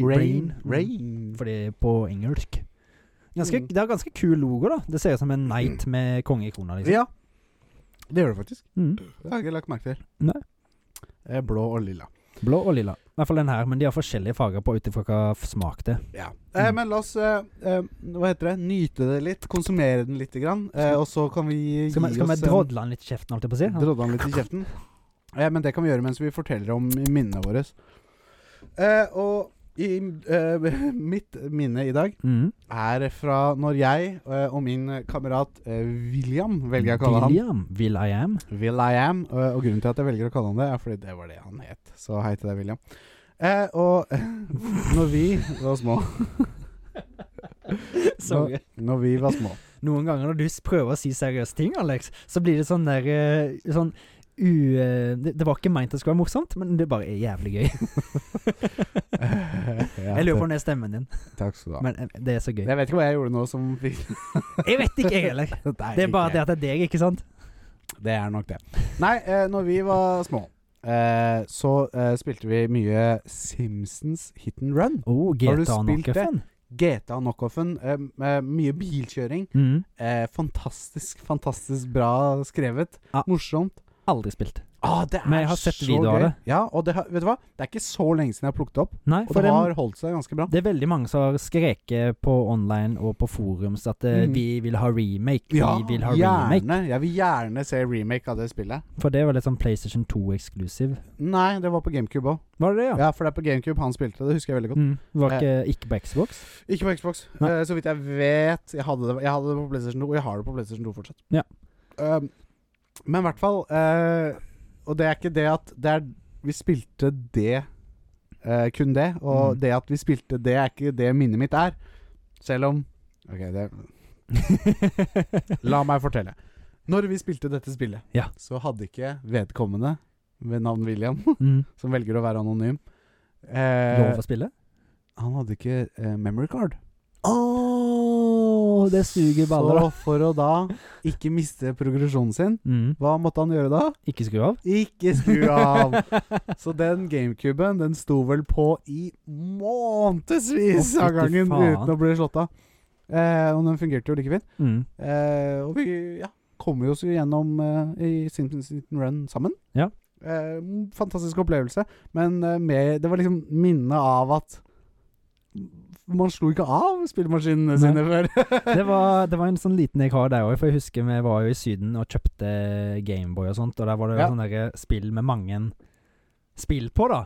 Speaker 1: Rain.
Speaker 2: Rain. Mm.
Speaker 1: Mm. For det er på engelsk. Ganske, Det er ganske kul logo, da. Det ser ut som en knight med kongekrona. Liksom.
Speaker 2: Ja. Det gjør det faktisk.
Speaker 1: Mm.
Speaker 2: Det har jeg ikke lagt merke til.
Speaker 1: Nei.
Speaker 2: Eh, Blå og lilla.
Speaker 1: Blå og lilla. I hvert fall den her, men de har forskjellige farger på ut ifra hva smak det er.
Speaker 2: Ja. Eh,
Speaker 1: Mm.
Speaker 2: men la oss eh, eh, Hva heter det? Nyte det litt. Konsumere den litt. Grann. Eh, og så kan vi gi
Speaker 1: Skal vi, skal vi
Speaker 2: oss en-
Speaker 1: drodle den litt i kjeften, holdt jeg på å si?
Speaker 2: Drodde han
Speaker 1: [LAUGHS]
Speaker 2: litt i kjeften. Eh, men det kan vi gjøre mens vi forteller om minnene våre. Eh, og i, eh, [LAUGHS] mitt minne i dag
Speaker 1: Mm.
Speaker 2: er fra når jeg eh, og min kamerat eh, William, velger jeg å kalle han
Speaker 1: William. Will I
Speaker 2: [LAUGHS]
Speaker 1: am.
Speaker 2: Will I am. eh, og grunnen til at jeg velger å kalle han det, er fordi det var det han het. Så hei til deg, William. Eh, og [LAUGHS] når vi var små
Speaker 1: Sorry.
Speaker 2: Når vi var
Speaker 1: [LAUGHS]
Speaker 2: små
Speaker 1: Noen ganger når du s- prøver å si seriøse ting, Alex, så blir det sånn der eh, Sånn u... eh, det, det var ikke meint det skulle være morsomt, men det bare er jævlig gøy. Jeg lurer på om det er stemmen din,
Speaker 2: Takk skal du ha.
Speaker 1: men eh, det er så gøy.
Speaker 2: jeg vet ikke hva jeg gjorde nå som [LAUGHS] fikk
Speaker 1: Jeg vet ikke, jeg heller. Det er bare det at det er deg, ikke sant?
Speaker 2: Det er nok det. Nei, eh, når vi var små, eh, så eh, spilte vi mye Simpsons Hit and Run.
Speaker 1: Oh,
Speaker 2: Har du
Speaker 1: GTA
Speaker 2: spilt det?
Speaker 1: Knockoffen.
Speaker 2: GTA Knockoffen. Eh, eh, mye bilkjøring.
Speaker 1: Mm.
Speaker 2: Eh, fantastisk, fantastisk bra skrevet.
Speaker 1: Ja.
Speaker 2: Morsomt.
Speaker 1: Aldri spilt.
Speaker 2: Ah, det er
Speaker 1: Men jeg har sett
Speaker 2: så
Speaker 1: videoer av
Speaker 2: gøy.
Speaker 1: det.
Speaker 2: Ja, og det har, vet du hva? Det er ikke så lenge siden jeg har plukket opp.
Speaker 1: Nei,
Speaker 2: Og
Speaker 1: for
Speaker 2: det
Speaker 1: den,
Speaker 2: har holdt seg ganske bra.
Speaker 1: det er veldig mange som har skreket på online og på forums at eh,
Speaker 2: Mm.
Speaker 1: vi vil ha remake,
Speaker 2: Ja,
Speaker 1: vi vil ha remake.
Speaker 2: gjerne. Jeg vil gjerne se remake av det spillet.
Speaker 1: For det var litt sånn PlayStation 2-eksklusiv.
Speaker 2: Nei, det var på GameCube òg.
Speaker 1: Var det det, ja?
Speaker 2: Ja, for det er på GameCube han spilte det. Det husker jeg veldig godt.
Speaker 1: Mm. Var ikke, ikke på Xbox?
Speaker 2: Ikke på Xbox.
Speaker 1: Nei.
Speaker 2: Eh, så vidt jeg vet. Jeg hadde, det, jeg hadde det på PlayStation 2, og jeg har det på PlayStation 2 fortsatt.
Speaker 1: Ja.
Speaker 2: Um, men i hvert fall eh, Og det er ikke det at det er, Vi spilte det eh, kun det, og
Speaker 1: Mm.
Speaker 2: det at vi spilte det, er ikke det minnet mitt er. Selv om Ok, det
Speaker 1: [LAUGHS]
Speaker 2: La meg fortelle. Når vi spilte dette spillet,
Speaker 1: Ja.
Speaker 2: så hadde ikke vedkommende ved navn William, [LAUGHS]
Speaker 1: mm.
Speaker 2: som velger å være anonym eh,
Speaker 1: Lov å spille?
Speaker 2: Han hadde ikke eh, memory card.
Speaker 1: Åh, det suger baller, da.
Speaker 2: Så for å da ikke miste progresjonen sin,
Speaker 1: Mm.
Speaker 2: hva måtte han gjøre da?
Speaker 1: Ikke skru av?
Speaker 2: Ikke skru
Speaker 1: [LAUGHS]
Speaker 2: av! Så den gamecuben, den sto vel på i månedsvis
Speaker 1: Å,
Speaker 2: av
Speaker 1: fytti
Speaker 2: gangen
Speaker 1: faen.
Speaker 2: uten å bli slått av. Eh, og den fungerte jo like fint.
Speaker 1: Mm.
Speaker 2: Eh, og vi ja, kom jo oss gjennom eh, i Simpsons Liten Run sammen.
Speaker 1: Ja.
Speaker 2: Eh, fantastisk opplevelse, men eh, med, det var liksom minnet av at man slo ikke av spillemaskinene
Speaker 1: Nei.
Speaker 2: sine før.
Speaker 1: Det
Speaker 2: [LAUGHS]
Speaker 1: var, det var en sånn liten jeg har der òg, for jeg husker vi var jo i Syden og kjøpte Gameboy og sånt, og der var det jo sånn
Speaker 2: Ja.
Speaker 1: sånne der spill med mange spill på, da.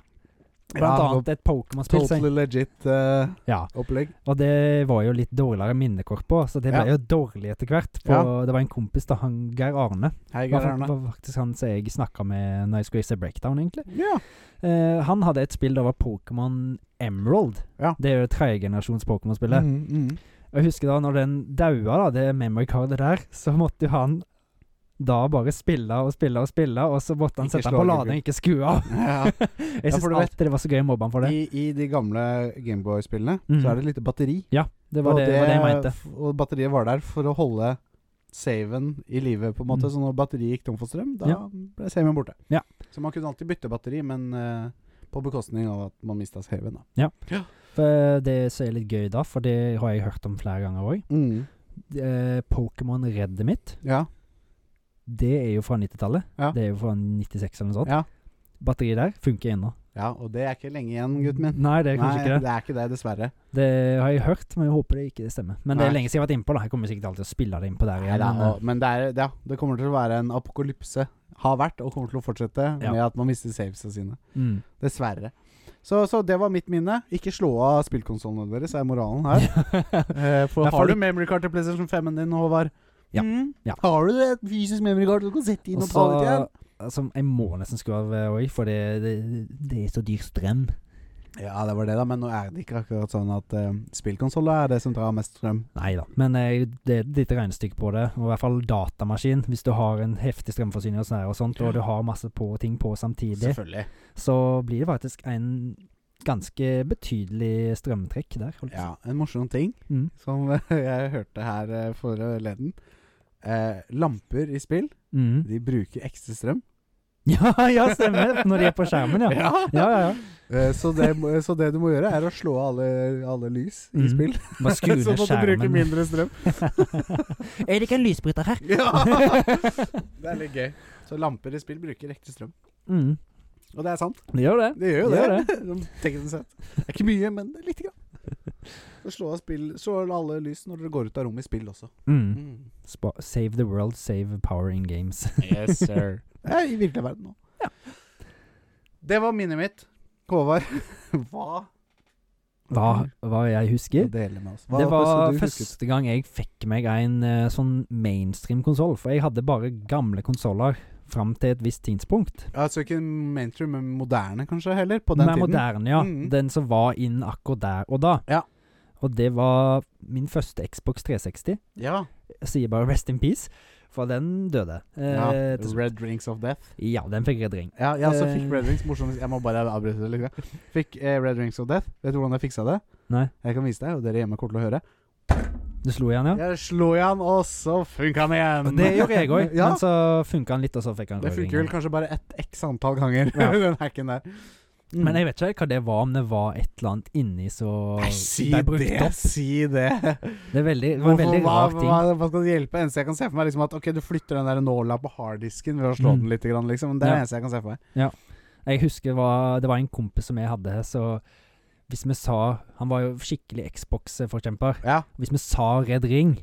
Speaker 1: Blant
Speaker 2: Ja,
Speaker 1: annet et Pokémon-spill. så-
Speaker 2: Totally legit eh,
Speaker 1: Ja,
Speaker 2: opplegg.
Speaker 1: og det var jo litt dårligere minnekort på, så det ble jo dårlig etter hvert. For Det var en kompis, da, han Geir Arne.
Speaker 2: Hei,
Speaker 1: Det
Speaker 2: Geir
Speaker 1: var,
Speaker 2: Arne.
Speaker 1: var faktisk han som jeg snakka med når jeg skulle se Breakdown, egentlig.
Speaker 2: Ja.
Speaker 1: Eh, han hadde et spill, det var Pokémon Emerald.
Speaker 2: Ja.
Speaker 1: Det er jo tredjegenerasjons Pokémon-spillet.
Speaker 2: Mm, mm.
Speaker 1: Og jeg husker da når den daua, da, det memory cardet der, så måtte jo han da bare spille og spille og spille, og så måtte han
Speaker 2: Ikke
Speaker 1: sette den på
Speaker 2: slå
Speaker 1: lading, ikke skru av.
Speaker 2: [LAUGHS] ja.
Speaker 1: [LAUGHS] Jeg syns
Speaker 2: for du vet-
Speaker 1: alltid det var så gøy å mobbe han for det.
Speaker 2: I, I de gamle Gameboy-spillene
Speaker 1: Mm.
Speaker 2: så er det et lite batteri.
Speaker 1: Det var det, det, var det jeg mente.
Speaker 2: f- og batteriet var der for å holde saven i live, på en måte.
Speaker 1: Mm.
Speaker 2: Så når batteriet gikk tom for strøm, da
Speaker 1: Ja.
Speaker 2: ble saven borte.
Speaker 1: Ja.
Speaker 2: Så man kunne alltid bytte batteri, men eh, på bekostning av at man mista saven, da.
Speaker 1: For eh, det som er litt gøy da, for det har jeg hørt om flere ganger òg, eh, Pokémon Reddet mitt,
Speaker 2: Ja.
Speaker 1: det er jo fra 90-tallet.
Speaker 2: Ja.
Speaker 1: Det er jo fra 96 eller noe sånt.
Speaker 2: Ja.
Speaker 1: Batteriet der funker ennå.
Speaker 2: ja, og det er ikke lenge igjen, gutten min.
Speaker 1: Nei, Mm. det er kanskje
Speaker 2: Nei,
Speaker 1: ikke det.
Speaker 2: det er ikke det, dessverre.
Speaker 1: Det har jeg hørt, men jeg håper det ikke stemmer. Men det er
Speaker 2: Nei.
Speaker 1: lenge siden jeg har vært innpå. da Jeg kommer sikkert alltid til å spille det innpå der
Speaker 2: Nei,
Speaker 1: igjen.
Speaker 2: da,
Speaker 1: men,
Speaker 2: og, men det, er, ja, det kommer til å være en apokalypse. Har vært, og kommer til å fortsette
Speaker 1: Ja.
Speaker 2: med at man mister savesa sine.
Speaker 1: eh, mm.
Speaker 2: Dessverre. Så, så det var mitt minne. Ikke slå av spillkonsollene deres, er moralen her.
Speaker 1: [LAUGHS]
Speaker 2: Eh, for
Speaker 1: Ja, for
Speaker 2: har du
Speaker 1: det-
Speaker 2: memory card til PlayStation 5-en din, Håvard?
Speaker 1: Ja.
Speaker 2: Mm.
Speaker 1: Ja.
Speaker 2: Har du det? Et fysisk memory card du kan sette inn
Speaker 1: Og
Speaker 2: og ta ut igjen?
Speaker 1: så- altså, jeg må nesten skru av òg, for det, det, det er så dyr strøm.
Speaker 2: Ja, det var det, da. Men nå er det ikke akkurat sånn at uh, spillkonsoller er det som drar mest strøm.
Speaker 1: Nei da, men eh, det er et lite regnestykke på det. Og i hvert fall datamaskin. Hvis du har en heftig strømforsyning og sånn her og sånt, og du har masse på ting på samtidig,
Speaker 2: Selvfølgelig.
Speaker 1: så blir det faktisk en ganske betydelig strømtrekk der. holdt jeg på å
Speaker 2: Ja, En morsom ting
Speaker 1: si. Mm.
Speaker 2: som [LAUGHS] jeg hørte her uh, forleden. Eh, lamper i spill,
Speaker 1: Mm. [LAUGHS]
Speaker 2: de bruker ekstra strøm.
Speaker 1: Ja, ja, stemmer! Når de er på skjermen,
Speaker 2: [LAUGHS]
Speaker 1: ja. Ja, ja, ja.
Speaker 2: Eh, så, det, må- så det du må gjøre, er å slå av alle, alle lys i
Speaker 1: Mm.
Speaker 2: spill.
Speaker 1: [LAUGHS] Bare skru
Speaker 2: [LAUGHS] så
Speaker 1: ned
Speaker 2: må du bruke
Speaker 1: skjermen.
Speaker 2: mindre strøm.
Speaker 3: Er det ikke en lysbryter her?
Speaker 2: [LAUGHS] Ja! Det er litt gøy. Så lamper i spill bruker ekte strøm.
Speaker 1: [LAUGHS] Mm.
Speaker 2: Og det er sant.
Speaker 1: Det gjør det.
Speaker 2: Det gjør jo
Speaker 1: Det
Speaker 2: det.
Speaker 1: gjør
Speaker 2: [LAUGHS] Sånn Teknisk sett. Det er ikke mye, men det er lite grann. [LAUGHS] Så slå av spill Slå av alle lys når dere går ut av rommet i spill også.
Speaker 1: Mm. Spa save the world, save power in games. [LAUGHS]
Speaker 2: Yes,
Speaker 3: [LAUGHS]
Speaker 2: sir. Det er i virkelig verden nå. Det var minnet mitt. Håvard, [LAUGHS] hva
Speaker 1: Hva, hva jeg husker?
Speaker 2: deler med oss?
Speaker 1: det var
Speaker 2: du husket?
Speaker 1: første gang jeg fikk meg en eh, sånn mainstream konsoll. For jeg hadde bare gamle konsoller fram til et visst tidspunkt.
Speaker 2: Altså ikke mainstream, men moderne kanskje heller, på den
Speaker 1: Den er
Speaker 2: tiden.
Speaker 1: moderne, ja.
Speaker 2: Mhm.
Speaker 1: Den som var inn akkurat der og da.
Speaker 2: Ja.
Speaker 1: Og det var min første Xbox 360.
Speaker 2: Ja.
Speaker 1: Jeg sier bare rest in peace, for den døde. Eh,
Speaker 2: ja.
Speaker 1: til slutt.
Speaker 2: Red Rings of Death.
Speaker 1: ja, den fikk Red Ring.
Speaker 2: Ja, jeg også fikk
Speaker 1: Eh.
Speaker 2: Red Rings morsomt Jeg må bare avbryte det litt. grann. Fikk eh, Red Rings of Death. Vet du hvordan jeg fiksa det?
Speaker 1: Nei,
Speaker 2: Jeg kan vise deg, og dere hjemme kommer til å høre.
Speaker 1: du slo igjen, ja?
Speaker 2: Jeg slo i han, og så funka han igjen!
Speaker 1: Og Det gjorde jeg òg,
Speaker 2: Ja,
Speaker 1: men så funka den litt, og så fikk han
Speaker 2: det
Speaker 1: rød ring.
Speaker 2: funker vel kanskje bare et x antall ganger, [LAUGHS]
Speaker 1: Ja.
Speaker 2: den hacken der. Mm.
Speaker 1: Men jeg vet ikke hva det var, om det var et eller annet inni så
Speaker 2: Nei, si
Speaker 1: ble
Speaker 2: det,
Speaker 1: brukt opp.
Speaker 2: si det!
Speaker 1: [LAUGHS] Det, er veldig, det var en veldig
Speaker 2: hva,
Speaker 1: rar ting.
Speaker 2: hva, hva skal det hjelpe? Eneste jeg kan se for meg, liksom at ok, du flytter den der nåla på harddisken ved å slå
Speaker 1: Mm.
Speaker 2: den litt, grann, liksom. Men Det er
Speaker 1: Ja.
Speaker 2: det eneste jeg kan se for meg.
Speaker 1: Jeg husker hva, det var en kompis som jeg hadde, så hvis vi sa Han var jo skikkelig Xbox-forkjemper.
Speaker 2: Ja.
Speaker 1: Hvis vi sa Red Ring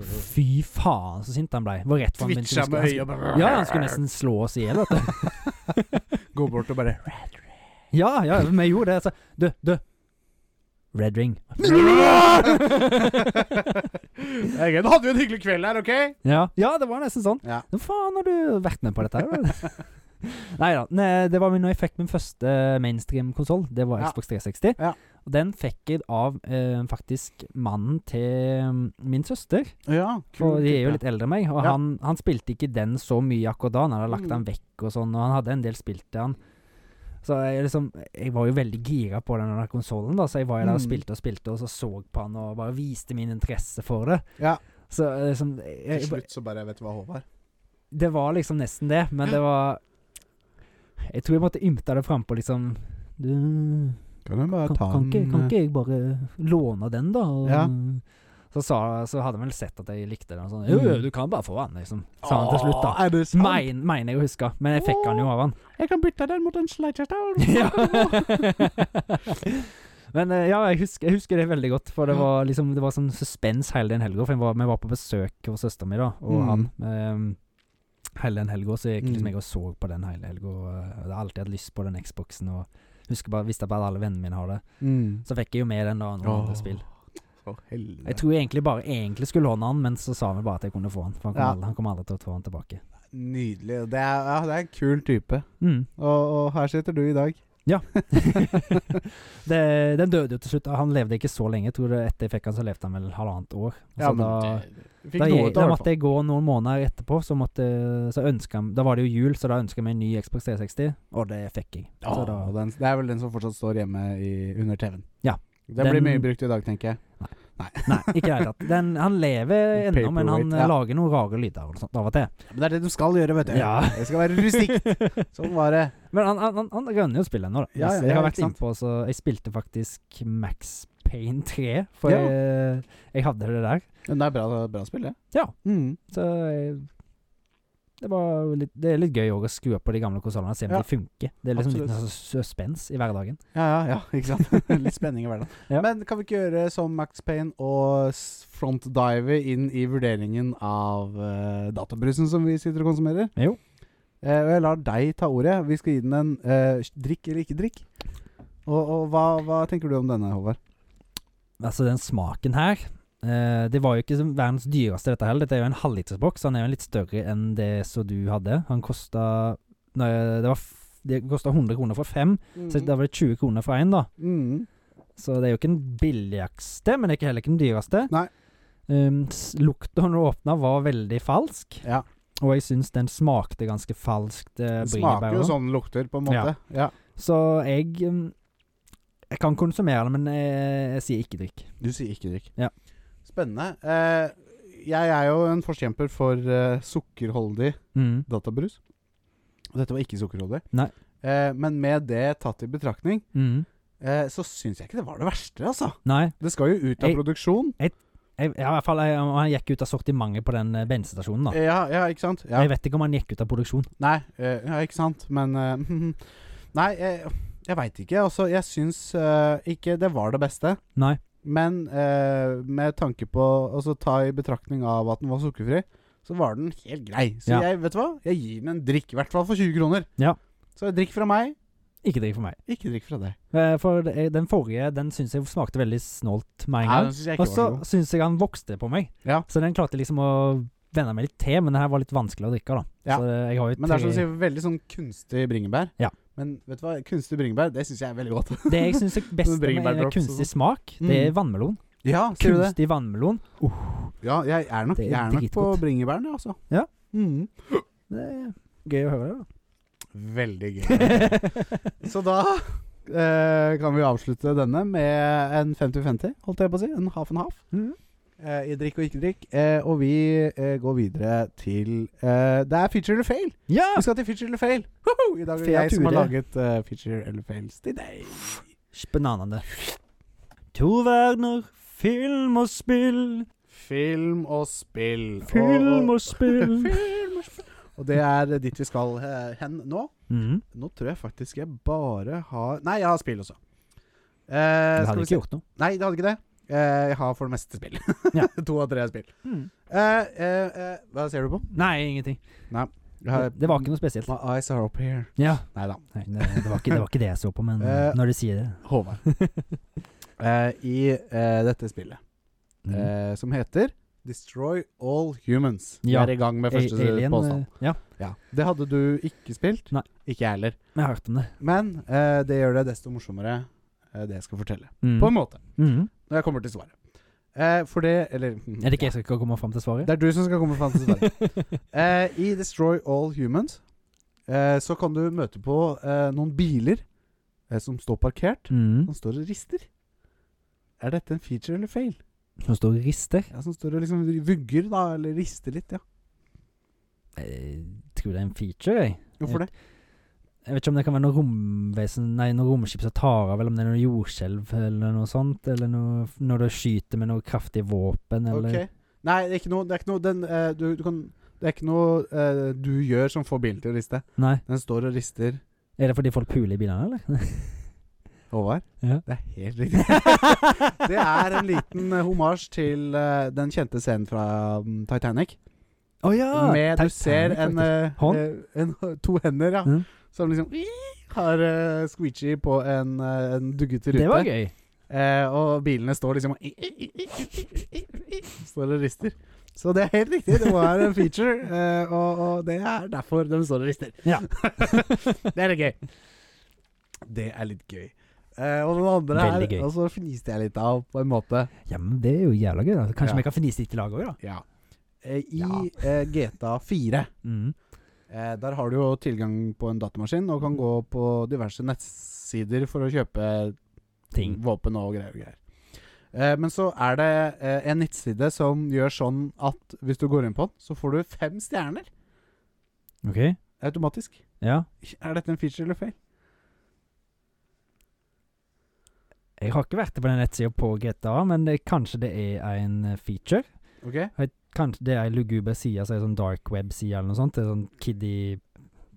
Speaker 1: Fy faen, så sint han blei. Det Var rett før han begynte-
Speaker 2: Twitcha med øyet
Speaker 1: han- Ja, han skulle nesten slå oss i hjel,
Speaker 2: [LAUGHS]
Speaker 1: vet du.
Speaker 2: Gå bort og bare
Speaker 1: Ja, ja, vi gjorde det. Så, du, du. Red
Speaker 2: [LAUGHS]
Speaker 1: Ring. [LAUGHS]
Speaker 2: Det er gøy. Du hadde jo en hyggelig kveld her, OK?
Speaker 1: Ja, ja det var nesten sånn.
Speaker 2: Ja.
Speaker 1: Hva faen har du vært med på dette
Speaker 2: [LAUGHS]
Speaker 1: her? Nei da. Nei, det var min- når jeg fikk min første mainstream-konsoll. Det var
Speaker 2: Ja.
Speaker 1: Xbox 360.
Speaker 2: Ja.
Speaker 1: Og den fikk jeg av eh, faktisk mannen til mm, min søster.
Speaker 2: ja
Speaker 1: For de er jo litt eldre enn meg, og
Speaker 2: Ja.
Speaker 1: han, han spilte ikke den så mye akkurat da. Han hadde lagt
Speaker 2: Mm.
Speaker 1: den vekk og sånn, og han hadde en del spilt til han. Så jeg, liksom, jeg var jo veldig gira på den konsollen, så jeg var jo der og
Speaker 2: Mm.
Speaker 1: spilte og spilte, og så så på han og bare viste min interesse for det.
Speaker 2: Ja.
Speaker 1: Så eh, liksom jeg, jeg,
Speaker 2: Til slutt så bare Vet du hva, Håvard?
Speaker 1: Det var liksom nesten det, men det var Jeg tror jeg måtte ymte det frampå, liksom. Du,
Speaker 2: Kan du bare
Speaker 1: kan, kan, ikke, kan ikke jeg bare låne den, da? Og,
Speaker 2: eh. Ja.
Speaker 1: så, sa, så hadde han vel sett at jeg likte den. og Sånn, jo, jo, du kan bare få den, liksom. Sa han til slutt, da.
Speaker 2: Er sånn? det sant?
Speaker 1: Mein, mener jeg å huske, men jeg fikk han jo av han.
Speaker 2: Jeg kan bytte den mot en Sliderstown.
Speaker 1: [LAUGHS] Ja. men eh, ja, jeg husker, jeg husker det veldig godt, for det var liksom Det var sånn suspens hele den helga. For jeg var, vi var på besøk hos søsteren min da, og
Speaker 2: Mm.
Speaker 1: han. ehm, hele den helga, så gikk
Speaker 2: Mm.
Speaker 1: eh, liksom jeg og så på den hele helga. Jeg hadde alltid hatt lyst på den Xboxen, og Husker bare, visste bare at alle vennene mine har det.
Speaker 2: Mm.
Speaker 1: Så fikk jeg jo med den da noen andre spill.
Speaker 2: For helvete.
Speaker 1: Jeg tror egentlig bare egentlig skulle låne han, men så sa vi bare at jeg kunne få han. For han kom,
Speaker 2: Ja.
Speaker 1: aldri, han kom aldri til å få han tilbake.
Speaker 2: Nydelig. Det er, ja, det er en kul type.
Speaker 1: Mm.
Speaker 2: Og, og her sitter du i dag.
Speaker 1: det, den døde jo til slutt. Han levde ikke så lenge. Jeg tror det, etter jeg fikk han, så levde han vel halvannet år. Så
Speaker 2: Ja, men
Speaker 1: da,
Speaker 3: Uh,
Speaker 2: Fikk
Speaker 1: da,
Speaker 2: noe
Speaker 1: jeg,
Speaker 2: ut
Speaker 1: da
Speaker 2: av det.
Speaker 1: måtte jeg gå noen måneder etterpå, så, måtte, så ønska han Da var det jo jul, så da ønska jeg meg en ny Xbox 360, og det fikk jeg.
Speaker 2: Ja,
Speaker 1: Så da,
Speaker 2: og den, det er vel den som fortsatt står hjemme i, under TV-en.
Speaker 1: Ja.
Speaker 2: Den, blir
Speaker 1: Den-
Speaker 2: mye brukt i dag, tenker jeg.
Speaker 1: nei, ikke i det hele tatt. Den- Han
Speaker 2: [LAUGHS]
Speaker 1: lever ennå, men han eh,
Speaker 2: Paperweight, ja.
Speaker 1: lager noen rare lyder og sånt av og til.
Speaker 2: Men det er det du skal gjøre, vet du.
Speaker 1: Ja.
Speaker 2: Det skal være rustikt. Sånn var det.
Speaker 1: [LAUGHS] Men han, han, han, han rønner jo spillet ennå, da.
Speaker 2: Ja, ja,
Speaker 1: jeg har
Speaker 2: ja,
Speaker 1: vært
Speaker 2: ikke sant.
Speaker 1: innpå, så jeg spilte faktisk Max Payne 3, for
Speaker 2: Ja.
Speaker 1: jeg, jeg hadde det der.
Speaker 2: Men det er bra, bra spill, det.
Speaker 1: Ja.
Speaker 2: Mm.
Speaker 1: Så jeg, det, var litt, det er litt gøy også å skru opp på de gamle konsollene og se om
Speaker 2: Ja.
Speaker 1: de funker. Det er liksom
Speaker 2: Absolutt.
Speaker 1: litt sånn suspens i hverdagen.
Speaker 2: Ja, ja, ja, ikke [LAUGHS] sant. Litt spenning i hverdagen.
Speaker 1: Ja.
Speaker 2: Men kan vi ikke gjøre som Max Payne og s- frontdive inn i vurderingen av eh, databrusen som vi sitter og konsumerer?
Speaker 1: Jo.
Speaker 2: Eh, og jeg lar deg ta ordet. Vi skal gi den en eh, drikk eller ikke drikk. Og, og hva, hva tenker du om denne, Håvard?
Speaker 1: Altså, den smaken her eh, Det var jo ikke som verdens dyreste, dette heller. Dette er jo en halvlitersboks. Han er jo litt større enn det som du hadde. Han kosta Nei, det var f- det kosta 100 kroner for fem, så
Speaker 2: Mhm.
Speaker 1: da var det 20 kroner for én, da.
Speaker 2: Mm.
Speaker 1: Så det er jo ikke den billigste, men det er ikke heller ikke den dyreste.
Speaker 2: Nei.
Speaker 1: Um, s- Lukta når du åpna, var veldig falsk.
Speaker 2: Ja.
Speaker 1: Og jeg syns den smakte ganske falskt eh,
Speaker 2: Det
Speaker 1: bringebær.
Speaker 2: smaker jo
Speaker 1: også.
Speaker 2: sånn det lukter, på en måte. Ja.
Speaker 1: Så jeg um, Jeg kan konsumere det, men eh, jeg, jeg sier ikke drikk.
Speaker 2: Du sier ikke drikk.
Speaker 1: Ja.
Speaker 2: Spennende. Eh, jeg er jo en forkjemper for eh, sukkerholdig
Speaker 1: Mm.
Speaker 2: databrus. Og dette var ikke sukkerholdig.
Speaker 1: Nei.
Speaker 2: Eh, men med det tatt i betraktning,
Speaker 1: Mm.
Speaker 2: eh, så syns jeg ikke det var det verste, altså.
Speaker 1: Nei.
Speaker 2: Det skal jo ut av
Speaker 1: Jeg-
Speaker 2: produksjon.
Speaker 1: Jeg, ja, i hvert fall, jeg, Han gikk ut av sortimentet på den eh, bensinstasjonen. da
Speaker 2: Eh, Ja, ja, ikke sant? Ja.
Speaker 1: Jeg vet ikke om han gikk ut av produksjon.
Speaker 2: Nei, eh, ja, ikke sant? Men eh, [LAUGHS] Nei, jeg, jeg veit ikke. Altså, jeg syns eh, ikke det var det beste.
Speaker 1: Nei.
Speaker 2: Men eh, med tanke på å så ta i betraktning av at den var sukkerfri, så var den helt grei. Så
Speaker 1: Ja.
Speaker 2: jeg, vet du hva? Jeg gir den en drikk, i hvert fall for 20 kroner.
Speaker 1: Ja.
Speaker 2: Så drikk fra meg,
Speaker 1: Ikke drikk for meg.
Speaker 2: ikke drikk fra deg.
Speaker 1: Eh, For det- den forrige Den syns jeg smakte veldig snålt med en
Speaker 2: Nei,
Speaker 1: gang.
Speaker 2: den synes jeg ikke
Speaker 1: Og
Speaker 2: var
Speaker 1: så
Speaker 2: så god.
Speaker 1: syns jeg han vokste på meg.
Speaker 2: Ja.
Speaker 1: Så den klarte liksom å vende meg litt til, men den her var litt vanskelig å drikke. da
Speaker 2: Ja.
Speaker 1: Så eh, jeg har jo
Speaker 2: Men det er som du
Speaker 1: tre-
Speaker 2: sier, veldig sånn kunstig bringebær.
Speaker 1: Ja.
Speaker 2: Men vet du hva, kunstig bringebær, det syns jeg er veldig
Speaker 1: [LAUGHS]
Speaker 2: godt.
Speaker 1: Det jeg
Speaker 2: [LAUGHS]
Speaker 1: syns er best med
Speaker 2: Bringebærdrops og
Speaker 1: kunstig smak, det er vannmelon.
Speaker 2: ja, sier du det?
Speaker 1: Kunstig vannmelon.
Speaker 2: Ja, jeg er nok,
Speaker 1: Det er
Speaker 2: jeg er nok på
Speaker 1: dritgodt.
Speaker 2: bringebærene, altså.
Speaker 1: Ja.
Speaker 2: Mm.
Speaker 1: Det er gøy å høre det, da.
Speaker 2: Veldig gøy. [LAUGHS] Så da eh, kan vi avslutte denne med en 50-50, holdt jeg på å si. En half and half.
Speaker 1: Mhm.
Speaker 2: Eh, I drikk og ikke drikk. Eh, og vi eh, går videre til eh, Det er feature eller fail!
Speaker 1: [LAUGHS] ja!
Speaker 2: Vi skal til feature eller fail! Woho! I dag er det jeg som har
Speaker 1: Feature.
Speaker 2: laget eh, feature eller fails til deg.
Speaker 1: Spennende. To verdener, film og spill.
Speaker 2: Film og spill.
Speaker 1: Film og [LAUGHS] spill.
Speaker 2: Film og spill. Og det er dit vi skal eh, hen nå.
Speaker 1: Mhm.
Speaker 2: Nå tror jeg faktisk jeg bare har Nei, jeg har spill også. Eh,
Speaker 1: Det
Speaker 2: skal
Speaker 1: hadde
Speaker 2: vi
Speaker 1: ikke
Speaker 2: se.
Speaker 1: gjort noe.
Speaker 2: Nei, det hadde ikke det. Eh, jeg har for det meste spill. [LAUGHS]
Speaker 1: Ja.
Speaker 2: to av tre er spill.
Speaker 1: Mm.
Speaker 2: Eh, eh, eh, hva ser du på?
Speaker 1: Nei, ingenting.
Speaker 2: Jeg har-
Speaker 1: Det, det var ikke noe spesielt.
Speaker 2: My eyes are up here.
Speaker 1: Ja.
Speaker 2: Nei da.
Speaker 1: Nei, det, det, var ikke, det var ikke det jeg så på, men
Speaker 2: Eh.
Speaker 1: når du sier det [LAUGHS]
Speaker 2: Håvard. Eh, I eh, dette spillet,
Speaker 1: Mhm.
Speaker 2: eh, som heter Destroy All Humans. Vi
Speaker 1: Ja.
Speaker 2: er i gang med første
Speaker 1: A- Alien
Speaker 2: påstand.
Speaker 1: eh, Ja,
Speaker 2: Ja. Det hadde du ikke spilt.
Speaker 1: Nei.
Speaker 2: Ikke jeg heller.
Speaker 1: jeg har hørt om det.
Speaker 2: Men eh, det gjør det desto morsommere, eh, det jeg skal fortelle.
Speaker 1: Mhm.
Speaker 2: På en måte.
Speaker 1: Mhm.
Speaker 2: Når jeg kommer til svaret. Eh, for det Eller mm,
Speaker 1: Er det ikke jeg som skal komme fram til svaret?
Speaker 2: Det er du som skal komme fram til svaret. [LAUGHS]
Speaker 1: [LAUGHS]
Speaker 2: eh, I Destroy All Humans eh, så kan du møte på eh, noen biler eh, som står parkert.
Speaker 1: Mhm.
Speaker 2: Som står og rister. Er dette en feature eller fail?
Speaker 1: Som står og rister.
Speaker 2: Ja, Som står og liksom vugger, da. Eller rister litt, ja.
Speaker 1: Jeg tror det er en feature, jeg.
Speaker 2: Hvorfor det?
Speaker 1: Jeg vet ikke om det kan være noe romvesen Nei, noe romskip som tar av, eller om det er noe jordskjelv eller noe sånt. Eller noe f- når du skyter med noe kraftig våpen, eller
Speaker 2: Ok. Nei, det er ikke noe, det er ikke noe den, eh, du, du kan, Det er ikke noe eh, du gjør som får bilen til å riste.
Speaker 1: Nei.
Speaker 2: Den står og rister.
Speaker 1: Er det fordi folk puler i bilene, eller?
Speaker 2: Håvard?
Speaker 1: Ja.
Speaker 2: Det er helt riktig. [LAUGHS] Det er en liten eh, homasj til eh, den kjente scenen fra mm, Titanic.
Speaker 1: Å ja!
Speaker 2: med du ser en,
Speaker 1: Ah, Hånd?
Speaker 2: eh, eh, en [LAUGHS] To hender, ja.
Speaker 1: Mm.
Speaker 2: Som liksom har eh, squeegee på en, eh, en duggete rute.
Speaker 1: Det var gøy.
Speaker 2: Eh, og bilene står liksom og Står og rister. Så det er helt riktig, det var en feature, eh, og, og det er derfor de står og rister.
Speaker 1: Ja.
Speaker 2: [LAUGHS] det er litt gøy. Det er litt gøy. Eh, og den andre er
Speaker 1: Veldig gøy.
Speaker 2: Og så fniste jeg litt av, på en måte.
Speaker 1: Ja, men det er jo jævla gøy, da. Kanskje
Speaker 2: Ja.
Speaker 1: vi kan finise litt i lag òg, da.
Speaker 2: Ja. Eh, I
Speaker 1: Ja.
Speaker 2: eh, GTA 4
Speaker 1: Mm.
Speaker 2: Eh, der har du jo tilgang på en datamaskin og
Speaker 1: Mm.
Speaker 2: kan gå på diverse nettsider for å kjøpe
Speaker 1: Ting.
Speaker 2: våpen og greier og greier. Eh, men så er det eh, en nettside som gjør sånn at hvis du går inn på den, så får du fem stjerner
Speaker 1: OK?
Speaker 2: automatisk.
Speaker 1: Ja.
Speaker 2: Er dette en feature eller fail?
Speaker 1: Jeg har ikke vært på den nettsida på GTA, men det, kanskje det er en eh, feature?
Speaker 2: Ok?
Speaker 1: Kanskje det er ei luguber side, så er det sånn dark web-side eller noe sånt? Det er sånn kiddie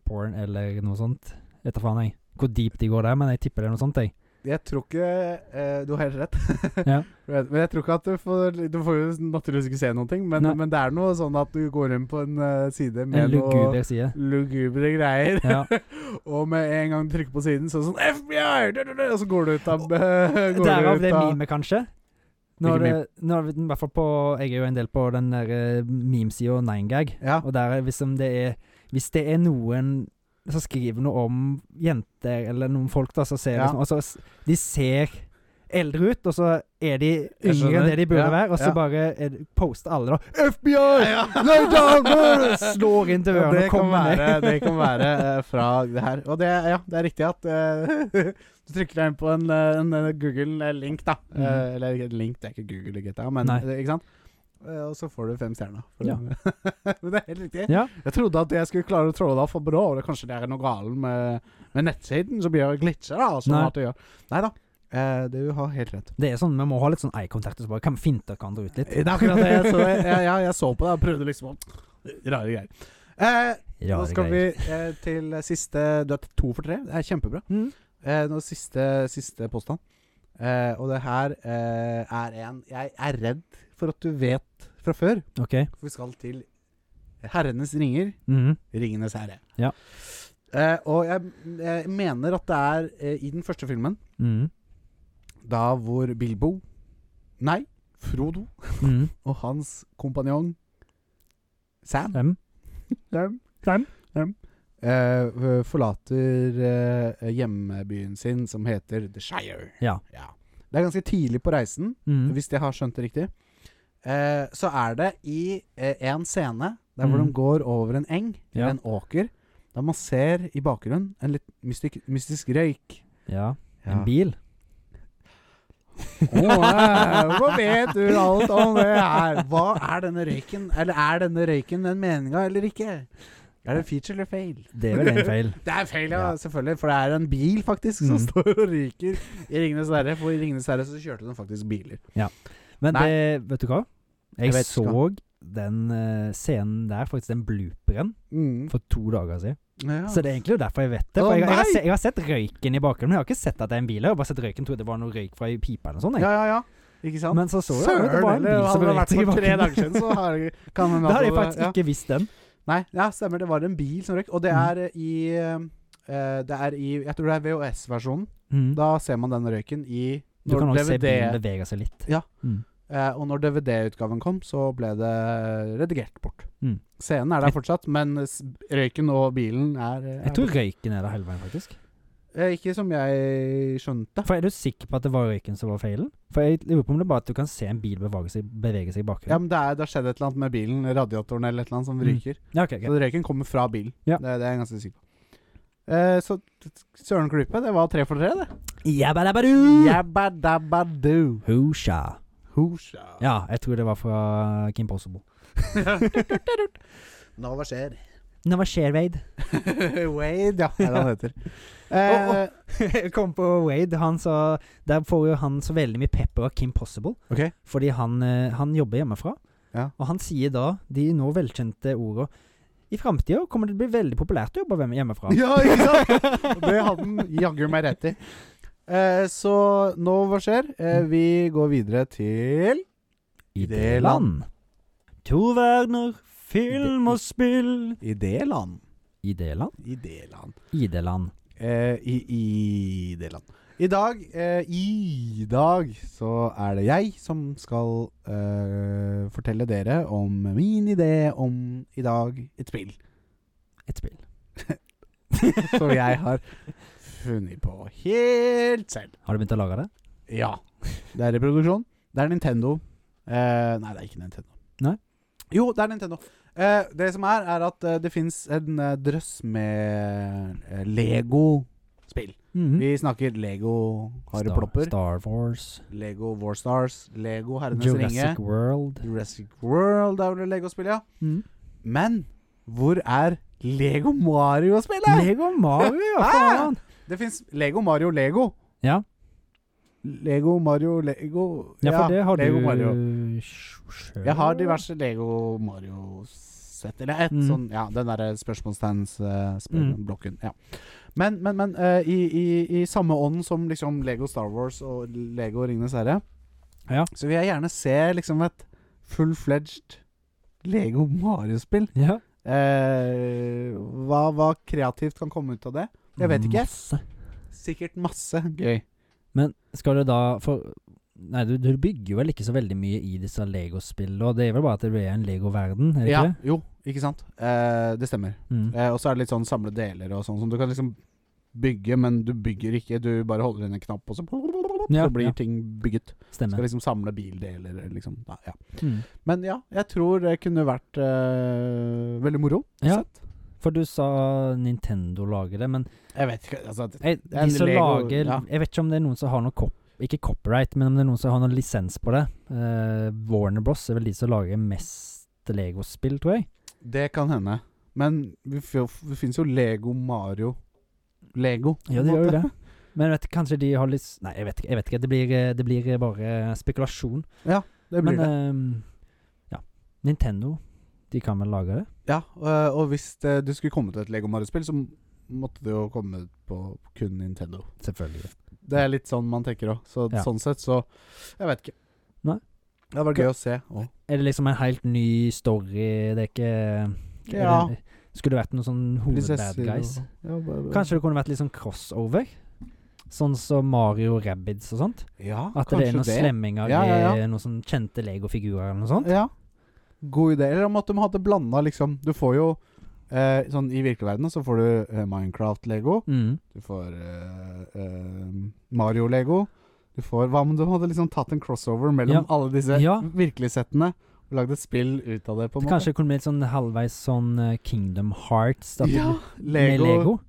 Speaker 1: porn eller noe sånt? Vet da faen, jeg. Hvor deep de går der, men jeg tipper det er noe sånt, jeg.
Speaker 2: Jeg tror ikke eh, Du har helt rett. [LAUGHS]
Speaker 1: Ja.
Speaker 2: Men jeg tror ikke at du får Du får jo naturligvis ikke se noen ting, men,
Speaker 1: Nei.
Speaker 2: men det er noe sånn at du går inn på en eh, side
Speaker 1: En
Speaker 2: med noe
Speaker 1: luguber side.
Speaker 2: [LAUGHS] lugubre greier. [LAUGHS]
Speaker 1: Ja.
Speaker 2: Og med en gang du trykker på siden, så er det sånn FBI! Du, du, du, og så går du ut av [LAUGHS] går du
Speaker 1: Derav
Speaker 2: ut
Speaker 1: det
Speaker 2: av-
Speaker 1: memet, kanskje? Når,
Speaker 2: Hvilket meme?
Speaker 1: eh, når, I hvert fall på Jeg er jo en del på den der eh, memesida Ninegag.
Speaker 2: Ja.
Speaker 1: Og der, er- hvis, om det er, hvis det er noen som skriver noe om jenter eller noen folk, da, så ser
Speaker 2: Ja.
Speaker 1: liksom, og så, s- de ser eldre ut, og så er de
Speaker 2: Jeg skjønner.
Speaker 1: yngre enn det de burde
Speaker 2: Ja,
Speaker 1: være, og så
Speaker 2: ja.
Speaker 1: bare er, det- poster alle, da.
Speaker 2: FBI! Ja.
Speaker 1: Lay down, bro! Slår inn
Speaker 2: Ja,
Speaker 1: dørene
Speaker 2: det,
Speaker 1: og
Speaker 2: kan
Speaker 1: kommer
Speaker 2: være,
Speaker 1: ned.
Speaker 2: det kan være eh, fra det her. Og det, ja, det er riktig at eh, [LAUGHS] du trykker deg inn på en, eh, en, eh, Google-link, da. Eh,
Speaker 1: Mhm.
Speaker 2: eller ikke en link, det er ikke Google i GTA, men
Speaker 1: Nei.
Speaker 2: eh, ikke sant? Eh, og så får du fem stjerner. for
Speaker 1: Ja.
Speaker 2: den. [LAUGHS] men det er helt riktig.
Speaker 1: Ja.
Speaker 2: Jeg trodde at jeg skulle klare å tråle av for bra, og det kanskje det er noe galt med, med nettsiden som gjør glitcher, da. Sånn
Speaker 1: Nei.
Speaker 2: at det gjør. Nei da, eh, du har helt rett.
Speaker 1: Det er sånn, Vi må ha litt sånn eye-kontakt, og så bare kan vi finte hverandre ut litt.
Speaker 2: Det er akkurat det. Jeg så, jeg, jeg, jeg så på det og prøvde liksom å Rare greier. Eh,
Speaker 1: [LAUGHS] Ja,
Speaker 2: Nå
Speaker 1: det er
Speaker 2: skal vi
Speaker 1: greit.
Speaker 2: eh, til siste Du er to for tre. Det er kjempebra.
Speaker 1: Mm.
Speaker 2: Eh, nå siste, siste påstand. Eh, og det her eh, er en jeg er redd for at du vet fra før.
Speaker 1: OK.
Speaker 2: For vi skal til Herrenes ringer,
Speaker 1: Mhm.
Speaker 2: Ringenes herre.
Speaker 1: Ja.
Speaker 2: Eh, og jeg, jeg mener at det er eh, i den første filmen,
Speaker 1: Mhm.
Speaker 2: da hvor Bilbo Nei, Frodo
Speaker 1: Mhm.
Speaker 2: og hans kompanjong Sam
Speaker 1: Fem.
Speaker 2: Dem.
Speaker 1: Dem.
Speaker 2: Dem. Eh, forlater eh, hjembyen sin, som heter The Shire.
Speaker 1: Ja.
Speaker 2: Det er ganske tidlig på reisen,
Speaker 1: Mhm.
Speaker 2: hvis jeg har skjønt det riktig. Eh, så er det i eh, en scene der hvor
Speaker 1: Mhm.
Speaker 2: de går over en eng,
Speaker 1: Ja.
Speaker 2: eller en åker, der man ser i bakgrunnen en litt mystik, mystisk røyk.
Speaker 1: Ja.
Speaker 2: Ja.
Speaker 1: En bil.
Speaker 2: Å, eh, Hva vet du alt om det her? Hva er denne røyken? Eller er denne røyken en meninga eller ikke? Er det feature eller fail?
Speaker 1: Det er vel en feil.
Speaker 2: Det er feil, ja,
Speaker 1: Ja.
Speaker 2: selvfølgelig. For det er en bil faktisk som
Speaker 1: Mm.
Speaker 2: står og ryker i 'Ringenes herre'. For i 'Ringenes herre' så kjørte de faktisk biler.
Speaker 1: Men
Speaker 2: Nei.
Speaker 1: det, vet du hva? Jeg,
Speaker 2: Jeg vet
Speaker 1: så
Speaker 2: ikke
Speaker 1: den eh, scenen der, faktisk den blooperen, for to dager siden.
Speaker 2: Ja.
Speaker 1: Mm. Så det er egentlig derfor jeg vet det.
Speaker 2: Å,
Speaker 1: For jeg, jeg, har,
Speaker 2: nei!
Speaker 1: se, jeg har sett røyken i bakgrunnen, men jeg har ikke sett at det er en bil. Jeg har bare sett røyken, trodde det var noe røyk fra ei pipe eller noe sånt. jeg.
Speaker 2: ja, ja, ja. Ikke sant?
Speaker 1: Men så så jeg at det var en
Speaker 2: eller
Speaker 1: bil som
Speaker 2: hadde det vært
Speaker 1: røykte i
Speaker 2: for tre dager
Speaker 1: bakgrunnen.
Speaker 2: siden, så har jeg, kan
Speaker 1: [LAUGHS]
Speaker 2: hende
Speaker 1: Da hadde
Speaker 2: at
Speaker 1: jeg faktisk
Speaker 2: ja.
Speaker 1: ikke visst den.
Speaker 2: Nei, ja, stemmer. Det var en bil som røyk. Og det
Speaker 1: Mm.
Speaker 2: er eh, i eh, Det er i Jeg tror det er VHS-versjonen.
Speaker 1: Mm.
Speaker 2: Da ser man den røyken i
Speaker 1: Du kan
Speaker 2: når
Speaker 1: også se bilen
Speaker 2: DVD
Speaker 1: bevege seg litt.
Speaker 2: Ja.
Speaker 1: Mm.
Speaker 2: eh, Og når DVD-utgaven kom, så ble det redigert bort.
Speaker 1: Mm.
Speaker 2: Scenen er der fortsatt, men s- røyken og bilen er, eh, er
Speaker 1: Jeg tror røyken er der hele veien, faktisk.
Speaker 2: Eh, ikke som jeg skjønte.
Speaker 1: For Er du sikker på at det var røyken som var feilen? For jeg lurer på om det bare er at du kan se en bil bevege seg, bevege seg i
Speaker 2: Ja,
Speaker 1: bakgrunnen.
Speaker 2: men det, er, det har skjedd et eller annet med bilen, radiatoren eller et eller annet som
Speaker 1: Mm.
Speaker 2: ryker.
Speaker 1: Ja, ok, ok.
Speaker 2: Så røyken kommer fra bilen.
Speaker 1: Ja.
Speaker 2: Det, det er jeg ganske sikker på. Eh, så t- t- søren klype, det var tre for tre, det.
Speaker 1: Jabba-dabba-doo!
Speaker 2: Jabbadabbadoo.
Speaker 1: Husha.
Speaker 2: Husha.
Speaker 1: Ja, jeg tror det var fra Kim Possible.
Speaker 2: [LAUGHS] Nå, hva skjer?
Speaker 1: Nå, hva skjer, Wade?
Speaker 2: [LAUGHS] Wade, ja. Er det han heter. Eh,
Speaker 1: Å, Jeg kom på Wade. Han sa Der får jo han så veldig mye pepper av Kim Possible.
Speaker 2: OK.
Speaker 1: Fordi han, eh, han jobber hjemmefra.
Speaker 2: Ja.
Speaker 1: Og han sier da de nå velkjente orda I framtida kommer det til å bli veldig populært å jobbe hvem- hjemmefra.
Speaker 2: Ja, ikke sant? Og Det hadde han jaggu meg rett i. Eh, så nå, hva skjer? Eh, vi går videre til
Speaker 1: [LAUGHS] I
Speaker 2: det
Speaker 1: det land. To verdener, film og spill.
Speaker 2: Idéland.
Speaker 1: Ideland?
Speaker 2: Idéland.
Speaker 1: Ideland.
Speaker 2: Eh, I Ideland. I dag, eh, I dag så er det jeg som skal eh, fortelle dere om min idé om i dag et spill [LAUGHS]
Speaker 1: Et spill.
Speaker 2: som jeg har funnet på helt selv.
Speaker 1: Har du begynt å lage det?
Speaker 2: Ja. Det er i produksjon. Det er Nintendo. Eh, nei, det er ikke Nintendo.
Speaker 1: Nei?
Speaker 2: Jo, det er Nintendo. Eh, det som er, er at eh, det fins en eh, drøss med eh,
Speaker 1: Mhm.
Speaker 2: Lego-spill. Mm-hmm. Vi snakker Lego
Speaker 1: Star-
Speaker 2: Hareplopper,
Speaker 1: Star Wars.
Speaker 2: Lego Warstars, Lego Herrenes Ringe,
Speaker 1: Jurassic World.
Speaker 2: Jurassic World er vel Lego-spill, ja.
Speaker 1: Mhm.
Speaker 2: Men hvor er Lego Mario-spillet?
Speaker 1: Lego Mario, ja!
Speaker 2: Hæ?
Speaker 1: Faen!
Speaker 2: Det fins Lego Mario Lego.
Speaker 1: Ja.
Speaker 2: Lego Mario Lego
Speaker 1: Ja, for det har
Speaker 2: Lego
Speaker 1: du
Speaker 2: Mario.
Speaker 1: sjøl.
Speaker 2: Jeg har diverse Lego Mario-sett. Eller ett
Speaker 1: Mm.
Speaker 2: sånn Ja, den derre
Speaker 1: Mm.
Speaker 2: spørsmålstegnsblokken. ja. Men, men, men eh, i, i, i samme ånd som liksom Lego Star Wars og Lego Ringenes herre,
Speaker 1: Ja.
Speaker 2: så vil jeg gjerne se liksom et full-fledged Lego Mario-spill.
Speaker 1: Ja.
Speaker 2: Eh, hva, hva kreativt kan komme ut av det? Jeg vet ikke.
Speaker 1: Masse.
Speaker 2: Sikkert masse gøy.
Speaker 1: Men skal du da For Nei, du, du bygger jo vel ikke så veldig mye i disse Lego-spillene, og det er vel bare at du er en Lego-verden, er det
Speaker 2: Ja,
Speaker 1: ikke det?
Speaker 2: jo, ikke sant? Eh, det stemmer.
Speaker 1: Mm.
Speaker 2: Eh, og så er det litt sånn samle deler og sånn som du kan liksom bygge, men du bygger ikke. Du bare holder inn en knapp, og så,
Speaker 1: Ja,
Speaker 2: så blir
Speaker 1: ja.
Speaker 2: ting bygget. Skal
Speaker 1: Stemmer.
Speaker 2: liksom samle bildeler, eller liksom. Nei, ja.
Speaker 1: Mm.
Speaker 2: Men ja, jeg tror det kunne vært eh, veldig moro.
Speaker 1: Ja,
Speaker 2: Sett.
Speaker 1: for du sa Nintendo lager det, men
Speaker 2: Jeg vet ikke altså, det-
Speaker 1: jeg,
Speaker 2: er
Speaker 1: de som
Speaker 2: Lego,
Speaker 1: lager
Speaker 2: ja.
Speaker 1: Jeg vet ikke om det er noen som har noe cop, Ikke copyright, men om det er noen som har noen lisens på det. Eh, Warner Bros er vel de som lager mest Lego-spill, tror jeg.
Speaker 2: Det kan hende. Men vi f- det fins jo Lego Mario. Lego. på
Speaker 1: Ja,
Speaker 2: en
Speaker 1: de gjør jo
Speaker 2: måte.
Speaker 1: det. [LAUGHS] Men vet, kanskje de har litt Nei, jeg vet ikke. Jeg vet ikke. Det, blir, eh, det blir bare spekulasjon.
Speaker 2: [LAUGHS] Det
Speaker 1: Men
Speaker 2: blir det.
Speaker 1: ehm, ja. Nintendo, de kan vel lage det?
Speaker 2: Ja, og, og hvis det, du skulle komme til et Lego Mario-spill, så måtte det jo komme på kun Nintendo.
Speaker 1: Selvfølgelig.
Speaker 2: Det er litt sånn man tenker òg. Så
Speaker 1: Ja.
Speaker 2: sånn sett, så Jeg vet ikke.
Speaker 1: Nei.
Speaker 2: Det hadde vært gøy å se òg.
Speaker 1: Er det liksom en helt ny story? Det er ikke er
Speaker 2: Ja.
Speaker 1: det, Skulle det vært noen sånn hovedbad guys? Kanskje det kunne vært litt sånn crossover? Sånn som Mario Rabbids og sånt?
Speaker 2: ja,
Speaker 1: At det
Speaker 2: kanskje
Speaker 1: er noen slemminger
Speaker 2: Ja, ja, ja.
Speaker 1: i noen sånn kjente Lego-figurer eller noe sånt?
Speaker 2: Ja. God idé. Eller om at de hadde blanda, liksom. Du får jo eh, Sånn i virkelig verden så får du eh, Minecraft-lego.
Speaker 1: Mm.
Speaker 2: Du får eh, eh, Mario-lego. Du får Hva om de hadde liksom tatt en crossover mellom
Speaker 1: Ja.
Speaker 2: alle disse
Speaker 1: Ja.
Speaker 2: virkelighetssettene? Og lagd et spill ut av det, på
Speaker 1: Det
Speaker 2: en måte.
Speaker 1: kanskje kunne blitt sånn halvveis sånn eh, Kingdom Hearts da,
Speaker 2: ja,
Speaker 1: med
Speaker 2: Lego,
Speaker 1: Lego.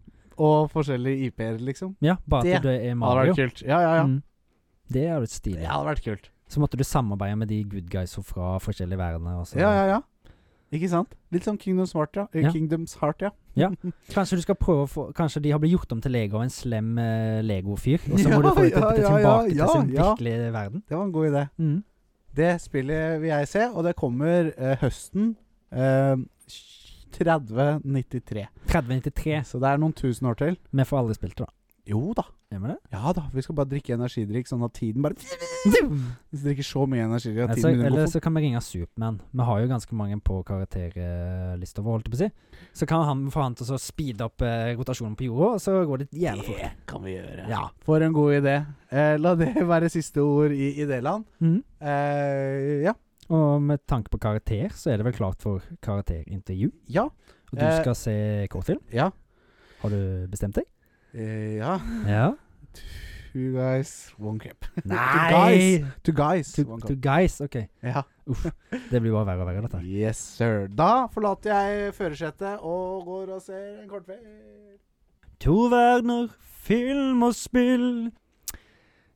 Speaker 2: og forskjellige IP-er, liksom.
Speaker 1: Ja, bare
Speaker 2: Det
Speaker 1: at du er
Speaker 2: Hadde
Speaker 1: Mario.
Speaker 2: vært kult. Ja, ja, ja.
Speaker 1: Mm. Det er jo litt stilig.
Speaker 2: Det hadde vært kult.
Speaker 1: Så måtte du samarbeide med de good guys fra forskjellige verdener. og så-
Speaker 2: Ja, ja, ja. Ikke sant? Litt sånn Kingdoms Heart, ja. Eh,
Speaker 1: Ja.
Speaker 2: Kingdoms Heart, ja.
Speaker 1: Kanskje du skal prøve å få Kanskje de har blitt gjort om til Lego av en slem eh, Lego-fyr, og så
Speaker 2: [LAUGHS] Ja,
Speaker 1: må du få det til-
Speaker 2: ja, ja, ja,
Speaker 1: tilbake
Speaker 2: ja,
Speaker 1: til sin
Speaker 2: ja.
Speaker 1: virkelige verden.
Speaker 2: Det var en god idé.
Speaker 1: Mm.
Speaker 2: Det spillet vil jeg se, og det kommer eh, høsten eh, 3093.
Speaker 1: 3093.
Speaker 2: Så det er noen tusen år til.
Speaker 1: Vi får aldri spilt det, da.
Speaker 2: Jo da.
Speaker 1: Gjør vi det?
Speaker 2: Ja da. Vi skal bare drikke energidrikk, sånn at tiden bare [LAUGHS] Hvis vi drikker så mye energidrikk at
Speaker 1: Eller
Speaker 2: tiden
Speaker 1: så,
Speaker 2: begynner å
Speaker 1: Altså, eller
Speaker 2: gå fort.
Speaker 1: så kan vi ringe Supermann. Vi har jo ganske mange på karakterlista vår, holdt jeg på å si. Så kan han få han til å så speede opp eh, rotasjonen på jorda, og så går det jævlig fort.
Speaker 2: Det kan vi gjøre.
Speaker 1: Ja.
Speaker 2: For en god idé. Eh, la det [LAUGHS] være siste ord i idéland.
Speaker 1: Mm.
Speaker 2: Eh, ja.
Speaker 1: Og med tanke på karakter, så er det vel klart for karakterintervju.
Speaker 2: Ja.
Speaker 1: Og du
Speaker 2: Eh.
Speaker 1: skal se kortfilm.
Speaker 2: Ja.
Speaker 1: Har du bestemt deg?
Speaker 2: Eh, ja. [LAUGHS]
Speaker 1: Ja.
Speaker 2: Two guys, one cup.
Speaker 1: Nei!
Speaker 2: Two guys,
Speaker 1: To,
Speaker 2: one cup.
Speaker 1: to guys, ok.
Speaker 2: Ja.
Speaker 1: Det blir bare verre og verre, dette. her.
Speaker 2: Yes, sir. Da forlater jeg førersetet og går og ser en kortfilm.
Speaker 1: To verdener, film og spill.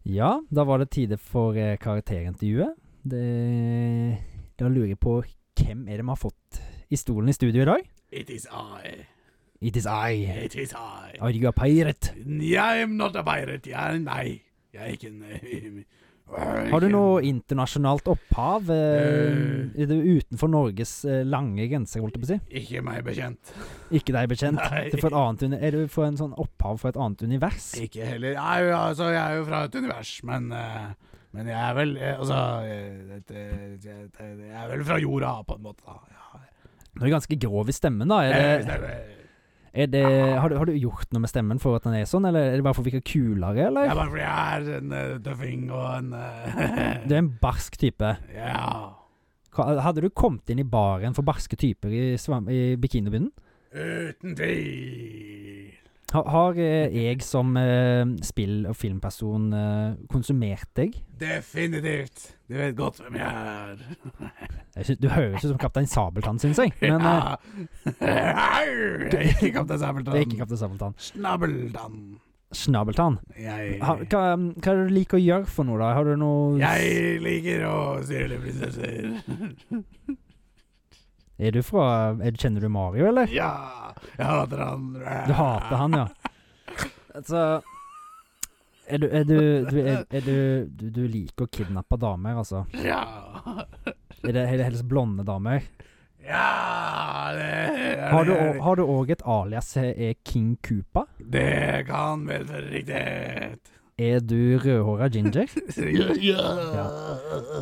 Speaker 1: Ja, da var det tide for eh, karakterintervjuet. Det Da lurer jeg på hvem er det vi har fått i stolen i studio i dag?
Speaker 2: It is I.
Speaker 1: It is I.
Speaker 2: is I.
Speaker 1: Are you a pirate?
Speaker 2: I am not a pirate. Jeg er nei. Jeg er ikke en
Speaker 1: Har du noe internasjonalt opphav? Eh,
Speaker 2: Eh.
Speaker 1: er du utenfor Norges eh, lange grenser, holdt jeg på å si?
Speaker 2: Ikke meg bekjent.
Speaker 1: Ikke deg bekjent?
Speaker 2: Nei.
Speaker 1: Det er, for et annet, uni- er du for en sånn opphav for et annet univers?
Speaker 2: Ikke heller Nei, altså, jeg er jo fra et univers, men eh, Men jeg er vel eh, Altså eh, et, eh, et, eh, Jeg er vel fra jorda, på en måte. Da. Ja.
Speaker 1: Eh. Du er ganske grov i stemmen, da. Er det,
Speaker 2: Eh,
Speaker 1: Er det, har, du, har du gjort noe med stemmen for at den er sånn, eller er det bare for å virke kulere,
Speaker 2: Det er
Speaker 1: eller?
Speaker 2: bare fordi jeg er en eh, tøffing og en eh,
Speaker 1: Du er en barsk type.
Speaker 2: [LAUGHS] Ja.
Speaker 1: Hva- Hadde du kommet inn i baren for barske typer i, svam- i bikinibunnen?
Speaker 2: Uten tvil.
Speaker 1: Har, har eh, jeg som eh, spill- og filmperson eh, konsumert deg?
Speaker 2: Definitivt. Du vet godt hvem jeg er.
Speaker 1: Jeg synes, du høres ut som Kaptein Sabeltann, syns jeg. [LAUGHS] Men eh,
Speaker 2: [LAUGHS] ja. Au! Jeg er ikke kaptein Sabeltann.
Speaker 1: det er ikke Kaptein Sabeltann.
Speaker 2: Snabeltann.
Speaker 1: Snabeltann.
Speaker 2: Jeg
Speaker 1: Ha, hva, hva er det du liker å gjøre for noe, da? Har du noe
Speaker 2: Jeg liker å stjele prinsesser. [LAUGHS]
Speaker 1: Er du fra er, Kjenner du Mario, eller?
Speaker 2: ja, jeg hater han.
Speaker 1: Du hater han, ja. Altså Er du Er du Du, er, er du, du, du liker å kidnappe damer, altså?
Speaker 2: Ja.
Speaker 1: Er det, er det helst blonde damer?
Speaker 2: Ja, det er
Speaker 1: Har du
Speaker 2: det.
Speaker 1: å- har du òg et alias eh, er King Koopa?
Speaker 2: Det kan medføre riktighet.
Speaker 1: Er du rødhåra ginger?
Speaker 2: Ja.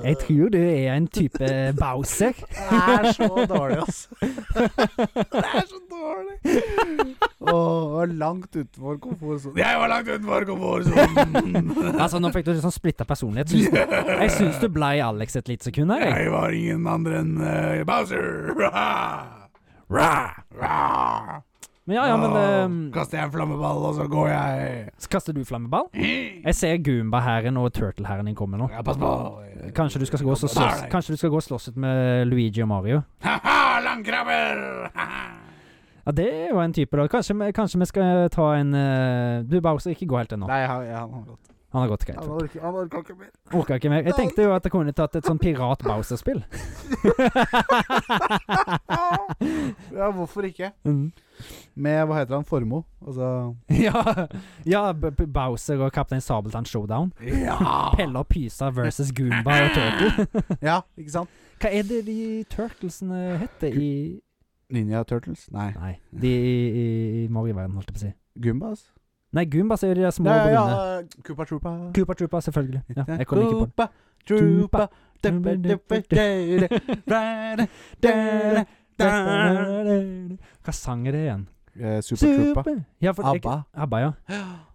Speaker 1: Jeg tror du er en type Bowser.
Speaker 2: Det er så dårlig, altså. [LAUGHS] Det er så dårlig. Åh, var langt utenfor komfortsonen. Jeg var langt utenfor komfortsonen!
Speaker 1: Altså, nå fikk du litt sånn splitta personlighet. Syns du, jeg syns du blei Alex et lite sekund her, jeg.
Speaker 2: Jeg var ingen andre enn eh, Bowser. Ra, ra, ra.
Speaker 1: Men ja, ja, men
Speaker 2: Nå
Speaker 1: ehm,
Speaker 2: kaster jeg en flammeball, og så går jeg.
Speaker 1: så Kaster du flammeball? Jeg ser Goomba-hæren og Turtle-hæren din kommer nå.
Speaker 2: Ja, pass på.
Speaker 1: Kanskje du skal gå og så slåss Kanskje du skal gå og slåss litt med Luigi og Mario?
Speaker 2: Ha-ha, langkrabber!
Speaker 1: Ja, det er jo en type, da. Kanskje, vi- kanskje vi skal ta en eh, Du, Bowser, ikke gå helt ennå.
Speaker 2: Nei, han, han har gått.
Speaker 1: Han har gått greit.
Speaker 2: Han orker han orker ikke
Speaker 1: [LAUGHS]
Speaker 2: mer.
Speaker 1: Orka ikke mer. Jeg tenkte jo at jeg kunne tatt et sånn
Speaker 2: [LAUGHS]
Speaker 1: pirat-Bowser-spill.
Speaker 2: Ja, hvorfor ikke?
Speaker 1: Mm.
Speaker 2: Med, hva heter han, Formo? Altså
Speaker 1: Ja, ja B B Bowser og Kaptein Sabeltann Showdown.
Speaker 2: Ja!
Speaker 1: Pelle og Pysa versus Goomba og Turtle.
Speaker 2: [LAUGHS] ja, ikke sant?
Speaker 1: Hva er det de turtlesene heter i
Speaker 2: Ninja Turtles? Nei.
Speaker 1: Nei, de i, i, i Mario-verden, holdt jeg på å si.
Speaker 2: Gumbas?
Speaker 1: Nei, Goombas er jo de der små
Speaker 2: Ja,
Speaker 1: og
Speaker 2: ja,
Speaker 1: brune.
Speaker 2: ja. Koopa Troopa.
Speaker 1: Koopa Troopa, selvfølgelig. Ja, jeg kom ikke på det.
Speaker 2: Koopa Troopa. Duppe, duppe, dere,
Speaker 1: [LAUGHS]
Speaker 2: dere, dere, dere.
Speaker 1: Hva sang er det igjen?
Speaker 2: Eh, Super Troopa.
Speaker 1: Ja, for, jeg,
Speaker 2: ABBA.
Speaker 1: Abba, ja.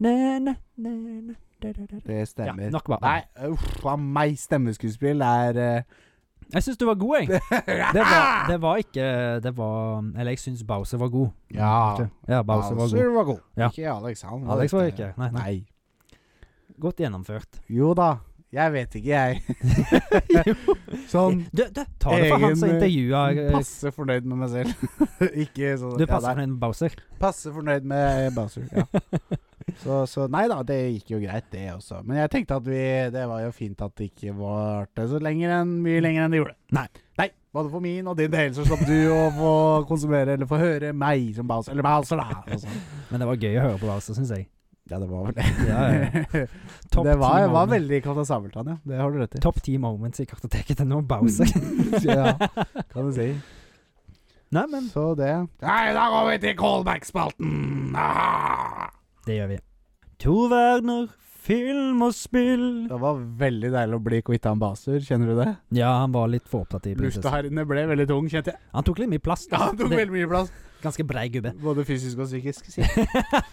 Speaker 1: Na, na, na, na, da, da, da.
Speaker 2: Det stemmer.
Speaker 1: Ja, nok bare.
Speaker 2: Nei, uff a meg. Stemmeskuespill er eh,
Speaker 1: Jeg syns du var god, jeg. [LAUGHS] Det [LAUGHS] var, det var ikke Det var Eller jeg syns Bowser var god.
Speaker 2: Ja.
Speaker 1: ja Bowser var god.
Speaker 2: var god.
Speaker 1: Ja.
Speaker 2: Ikke Alex. Han
Speaker 1: Alex var ikke Nei, nei.
Speaker 2: Nei.
Speaker 1: Godt
Speaker 2: [LAUGHS]
Speaker 1: gjennomført.
Speaker 2: Jo da. Jeg vet ikke, [LAUGHS] jeg. sånn
Speaker 1: [LAUGHS] Du, du, ta det fra han som
Speaker 2: Egen, eh,
Speaker 1: intervjua eh,
Speaker 2: passe fornøyd med meg selv. [LAUGHS] ikke sånn
Speaker 1: Du
Speaker 2: ja,
Speaker 1: passer
Speaker 2: nei.
Speaker 1: for en Bowser.
Speaker 2: Passe fornøyd med Bowser.
Speaker 1: [LAUGHS]
Speaker 2: Ja. Så, så nei da, det gikk jo greit, det også. Men jeg tenkte at vi Det var jo fint at det ikke varte så lenger enn, mye lenger enn det gjorde.
Speaker 1: Nei.
Speaker 2: Nei, Både for min og din del, så slapp du å få konsumere eller få høre meg som Bowser. Eller Bowser, da. og sånn.
Speaker 1: Men det var gøy å høre på Bowser, syns jeg.
Speaker 2: Ja, det var vel det.
Speaker 1: Ja,
Speaker 2: [LAUGHS]
Speaker 1: ja. Topp
Speaker 2: det
Speaker 1: ti
Speaker 2: var, var
Speaker 1: moment-
Speaker 2: veldig Kaptein Sabeltann, ja. Det har du rett i.
Speaker 1: Topp ti moments i kartoteket til nå,
Speaker 2: [LAUGHS]
Speaker 1: Bowser. [LAUGHS]
Speaker 2: ja, kan du si.
Speaker 1: Nei, men
Speaker 2: Så det Nei, da går vi til callback-spalten! Ah!
Speaker 1: det gjør vi. To verdener, film og spill.
Speaker 2: Det var veldig deilig å bli kvitt han Baser, kjenner du det?
Speaker 1: Ja, han var litt for opptatt i
Speaker 2: Lufta
Speaker 1: prinsesse.
Speaker 2: her inne ble veldig tung, kjente jeg.
Speaker 1: Han tok litt mye plass. altså.
Speaker 2: Ja, han tok
Speaker 1: Det-
Speaker 2: veldig mye plass.
Speaker 1: Ganske brei gubbe.
Speaker 2: Både fysisk og psykisk. sier jeg.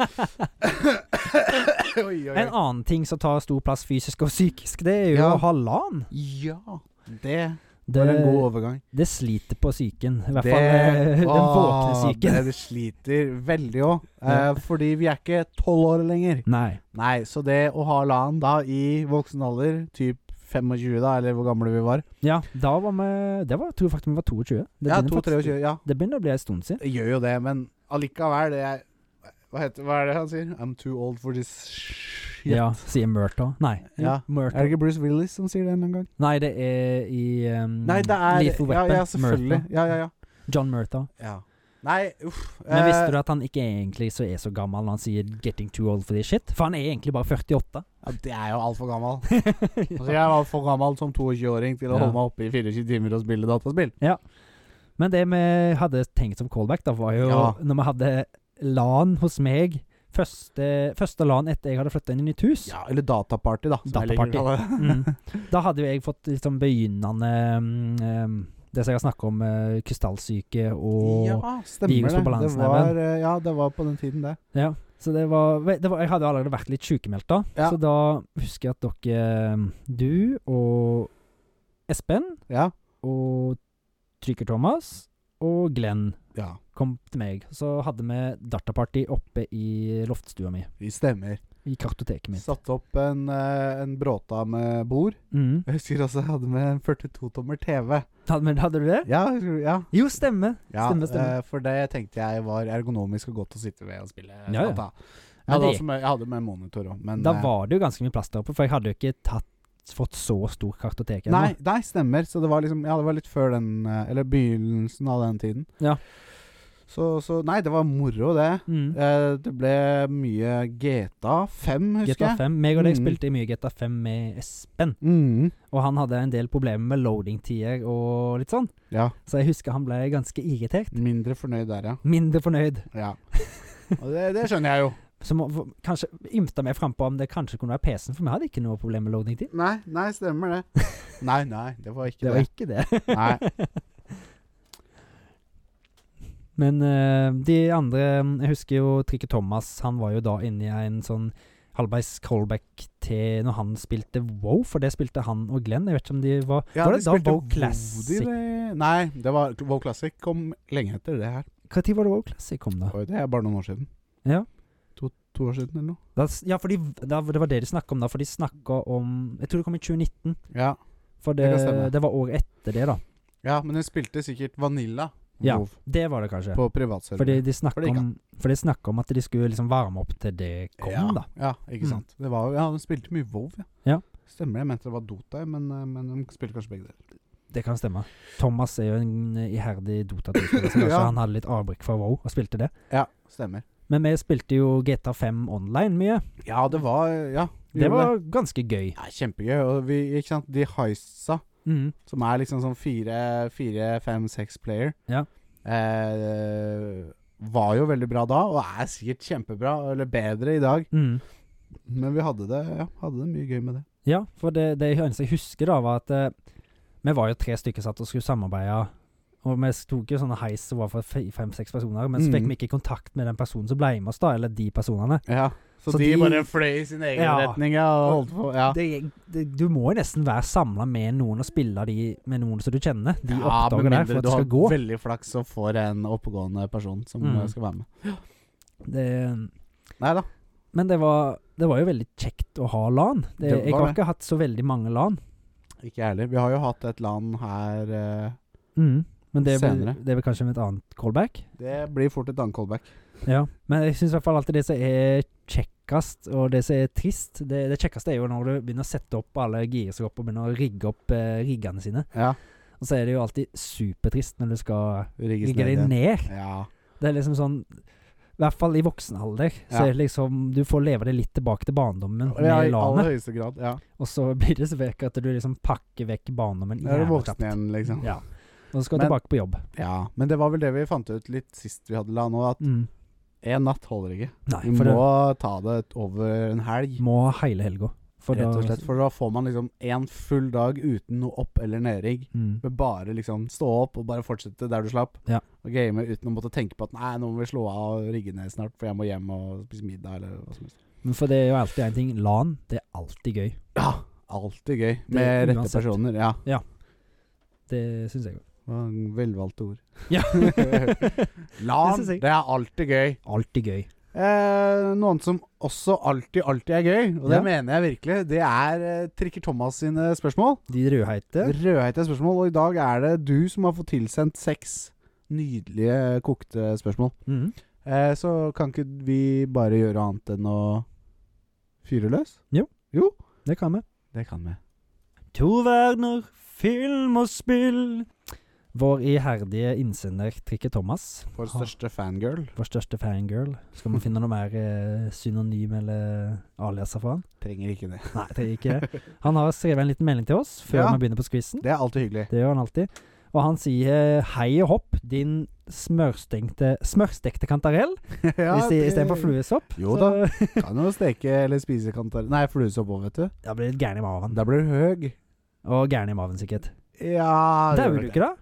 Speaker 1: [LAUGHS]
Speaker 2: oi, oi,
Speaker 1: En
Speaker 2: oi.
Speaker 1: annen ting som tar stor plass fysisk og psykisk, det er jo
Speaker 2: Ja.
Speaker 1: å ha LAN.
Speaker 2: Ja, det var en
Speaker 1: Det,
Speaker 2: god overgang.
Speaker 1: det sliter på psyken. I hvert fall eh, [LAUGHS] den våkne
Speaker 2: Åh,
Speaker 1: psyken.
Speaker 2: Det, det sliter veldig òg, eh,
Speaker 1: Ja.
Speaker 2: fordi vi er ikke tolv år lenger.
Speaker 1: Nei.
Speaker 2: Nei, så det å ha LAN da i voksen alder, typ 25 da, eller hvor gamle vi var
Speaker 1: Ja, da var vi Det var, jeg tror faktisk vi var 22. Det
Speaker 2: Ja,
Speaker 1: begynner faktisk-
Speaker 2: 2-23, ja.
Speaker 1: Det begynner å bli en stund siden.
Speaker 2: Det gjør jo det, men allikevel det er, hva, heter, hva er det han sier? I'm too old for this shit.
Speaker 1: Ja, sier Murta. Nei, jo,
Speaker 2: Ja.
Speaker 1: Murta.
Speaker 2: Er det ikke Bruce Willis som sier det en eller annen gang?
Speaker 1: Nei, det er i um,
Speaker 2: Nei, det er
Speaker 1: Mm. Lethal Weapon.
Speaker 2: Ja, ja selvfølgelig.
Speaker 1: Murta.
Speaker 2: Ja, ja, ja.
Speaker 1: John Murta.
Speaker 2: ja. Nei, uff.
Speaker 1: Men visste du at han ikke egentlig så er så gammel når han sier 'getting too old for this shit'? For han er egentlig bare 48.
Speaker 2: Eh, Ja, det er jo
Speaker 1: [LAUGHS]
Speaker 2: altfor gammel. Altså, jeg var altfor gammel som 22-åring til
Speaker 1: Ja.
Speaker 2: å holde meg oppe i 24 timer og spille dataspill.
Speaker 1: [LAUGHS] Men det vi hadde tenkt som callback, da, var jo
Speaker 2: Ja.
Speaker 1: når vi hadde LAN hos meg. Første, første LAN etter jeg hadde flytta inn i nytt hus. [LAUGHS]
Speaker 2: Ja, Eller dataparty, da. som jeg liker
Speaker 1: Dataparty.
Speaker 2: å kalle det.
Speaker 1: Mm. Da hadde jo jeg fått liksom begynnende um, um, det som jeg har snakket om, eh, krystallsyke og ja.
Speaker 2: ja, stemmer
Speaker 1: Virus på
Speaker 2: det. Det
Speaker 1: balansen her,
Speaker 2: var, eh, ja, det var på den tiden, det.
Speaker 1: Så det var, ve- det var Jeg hadde allerede vært litt sykemeldt da,
Speaker 2: Ja.
Speaker 1: så da husker jeg at dere, mm, du og Espen
Speaker 2: Ja.
Speaker 1: og Trykker-Thomas og Glenn
Speaker 2: ja.
Speaker 1: kom til meg. Så hadde vi dataparty oppe i loftstua mi,
Speaker 2: Vi stemmer.
Speaker 1: i kartoteket mitt.
Speaker 2: Satte opp en, eh, en bråta med bord.
Speaker 1: Mm.
Speaker 2: Jeg husker også jeg hadde med en 42-tommer TV.
Speaker 1: Hadde, men hadde du det?
Speaker 2: Ja, jeg tror- ja.
Speaker 1: Jo, stemmer.
Speaker 2: ja
Speaker 1: Stemmer, stemmer.
Speaker 2: eh, for det tenkte jeg var ergonomisk og godt å sitte ved og spille.
Speaker 1: Ja, ja.
Speaker 2: data. Jeg,
Speaker 1: Men
Speaker 2: hadde
Speaker 1: det-
Speaker 2: også med, jeg hadde med monitor òg, men
Speaker 1: Da
Speaker 2: eh,
Speaker 1: var det jo ganske mye plass der oppe, for jeg hadde jo ikke tatt, fått så stor kartotek ennå.
Speaker 2: Nei, nei, stemmer. Så det var liksom Ja, det var litt før den eh, Eller begynnelsen av den tiden.
Speaker 1: Ja.
Speaker 2: Så, så Nei, det var moro, det.
Speaker 1: Mm.
Speaker 2: Eh, det ble mye GTA 5, husker
Speaker 1: GTA
Speaker 2: jeg.
Speaker 1: 5. Meg og deg
Speaker 2: Mm.
Speaker 1: spilte mye GTA 5 med Espen,
Speaker 2: Mm,
Speaker 1: og han hadde en del problemer med loading-tider og litt sånn,
Speaker 2: ja.
Speaker 1: så jeg husker han ble ganske irritert.
Speaker 2: Mindre fornøyd der, ja.
Speaker 1: Mindre fornøyd.
Speaker 2: ja. Og det, det skjønner jeg jo.
Speaker 1: Så må, v- kanskje ymta meg frampå om det kanskje kunne være PC-en, for vi hadde ikke noe problem med loading-tid.
Speaker 2: Nei, nei, stemmer
Speaker 1: [LAUGHS]
Speaker 2: det. Nei, nei, det var
Speaker 1: Det
Speaker 2: ikke det.
Speaker 1: var ikke det.
Speaker 2: [LAUGHS] Nei.
Speaker 1: Men eh, de andre Jeg husker jo Trikke Thomas. Han var jo da inne i en sånn halvveis callback til når han spilte Wow, for det spilte han og Glenn. Jeg vet ikke om de var
Speaker 2: Ja,
Speaker 1: Var det
Speaker 2: de
Speaker 1: da
Speaker 2: spilte
Speaker 1: Wow
Speaker 2: Woody,
Speaker 1: Classic?
Speaker 2: det- Nei, det var WoW Classic kom lenge etter det her.
Speaker 1: Når var det WoW Classic kom, da?
Speaker 2: Oi, Det er bare noen år siden.
Speaker 1: Ah. Ja.
Speaker 2: To, to år siden eller noe.
Speaker 1: da s- ja, for de, da, det var det de snakka om da, for de snakka om Jeg tror det kom i 2019.
Speaker 2: Ja,
Speaker 1: For
Speaker 2: Det
Speaker 1: det,
Speaker 2: kan
Speaker 1: det,
Speaker 2: stemme.
Speaker 1: var året etter det, da.
Speaker 2: ja men hun spilte sikkert Vanilla
Speaker 1: Ja.
Speaker 2: WoW
Speaker 1: Det var det kanskje.
Speaker 2: på privatserver.
Speaker 1: Fordi de
Speaker 2: For
Speaker 1: snakka
Speaker 2: det gikk
Speaker 1: om, for de snakket om at de skulle liksom varme opp til det kom,
Speaker 2: ja,
Speaker 1: da.
Speaker 2: Ja, ikke
Speaker 1: Mm.
Speaker 2: sant. Det var, jo- ja, hun spilte mye WoW, ja.
Speaker 1: Ja.
Speaker 2: Stemmer det. Jeg mente det var Dota, jeg, men, eh, men hun spilte kanskje begge deler.
Speaker 1: Det kan stemme. Thomas er jo en eh, iherdig Dota-spiller,
Speaker 2: [CLEARS THROAT]
Speaker 1: så kanskje
Speaker 2: Ja.
Speaker 1: han hadde litt avbrekk fra WoW og spilte det.
Speaker 2: Ja, stemmer.
Speaker 1: Men vi spilte jo GTA5 online mye.
Speaker 2: Ja, det var eh, Ja. vi
Speaker 1: Det
Speaker 2: gjorde
Speaker 1: var ganske gøy.
Speaker 2: Ja, kjempegøy. Og vi, ikke sant, de heistsa,
Speaker 1: Mm.
Speaker 2: som er liksom sånn fire, fire fem, seks player,
Speaker 1: Ja.
Speaker 2: eh, var jo veldig bra da, og er sikkert kjempebra, eller bedre i dag.
Speaker 1: Mm.
Speaker 2: Men vi hadde det, ja, hadde det mye gøy med det.
Speaker 1: Ja, for det, det eneste jeg husker, da, var at eh, vi var jo tre stykker satt og skulle samarbeide. Og vi tok jo sånne heis som var for fem-seks personer, men så fikk
Speaker 2: Mm.
Speaker 1: vi ikke kontakt med den personen som ble med oss, da, eller de personene.
Speaker 2: Ja, så,
Speaker 1: Så
Speaker 2: de,
Speaker 1: de-
Speaker 2: bare fløy i sin egen
Speaker 1: Ja.
Speaker 2: retning, ja, og holdt på, ja.
Speaker 1: Det, det, du må jo nesten være samla med noen og spille de med noen som du kjenner. De
Speaker 2: Ja, med
Speaker 1: oppdager deg for
Speaker 2: mindre
Speaker 1: at
Speaker 2: du
Speaker 1: det
Speaker 2: har
Speaker 1: skal gå.
Speaker 2: veldig flaks og får en oppegående person som
Speaker 1: Mm.
Speaker 2: eh, skal være med.
Speaker 1: Det,
Speaker 2: Nei da.
Speaker 1: Men det var, det var jo veldig kjekt å ha LAN. Det,
Speaker 2: Det
Speaker 1: jeg
Speaker 2: var
Speaker 1: har
Speaker 2: det.
Speaker 1: ikke hatt så veldig mange LAN.
Speaker 2: Ikke jeg heller. Vi har jo hatt et land her eh,
Speaker 1: Men det blir,
Speaker 2: Senere.
Speaker 1: det blir kanskje med et annet callback.
Speaker 2: Det blir fort et annet callback.
Speaker 1: Ja. Men jeg syns i hvert fall alltid det som er kjekkest, og det som er trist Det, det kjekkeste er jo når du begynner å sette opp alle girer seg opp og begynner å rigge opp eh, riggene sine.
Speaker 2: Ja.
Speaker 1: Og så er det jo alltid supertrist når du skal
Speaker 2: Rigges
Speaker 1: rigge deg
Speaker 2: ned igjen.
Speaker 1: ned.
Speaker 2: Ja.
Speaker 1: Det er liksom sånn I hvert fall i voksen alder. Så
Speaker 2: Ja.
Speaker 1: er det liksom Du får leve deg litt tilbake til barndommen
Speaker 2: ja,
Speaker 1: med
Speaker 2: i aller
Speaker 1: LAN-et.
Speaker 2: høyeste grad. Ja.
Speaker 1: Og så blir det så vekk at du liksom pakker vekk barndommen
Speaker 2: Da er du
Speaker 1: jævla kjapt.
Speaker 2: voksen igjen, liksom.
Speaker 1: Ja. Og så skal du
Speaker 2: Men-
Speaker 1: tilbake på jobb.
Speaker 2: Ja, men det var vel det vi fant ut litt sist vi hadde LAN nå, at én natt holder ikke.
Speaker 1: Nei,
Speaker 2: Mm. Vi
Speaker 1: for
Speaker 2: må
Speaker 1: må,
Speaker 2: ta det over en helg,
Speaker 1: det må ha hele helga. For
Speaker 2: rett og
Speaker 1: da-
Speaker 2: slett. For da får man liksom én full dag uten noe opp- eller nedrigg.
Speaker 1: Mm.
Speaker 2: Men Bare liksom stå opp og bare fortsette der du slapp,
Speaker 1: Ja.
Speaker 2: og game uten å måtte tenke på at nei, nå må vi slå av og rigge ned snart, for jeg må hjem og spise middag, eller hva som helst.
Speaker 1: Men for det er jo alltid én ting. LAN, det er alltid gøy.
Speaker 2: Ja, alltid gøy med rette
Speaker 1: uansett.
Speaker 2: personer. Ja,
Speaker 1: Det syns jeg òg.
Speaker 2: Det var en velvalgte ord.
Speaker 1: Ja. Det
Speaker 2: LAN,
Speaker 1: synes jeg.
Speaker 2: det er alltid gøy.
Speaker 1: [LAUGHS] Alltid gøy.
Speaker 2: Eh, noen som også alltid, alltid er gøy, og det
Speaker 1: Ja.
Speaker 2: mener jeg virkelig, det er eh, Trikker Thomas sine spørsmål.
Speaker 1: De rødheite.
Speaker 2: Rødheite spørsmål, og i dag er det du som har fått tilsendt seks nydelige kokte spørsmål.
Speaker 1: Mm.
Speaker 2: Eh, så kan ikke vi bare gjøre annet enn å fyre løs?
Speaker 1: Det kan vi.
Speaker 2: Det kan vi.
Speaker 1: To verdener, film og spill. Vår iherdige innsender Trikke Thomas,
Speaker 2: Vår største fangirl,
Speaker 1: vår største fangirl. Skal vi finne noe mer eh, synonym eller aliaser for han?
Speaker 2: trenger ikke det.
Speaker 1: Nei, det er ikke det. Han har skrevet en liten melding til oss før
Speaker 2: Ja.
Speaker 1: vi begynner på quizen.
Speaker 2: [LAUGHS] Det er alltid
Speaker 1: [LAUGHS]
Speaker 2: hyggelig.
Speaker 1: Det gjør han alltid. Og han sier 'hei og hopp, din smørstengte, smørstekte kantarell'.
Speaker 2: ja,
Speaker 1: hvis det- Istedenfor fluesopp.
Speaker 2: Jo da,
Speaker 1: så- [LAUGHS]
Speaker 2: kan jo steke eller spise kantarell Nei, fluesopp òg, vet du.
Speaker 1: Da blir det gæren i maven.
Speaker 2: Da blir du høg.
Speaker 1: Og gæren i maven, sikkert.
Speaker 2: Ja
Speaker 1: Dauer du ikke da?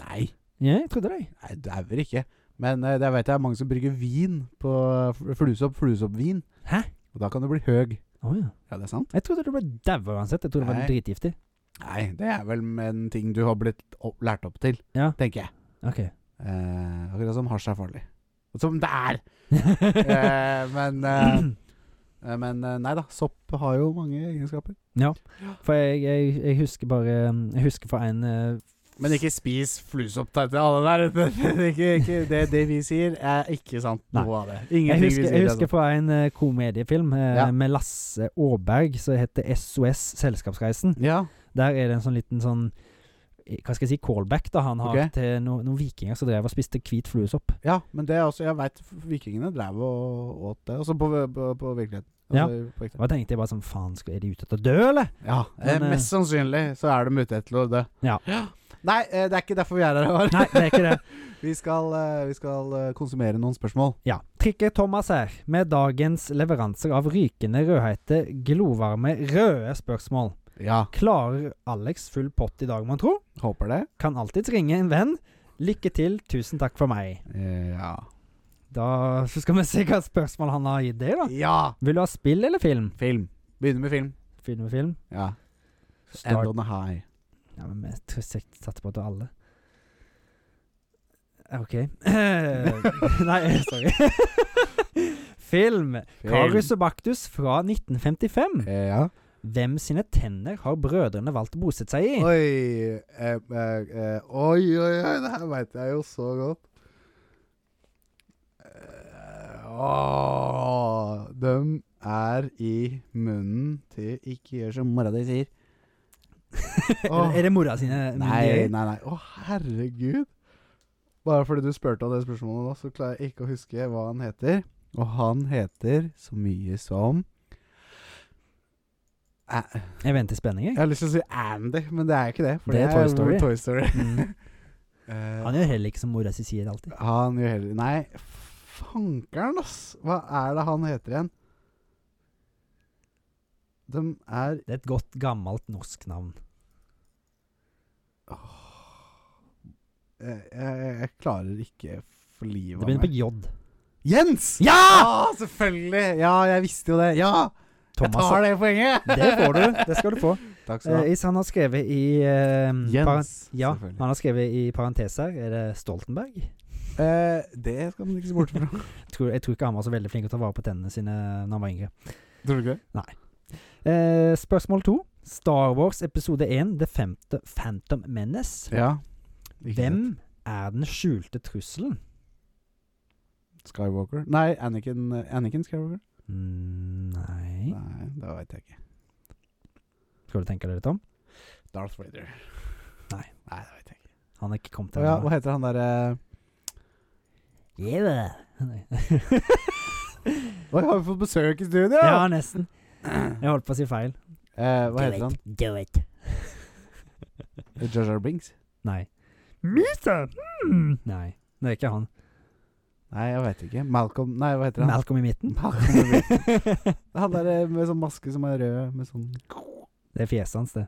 Speaker 2: Nei,
Speaker 1: Ja, jeg trodde det.
Speaker 2: nei dauer ikke. Men eh, det vet jeg er mange som brygger vin på fl- fluesopp, fluesoppvin.
Speaker 1: Hæ?
Speaker 2: Og da kan du bli høg.
Speaker 1: Å ja.
Speaker 2: Ja, det er sant.
Speaker 1: Jeg trodde du ble daua uansett. Jeg trodde det
Speaker 2: Nei.
Speaker 1: var dritgiftig.
Speaker 2: Nei, det er vel en ting du har blitt opp, lært opp til,
Speaker 1: Ja.
Speaker 2: tenker jeg.
Speaker 1: Ok.
Speaker 2: Eh, akkurat som hasj er farlig. Som det er! [LAUGHS] Eh, men eh, eh, men eh, nei da, sopp har jo mange egenskaper.
Speaker 1: [LAUGHS] For jeg, jeg, jeg husker bare Jeg husker fra en eh,
Speaker 2: Men ikke spis fluesopp til alle der. ute. [LAUGHS] ikke, ikke, det, det vi sier, er ikke sant,
Speaker 1: Nei.
Speaker 2: noe av det.
Speaker 1: Jeg
Speaker 2: Ingenting
Speaker 1: husker,
Speaker 2: vi sier.
Speaker 1: jeg husker fra en eh, komediefilm eh,
Speaker 2: altså. Ja.
Speaker 1: med Lasse Aaberg som heter SOS Selskapsreisen.
Speaker 2: Ja,
Speaker 1: Der er det en sånn liten sånn eh, Hva skal jeg si, callback da han har
Speaker 2: Ok.
Speaker 1: til no, noen vikinger som drev og spiste hvit fluesopp.
Speaker 2: ja, men det er også Jeg veit vikingene drev og åt det. Også på, på, på virkeligheten. Altså, på ekte.
Speaker 1: Da tenkte jeg bare sånn Faen, skal- er de ute etter å dø, eller?
Speaker 2: Ja, eh,
Speaker 1: Men, eh,
Speaker 2: mest sannsynlig så er de ute etter å dø.
Speaker 1: Ja.
Speaker 2: Nei, eh, det er ikke derfor vi er her. Håvard.
Speaker 1: Nei, det er ikke det.
Speaker 2: [LAUGHS] Vi skal, eh, vi skal eh, konsumere noen spørsmål.
Speaker 1: Ja. Trikker Thomas her, med dagens leveranser av rykende rødhete, glovarme, røde spørsmål.
Speaker 2: Ja,
Speaker 1: Klarer Alex full pott i dag, mon tro?
Speaker 2: håper det.
Speaker 1: Kan alltids ringe en venn. Lykke til, tusen takk for meg.
Speaker 2: Eh, Ja.
Speaker 1: Da så skal vi se hva spørsmål han har gitt deg, da.
Speaker 2: ja.
Speaker 1: Vil du ha spill eller film?
Speaker 2: Film. Begynner med film.
Speaker 1: Film og film?
Speaker 2: Ja. End
Speaker 1: Start.
Speaker 2: on a high.
Speaker 1: Ja, men jeg tror jeg satte på til alle. Eh,
Speaker 2: [LAUGHS]
Speaker 1: OK. [LAUGHS] Nei, [LAUGHS] sorry. film. Karius og Baktus fra 1955.
Speaker 2: Eh, ja.
Speaker 1: Hvem sine tenner har brødrene valgt å bosette seg i? [LAUGHS]
Speaker 2: Oi. Eh, eh, eh, oi, oi, oi. Det her veit jeg jo så godt. Eh, Åh, de er i munnen til Ikke gjør som mora di sier. Åh.
Speaker 1: Er det mora sine? eh,
Speaker 2: Nei, nei, nei. Å, herregud. Bare fordi du spurte om det spørsmålet nå, så klarer jeg ikke å huske hva han heter. Og han heter så mye som Æ-
Speaker 1: Jeg venter i spenning,
Speaker 2: Jeg
Speaker 1: jeg.
Speaker 2: har lyst til å si Andy, men det er ikke det. For
Speaker 1: Det er Toy Story. [LAUGHS]
Speaker 2: Toy Story.
Speaker 1: Mm.
Speaker 2: [LAUGHS] Eh,
Speaker 1: Han gjør heller ikke som mora si sier alltid.
Speaker 2: han gjør heller Nei, fankeren, ass! Hva er det han heter igjen? De er
Speaker 1: Det er et godt, gammelt norsk navn.
Speaker 2: eh, jeg, jeg klarer ikke for
Speaker 1: Det
Speaker 2: livet av
Speaker 1: begynner på
Speaker 2: meg.
Speaker 1: J.
Speaker 2: Jens!
Speaker 1: Ja!
Speaker 2: Ja, selvfølgelig! Ja, jeg visste jo det. Ja! jeg
Speaker 1: Thomas.
Speaker 2: tar det poenget!
Speaker 1: Det får du. Det skal du få.
Speaker 2: [LAUGHS] Takk skal du ha.
Speaker 1: Eh, is- han har skrevet i eh,
Speaker 2: Jens,
Speaker 1: paren- Ja,
Speaker 2: selvfølgelig.
Speaker 1: han har skrevet i parentes her. Er det Stoltenberg?
Speaker 2: Eh, det skal man ikke se bort
Speaker 1: [LAUGHS]
Speaker 2: fra.
Speaker 1: Tror, jeg tror ikke han var så veldig flink til å ta vare på tennene sine eh, når han var yngre.
Speaker 2: Tror du ikke det?
Speaker 1: Eh, spørsmål to. Star Wars episode én, Det femte Phantom Menace.
Speaker 2: Ja.
Speaker 1: Hvem er den skjulte trusselen?
Speaker 2: Skywalker? Nei, Anakin, eh, Anakin Skywalker?
Speaker 1: Mm, nei
Speaker 2: Nei, det veit jeg ikke.
Speaker 1: Skal du tenke deg litt om?
Speaker 2: Darth Vader.
Speaker 1: Nei.
Speaker 2: Nei, det veit jeg ikke.
Speaker 1: Han er ikke kommet
Speaker 2: Å
Speaker 1: til
Speaker 2: ja,
Speaker 1: ennå.
Speaker 2: hva heter han eh? derre
Speaker 1: [LAUGHS] Yeah. Nei.
Speaker 2: Oi, har vi fått besøk i studio?
Speaker 1: ja, nesten.
Speaker 2: [CLEARS THROAT]
Speaker 1: Jeg holdt på å si feil.
Speaker 2: Eh, hva heter han?
Speaker 3: Do it.
Speaker 2: Jar Jar Binks?
Speaker 1: Nei. Misa! Mm.
Speaker 2: Hmm.
Speaker 1: Nei, det er ikke han.
Speaker 2: Nei, jeg veit ikke. Malcolm Nei, hva heter han?
Speaker 1: Malcolm i midten.
Speaker 2: Malcolm. han derre med sånn maske som er rød, med sånn
Speaker 1: [LAUGHS] Det er fjeset hans, det.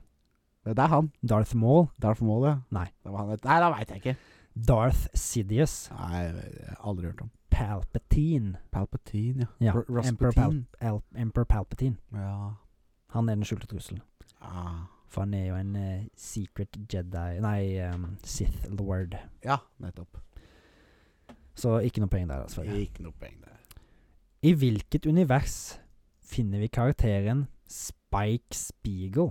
Speaker 2: Det er han.
Speaker 1: Darth Maul.
Speaker 2: Darth Maul, ja.
Speaker 1: Nei.
Speaker 2: Det var han het. Nei, det veit jeg ikke.
Speaker 1: Darth Sidious.
Speaker 2: Nei, jeg har aldri hørt om.
Speaker 1: Palpatine.
Speaker 2: Palpatine, ja.
Speaker 1: Ja,
Speaker 2: R-
Speaker 1: Emperor, Pal
Speaker 2: Rasputin.
Speaker 1: Al Emperor Palpatine.
Speaker 2: Ja.
Speaker 1: Han er den skjulte trusselen.
Speaker 2: Ah.
Speaker 1: For han er jo en eh, secret Jedi Nei, ehm, Sith Lord.
Speaker 2: ja, nettopp.
Speaker 1: Så ikke noe poeng der, dessverre.
Speaker 2: Ikke noe poeng der.
Speaker 1: I hvilket univers finner vi karakteren Spike Spiegel?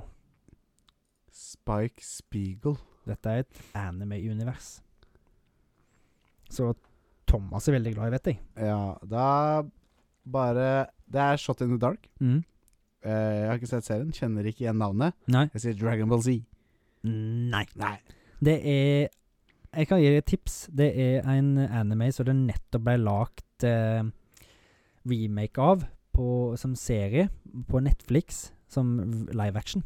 Speaker 2: Spike Spiegel.
Speaker 1: Dette er et anime-univers. Så Thomas er veldig glad i, vet jeg.
Speaker 2: Ja, da bare Det er Shot in the Dark.
Speaker 1: Mm.
Speaker 2: Eh, jeg har ikke sett serien, kjenner ikke igjen navnet.
Speaker 1: Nei.
Speaker 2: Jeg sier Dragon Ball Z.
Speaker 1: Nei.
Speaker 2: Nei.
Speaker 1: Det er Jeg kan gi deg et tips. Det er en anime som det nettopp ble lagt eh, remake av på, som serie på Netflix, som v- live action.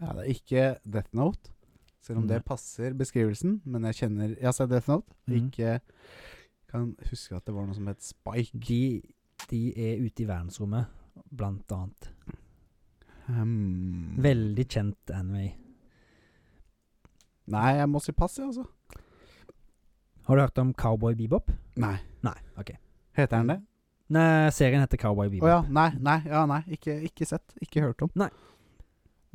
Speaker 2: Ja, det er ikke Death Note, selv om
Speaker 1: Nei.
Speaker 2: det passer beskrivelsen. Men jeg kjenner Jeg har sett Death Note.
Speaker 1: Mhm.
Speaker 2: Ikke kan huske at det var noe som het Spike.
Speaker 1: De, de er ute i verdensrommet, blant annet.
Speaker 2: Hmm.
Speaker 1: Veldig kjent anime.
Speaker 2: Nei, jeg må si pass, jeg, altså.
Speaker 1: Har du hørt om Cowboy Bebop?
Speaker 2: Nei. Mm.
Speaker 1: Nei. ok.
Speaker 2: Heter den det?
Speaker 1: Nei, serien heter Cowboy
Speaker 2: Å
Speaker 1: Bebop.
Speaker 2: ja. Nei, nei, ja, nei. Ikke, ikke sett. Ikke hørt om.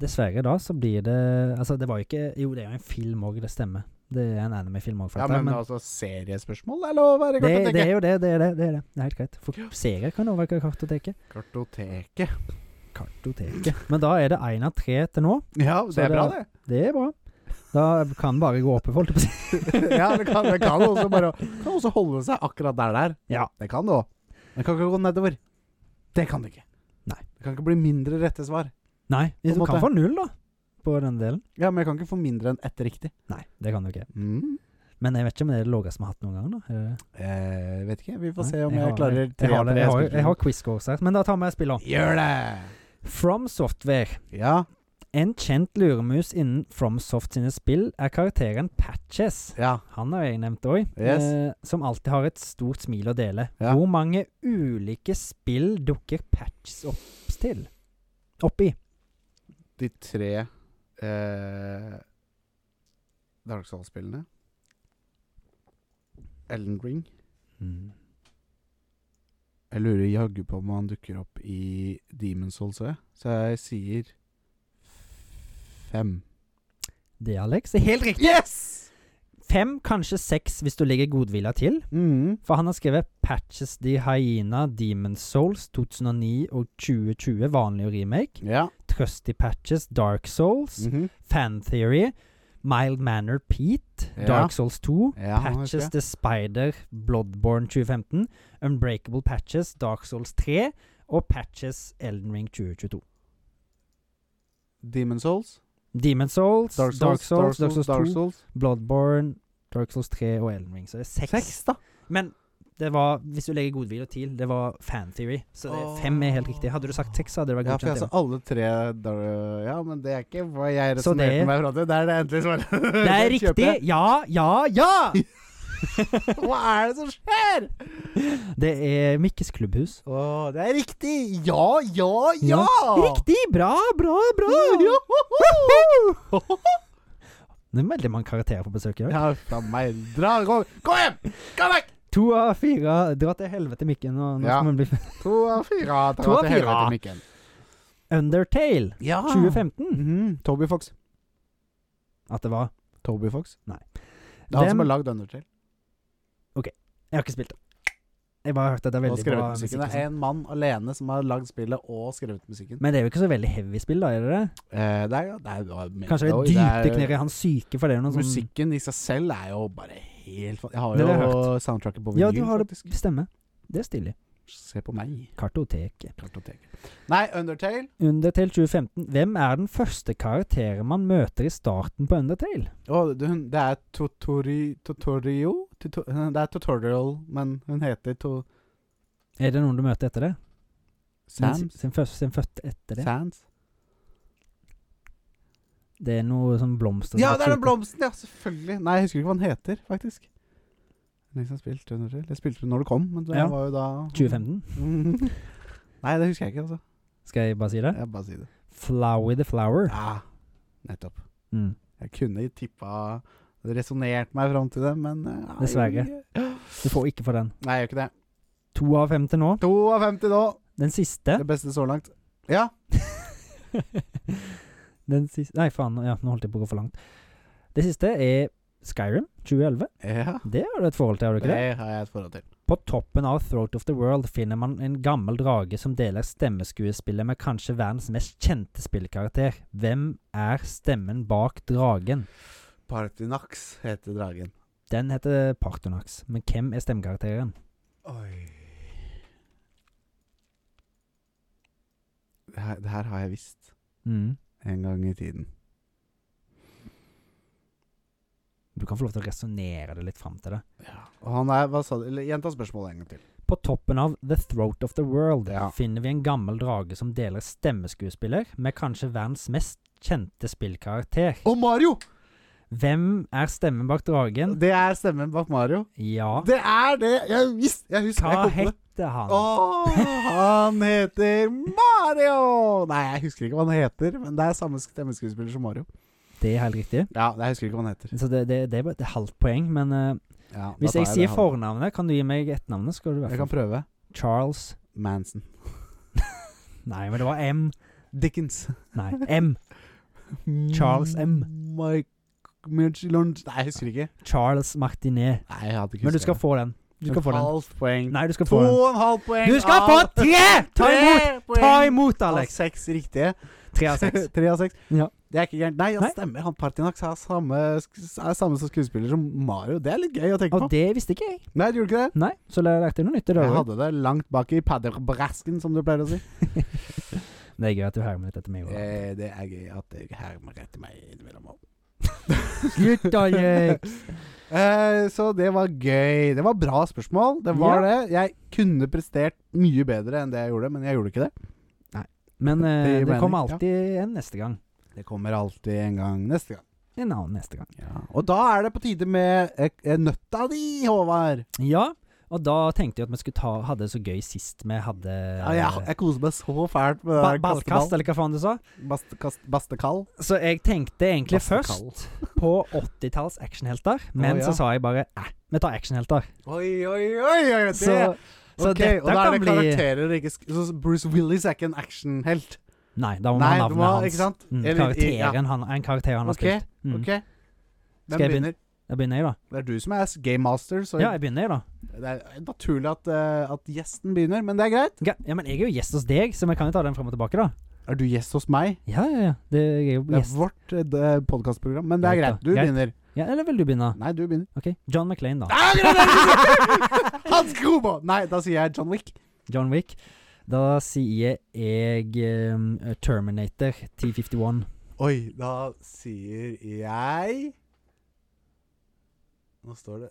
Speaker 1: Dessverre, da, så blir det Altså, det var jo ikke Jo, det er jo en film òg, det stemmer. Det er en anime-film òg, for
Speaker 2: Ja,
Speaker 1: dette.
Speaker 2: men,
Speaker 1: Men,
Speaker 2: altså, seriespørsmål er lov å være i
Speaker 1: det, det
Speaker 2: kartoteket.
Speaker 1: er jo det. Det er det. Det er, det. Det er helt greit. For serier kan òg være kartoteket.
Speaker 2: Kartoteket.
Speaker 1: Kartoteket. Men da er det én av tre til nå.
Speaker 2: Ja,
Speaker 1: Så
Speaker 2: det er
Speaker 1: det
Speaker 2: bra,
Speaker 1: er-
Speaker 2: det.
Speaker 1: Det er bra. Da kan bare gå oppover, holdt jeg på å si.
Speaker 2: [LAUGHS] ja, det kan, det kan også bare kan også holde seg akkurat der der.
Speaker 1: Ja.
Speaker 2: Det kan det òg. Men det kan ikke gå nedover. Det kan det ikke.
Speaker 1: Nei.
Speaker 2: Det kan ikke bli mindre rette svar.
Speaker 1: Nei,
Speaker 2: en
Speaker 1: du
Speaker 2: måte.
Speaker 1: kan få null, da. På den delen.
Speaker 2: Ja, men jeg kan ikke få mindre enn ett riktig.
Speaker 1: Nei, det kan du ikke.
Speaker 2: Mm.
Speaker 1: Men jeg vet ikke om det er det laveste vi har hatt noen gang, da. Er det det?
Speaker 2: Eh, vet ikke. Vi får
Speaker 1: Nei,
Speaker 2: se om jeg,
Speaker 1: jeg har-
Speaker 2: klarer
Speaker 1: Jeg
Speaker 2: tre
Speaker 1: har,
Speaker 2: av
Speaker 1: det,
Speaker 2: tre
Speaker 1: jeg har,
Speaker 2: spørsmål.
Speaker 1: jeg har quiz scores her, men da tar vi et spill òg.
Speaker 2: Gjør det!
Speaker 1: From Software.
Speaker 2: Ja.
Speaker 1: En kjent luremus innen FromSoft sine spill er karakteren Patches.
Speaker 2: Ja.
Speaker 1: Han har jeg nevnt òg.
Speaker 2: Yes.
Speaker 1: som alltid har et stort smil å dele.
Speaker 2: Ja.
Speaker 1: Hvor mange ulike spill dukker Patches opp til? Opp i?
Speaker 2: De tre eh, Dark Souls-spillene. Elden Ring. Mm. Jeg lurer jaggu på om han dukker opp i Demon's Souls òg, så jeg sier fem.
Speaker 1: Det, Alex, er helt riktig.
Speaker 2: Yes!
Speaker 1: Fem, kanskje seks hvis du ligger godvilla til.
Speaker 2: Mm.
Speaker 1: For han har skrevet Patches de Hyena Demon Souls 2009 og 2020, vanlig og remake.
Speaker 2: Ja.
Speaker 1: Trusty Patches Dark Souls.
Speaker 2: Mhm.
Speaker 1: Fan Theory, Mild Manor Pete,
Speaker 2: Ja.
Speaker 1: Dark Souls 2,
Speaker 2: Ja, han har
Speaker 1: Patches
Speaker 2: skrevet.
Speaker 1: The Spider, Bloodborne 2015, Unbreakable Patches, Dark Souls 3 og Patches Elden Ring 2022.
Speaker 2: Demon's Souls.
Speaker 1: Demon Souls, Dark Souls, Dark Souls,
Speaker 2: Dark Souls,
Speaker 1: 2, Bloodborne, Dark Souls 3 og Elden Ring. Så det er seks.
Speaker 2: da.
Speaker 1: Men det var, hvis du legger godvilje til, det var Fan Theory. Så det,
Speaker 2: Åh.
Speaker 1: fem er helt riktig. Hadde du sagt seks, så hadde det vært
Speaker 2: Ja, for
Speaker 1: godkjent.
Speaker 2: jeg sa
Speaker 1: igjen.
Speaker 2: alle tre dar Ja, men det er ikke hva jeg
Speaker 1: Så
Speaker 2: resonnerte
Speaker 1: det-
Speaker 2: meg fram til. Det er det endelige svaret.
Speaker 1: [LAUGHS] det er
Speaker 2: Jeg [LAUGHS] kjøper
Speaker 1: riktig! Ja, ja, ja!
Speaker 2: [LAUGHS] det. Hva er det som skjer?
Speaker 1: Det er Mikkes klubbhus.
Speaker 2: Å, det er riktig! Ja, ja, ja!
Speaker 1: Ja, Riktig! Bra, bra, bra!
Speaker 2: Ja.
Speaker 1: Joho! Det er veldig mange karakterer på besøk i dag.
Speaker 2: Ja, faen meg. Dra, kom, kom hjem! Kom vekk!
Speaker 1: To av fire Dra til helvete, Mikken. Nå, nå
Speaker 2: Ja.
Speaker 1: skal vi bli
Speaker 2: To av fire. dra
Speaker 1: To av
Speaker 2: til
Speaker 1: fire.
Speaker 2: helvete, Mikkel.
Speaker 1: Undertale
Speaker 2: Ja.
Speaker 1: 2015.
Speaker 2: Toby Fox.
Speaker 1: At det var.
Speaker 2: Toby Fox?
Speaker 1: Nei.
Speaker 2: Det er han
Speaker 1: Hvem-
Speaker 2: som har lagd Undertale.
Speaker 1: Jeg har ikke spilt det. Jeg bare hørte at det er
Speaker 2: Og
Speaker 1: veldig
Speaker 2: skrevet
Speaker 1: bra
Speaker 2: musikken.
Speaker 1: musikk. og
Speaker 2: Det er en mann alene som har lagd spillet og skrevet
Speaker 1: sånn.
Speaker 2: musikken.
Speaker 1: Men det er jo ikke så veldig heavy spill, da? er det det?
Speaker 2: Eh, det er jo det er, jo- men-
Speaker 1: Kanskje det
Speaker 2: oi,
Speaker 1: er dypdykk ned i hans syke, for det er jo noe sånn
Speaker 2: altså, Musikken i seg selv er jo bare helt fa- Jeg har
Speaker 1: Det har jeg
Speaker 2: jo soundtracket på vinyl,
Speaker 1: Ja, du har det.
Speaker 2: faktisk.
Speaker 1: Stemmer. Det er stilig.
Speaker 2: Se på meg.
Speaker 1: Kartoteket.
Speaker 2: Kartoteket. Nei, Undertale
Speaker 1: Undertale 2015. Hvem er den første karakteren man møter i starten på Undertale?
Speaker 2: Å, du- hun- Det er Totori... Totorio? Tuto, det er Tutorial, men hun heter to,
Speaker 1: Er det noen du møter etter det? Sin,
Speaker 2: Sans.
Speaker 1: sin, først, sin født etter det?
Speaker 2: Sans.
Speaker 1: Det er noe sånn blomster som
Speaker 2: Ja, det
Speaker 1: vokser
Speaker 2: er den
Speaker 1: ut.
Speaker 2: blomsten! Ja, selvfølgelig. Nei, jeg husker ikke hva den heter, faktisk. Jeg har spilt Undertale. Jeg spilte den når det kom, men det
Speaker 1: Ja.
Speaker 2: var jo da
Speaker 1: 2015?
Speaker 2: Mhm. [LAUGHS] Nei, det husker jeg ikke, altså.
Speaker 1: Skal jeg bare si det?
Speaker 2: Jeg bare sier det.
Speaker 1: Flower the flower.
Speaker 2: Ja, nettopp.
Speaker 1: Mm.
Speaker 2: Jeg kunne tippa Resonnert meg fram til det, men eh,
Speaker 1: Dessverre.
Speaker 2: jeg-
Speaker 1: Du får ikke for den.
Speaker 2: Nei, jeg gjør ikke det.
Speaker 1: To av fem til nå.
Speaker 2: 52 nå.
Speaker 1: Den siste
Speaker 2: Det beste så langt. Ja.
Speaker 1: [LAUGHS] Den siste Nei, faen. Ja, nå holdt jeg på å gå for langt. Det siste er Skyrim 2011.
Speaker 2: ja.
Speaker 1: Det har du et forhold til, har du ikke det?
Speaker 2: Det har jeg et forhold til.
Speaker 1: På toppen av Throat of the World finner man en gammel drage som deler stemmeskuespillet med kanskje verdens mest kjente spillkarakter. Hvem er stemmen bak dragen?
Speaker 2: Partynax heter dragen.
Speaker 1: Den heter Partonax, men hvem er stemmekarakteren?
Speaker 2: Oi. Det her, det her har jeg visst
Speaker 1: Mm.
Speaker 2: en gang i tiden.
Speaker 1: Du kan få lov til å resonnere det litt fram til det.
Speaker 2: Og han er Hva sa du? Eller, Gjenta spørsmålet en gang til.
Speaker 1: På toppen av The Throat of the World
Speaker 2: Ja.
Speaker 1: finner vi en gammel drage som deler stemmeskuespiller med kanskje verdens mest kjente spillkarakter.
Speaker 2: Og Mario!
Speaker 1: Hvem er stemmen bak dragen?
Speaker 2: Det er stemmen bak Mario.
Speaker 1: Ja,
Speaker 2: Det er det! Jeg visste Jeg husker
Speaker 1: hva
Speaker 2: jeg kom på det.
Speaker 1: heter han?
Speaker 2: Åh, han heter Mario! Nei, jeg husker ikke hva han heter, men det er samme stemmeskuespiller som Mario.
Speaker 1: Det er helt riktig.
Speaker 2: Ja, jeg husker ikke hva han heter.
Speaker 1: Så det, det, det, er bare- det er halvt poeng, men eh,
Speaker 2: Ja,
Speaker 1: Hvis
Speaker 2: da
Speaker 1: jeg
Speaker 2: tar
Speaker 1: sier
Speaker 2: det, han.
Speaker 1: fornavnet, kan du gi meg etternavnet? Skal du i hvert
Speaker 2: Jeg kan
Speaker 1: fall
Speaker 2: prøve.
Speaker 1: Charles
Speaker 2: Manson.
Speaker 1: Nei, men det var M.
Speaker 2: Dickens.
Speaker 1: Nei, M. [LAUGHS] Charles M.
Speaker 2: Mike Michelin Nei, jeg husker ikke.
Speaker 1: Charles Martinet.
Speaker 2: Nei, jeg hadde ikke
Speaker 1: Men du skal få den. Du skal få den.
Speaker 2: Halvt poeng.
Speaker 1: Nei, du skal
Speaker 2: to
Speaker 1: få den.
Speaker 2: og en halv poeng.
Speaker 1: Du skal få
Speaker 2: av-
Speaker 1: tre! Ta
Speaker 2: Tre
Speaker 1: imot!
Speaker 2: poeng
Speaker 1: Ta imot,
Speaker 2: av
Speaker 1: Alex!
Speaker 2: Seks riktige.
Speaker 1: Tre av seks.
Speaker 2: Tre av seks.
Speaker 1: Ja.
Speaker 2: Det er ikke gærent. Nei, ja,
Speaker 1: Nei.
Speaker 2: stemmer. Han Partinax er samme, er samme som skuespiller som Mario. [LAUGHS] Det er litt gøy å tenke
Speaker 1: Og
Speaker 2: på.
Speaker 1: det visste ikke jeg.
Speaker 2: Nei, du gjorde ikke det?
Speaker 1: Nei, så lær- lærte jeg noe nytt i dag
Speaker 2: Jeg
Speaker 1: òg.
Speaker 2: hadde det langt bak i padderbrasken, som du pleier å si.
Speaker 1: Det er gøy at du hermer litt etter meg òg.
Speaker 2: Eh, det er gøy at jeg hermer etter meg innimellom.
Speaker 1: Slutt,
Speaker 2: [LAUGHS]
Speaker 1: Alex!
Speaker 2: Eh, så det var gøy. Det var bra spørsmål. Det var det. Jeg kunne prestert mye bedre enn det jeg gjorde, men jeg gjorde ikke det.
Speaker 1: Men eh,
Speaker 2: Det
Speaker 1: det
Speaker 2: mener
Speaker 1: kommer
Speaker 2: jeg,
Speaker 1: alltid en neste gang.
Speaker 2: Det kommer alltid en gang neste gang.
Speaker 1: En annen neste gang.
Speaker 2: Og da er det på tide med eh, eh, nøtta di, Håvard.
Speaker 1: Ja, og da tenkte jeg at vi skulle ta, hadde det så gøy sist vi hadde eh,
Speaker 2: Ja, jeg, jeg koser meg så fælt med det
Speaker 1: ba
Speaker 2: der
Speaker 1: ballkast, eller hva faen du sa.
Speaker 2: kasteball. Bastekast, bastekall.
Speaker 1: Så jeg tenkte egentlig
Speaker 2: Bastekall.
Speaker 1: først [LAUGHS] på 80-talls actionhelter, men
Speaker 2: ja.
Speaker 1: så sa jeg bare eh, vi tar actionhelter.
Speaker 2: Oi, oi, oi! oi det.
Speaker 1: Så, så
Speaker 2: Ok,
Speaker 1: dette
Speaker 2: og da er
Speaker 1: kan
Speaker 2: det
Speaker 1: bli
Speaker 2: karakterer, ikke sk så Bruce Willis er ikke en actionhelt.
Speaker 1: Nei, da må
Speaker 2: Nei,
Speaker 1: man ha
Speaker 2: du
Speaker 1: navnet
Speaker 2: må-
Speaker 1: hans.
Speaker 2: ikke sant?
Speaker 1: Mm,
Speaker 2: Eller- ja.
Speaker 1: karakteren han, en karakter han har
Speaker 2: Ok,
Speaker 1: spilt. Mm.
Speaker 2: OK?
Speaker 1: Skal
Speaker 2: Hvem
Speaker 1: jeg
Speaker 2: begynner?
Speaker 1: Da begynner jeg, da.
Speaker 2: Det er du som er s- game master, så
Speaker 1: Ja, jeg begynner, jeg, da.
Speaker 2: det er naturlig at, eh, at gjesten begynner, men det er greit.
Speaker 1: Ga- Ja, men jeg er jo gjest hos deg, så vi kan jo ta den frem og tilbake, da.
Speaker 2: Er du gjest hos meg?
Speaker 1: Ja, ja, ja. Det jeg er jo
Speaker 2: Det er
Speaker 1: gjest.
Speaker 2: vårt eh, podkastprogram, men det er
Speaker 1: Greit
Speaker 2: greit.
Speaker 1: da,
Speaker 2: Du
Speaker 1: greit.
Speaker 2: begynner.
Speaker 1: Ja, eller vil du begynne?
Speaker 2: Nei, du begynner. [LAUGHS]
Speaker 1: Ok, John McClane, da.
Speaker 2: Ah, greit, greit, greit. Hans Grobo! Nei, da sier jeg John Wick.
Speaker 1: John Wick. Da sier jeg ehm, Terminator 1051.
Speaker 2: Oi, da sier jeg Nå står det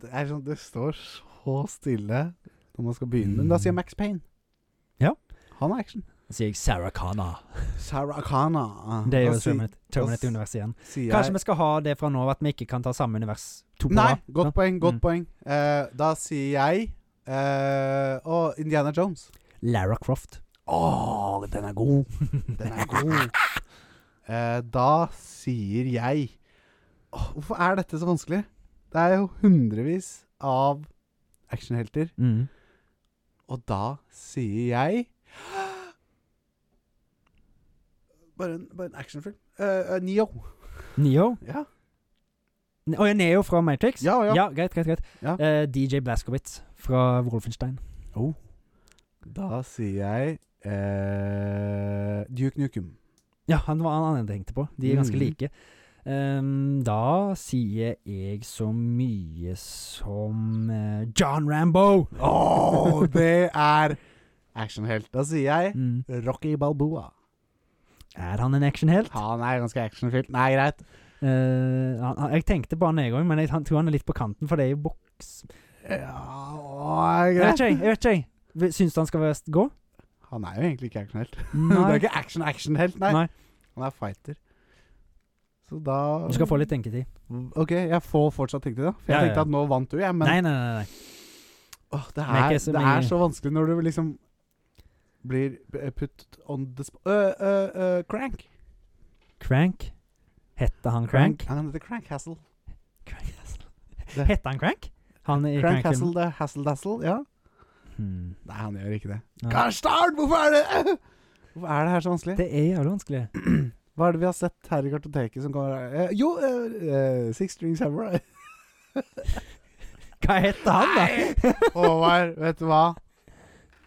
Speaker 2: Det, er sånn, det står så stille når man skal begynne. Men da sier jeg Max Payne.
Speaker 1: Ja.
Speaker 2: Han er action.
Speaker 1: Da sier jeg Sarah Connor.
Speaker 2: Sarah Connor.
Speaker 1: Det er jo
Speaker 2: Da si-
Speaker 1: Terminator-
Speaker 2: da s-
Speaker 1: Terminator-universet igjen.
Speaker 2: sier jeg-
Speaker 1: Kanskje vi skal ha det fra nå av at vi ikke kan ta samme univers to på
Speaker 2: Nei,
Speaker 1: rad?
Speaker 2: godt
Speaker 1: Ja.
Speaker 2: poeng. Godt
Speaker 1: Mm.
Speaker 2: poeng. Eh, da sier jeg eh, Å, Indiana Jones.
Speaker 1: Lara Croft.
Speaker 2: Å, den er god. [LAUGHS] Den er god. Eh, da sier jeg Åh, Hvorfor er dette så vanskelig? Det er jo hundrevis av actionhelter.
Speaker 1: Mm.
Speaker 2: Og da sier jeg [GASPS] Bare en, bare en actionfilm. Uh, Neo.
Speaker 1: Neo.
Speaker 2: Ja.
Speaker 1: Å ja, Neo fra Matrix?
Speaker 2: Ja, ja.
Speaker 1: greit, greit. greit.
Speaker 2: Ja.
Speaker 1: Eh, DJ Blaskowitz fra Wolfenstein.
Speaker 2: Da sier jeg eh, Duke Nukem.
Speaker 1: Ja, han var han jeg tenkte på. De er ganske
Speaker 2: Mhm.
Speaker 1: like. Ehm, da sier jeg så mye som eh, John Rambo!
Speaker 2: Åh, [LAUGHS] det er actionhelt. Da sier jeg
Speaker 1: Mm.
Speaker 2: Rocky Balboa.
Speaker 1: Er han en actionhelt?
Speaker 2: Han er ganske actionfylt. Nei, greit.
Speaker 1: Eh, han- han- jeg tenkte på han en gang, men jeg han, tror han er litt på kanten, for det er jo boks...
Speaker 2: Ja, åh,
Speaker 1: Jeg vet
Speaker 2: greit.
Speaker 1: ikke, jeg. vet ikke jeg. Vi- Syns du han skal være st- gå?
Speaker 2: Han er jo egentlig ikke [LAUGHS] actionhelt. [LAUGHS] Det er
Speaker 1: Nei.
Speaker 2: ikke action-actionhelt, nei.
Speaker 1: Nei.
Speaker 2: Han er fighter. Så da
Speaker 1: Du skal få litt tenketid.
Speaker 2: OK, jeg får fortsatt tenke det. da. For
Speaker 1: Ja,
Speaker 2: jeg
Speaker 1: ja,
Speaker 2: tenkte
Speaker 1: ja.
Speaker 2: at nå vant du, jeg, men
Speaker 1: Nei, nei, nei. nei.
Speaker 2: åh, det,
Speaker 1: Men
Speaker 2: er,
Speaker 1: ikke så
Speaker 2: det
Speaker 1: mye.
Speaker 2: er så vanskelig når du liksom blir eh, put on the spot øh, øh, øh, Crank.
Speaker 1: Crank? Hette han Crank?
Speaker 2: Han heter Crank Hassel.
Speaker 1: Crank
Speaker 2: Det-
Speaker 1: Hette han Crank? Han i
Speaker 2: Crank
Speaker 1: Crank
Speaker 2: Hassel, det er Hassel Dassel, ja.
Speaker 1: Hmm.
Speaker 2: Nei, han gjør ikke det.
Speaker 1: Nei.
Speaker 2: Karstad, hvorfor er det [LAUGHS] Hvorfor er det her så vanskelig?
Speaker 1: Det er jævlig vanskelig.
Speaker 2: Hva er det vi har sett her i kartoteket som kommer eh, Jo, eh, eh, Six String Samurai.
Speaker 1: Hva heter han, da?
Speaker 2: Håvard, vet du hva?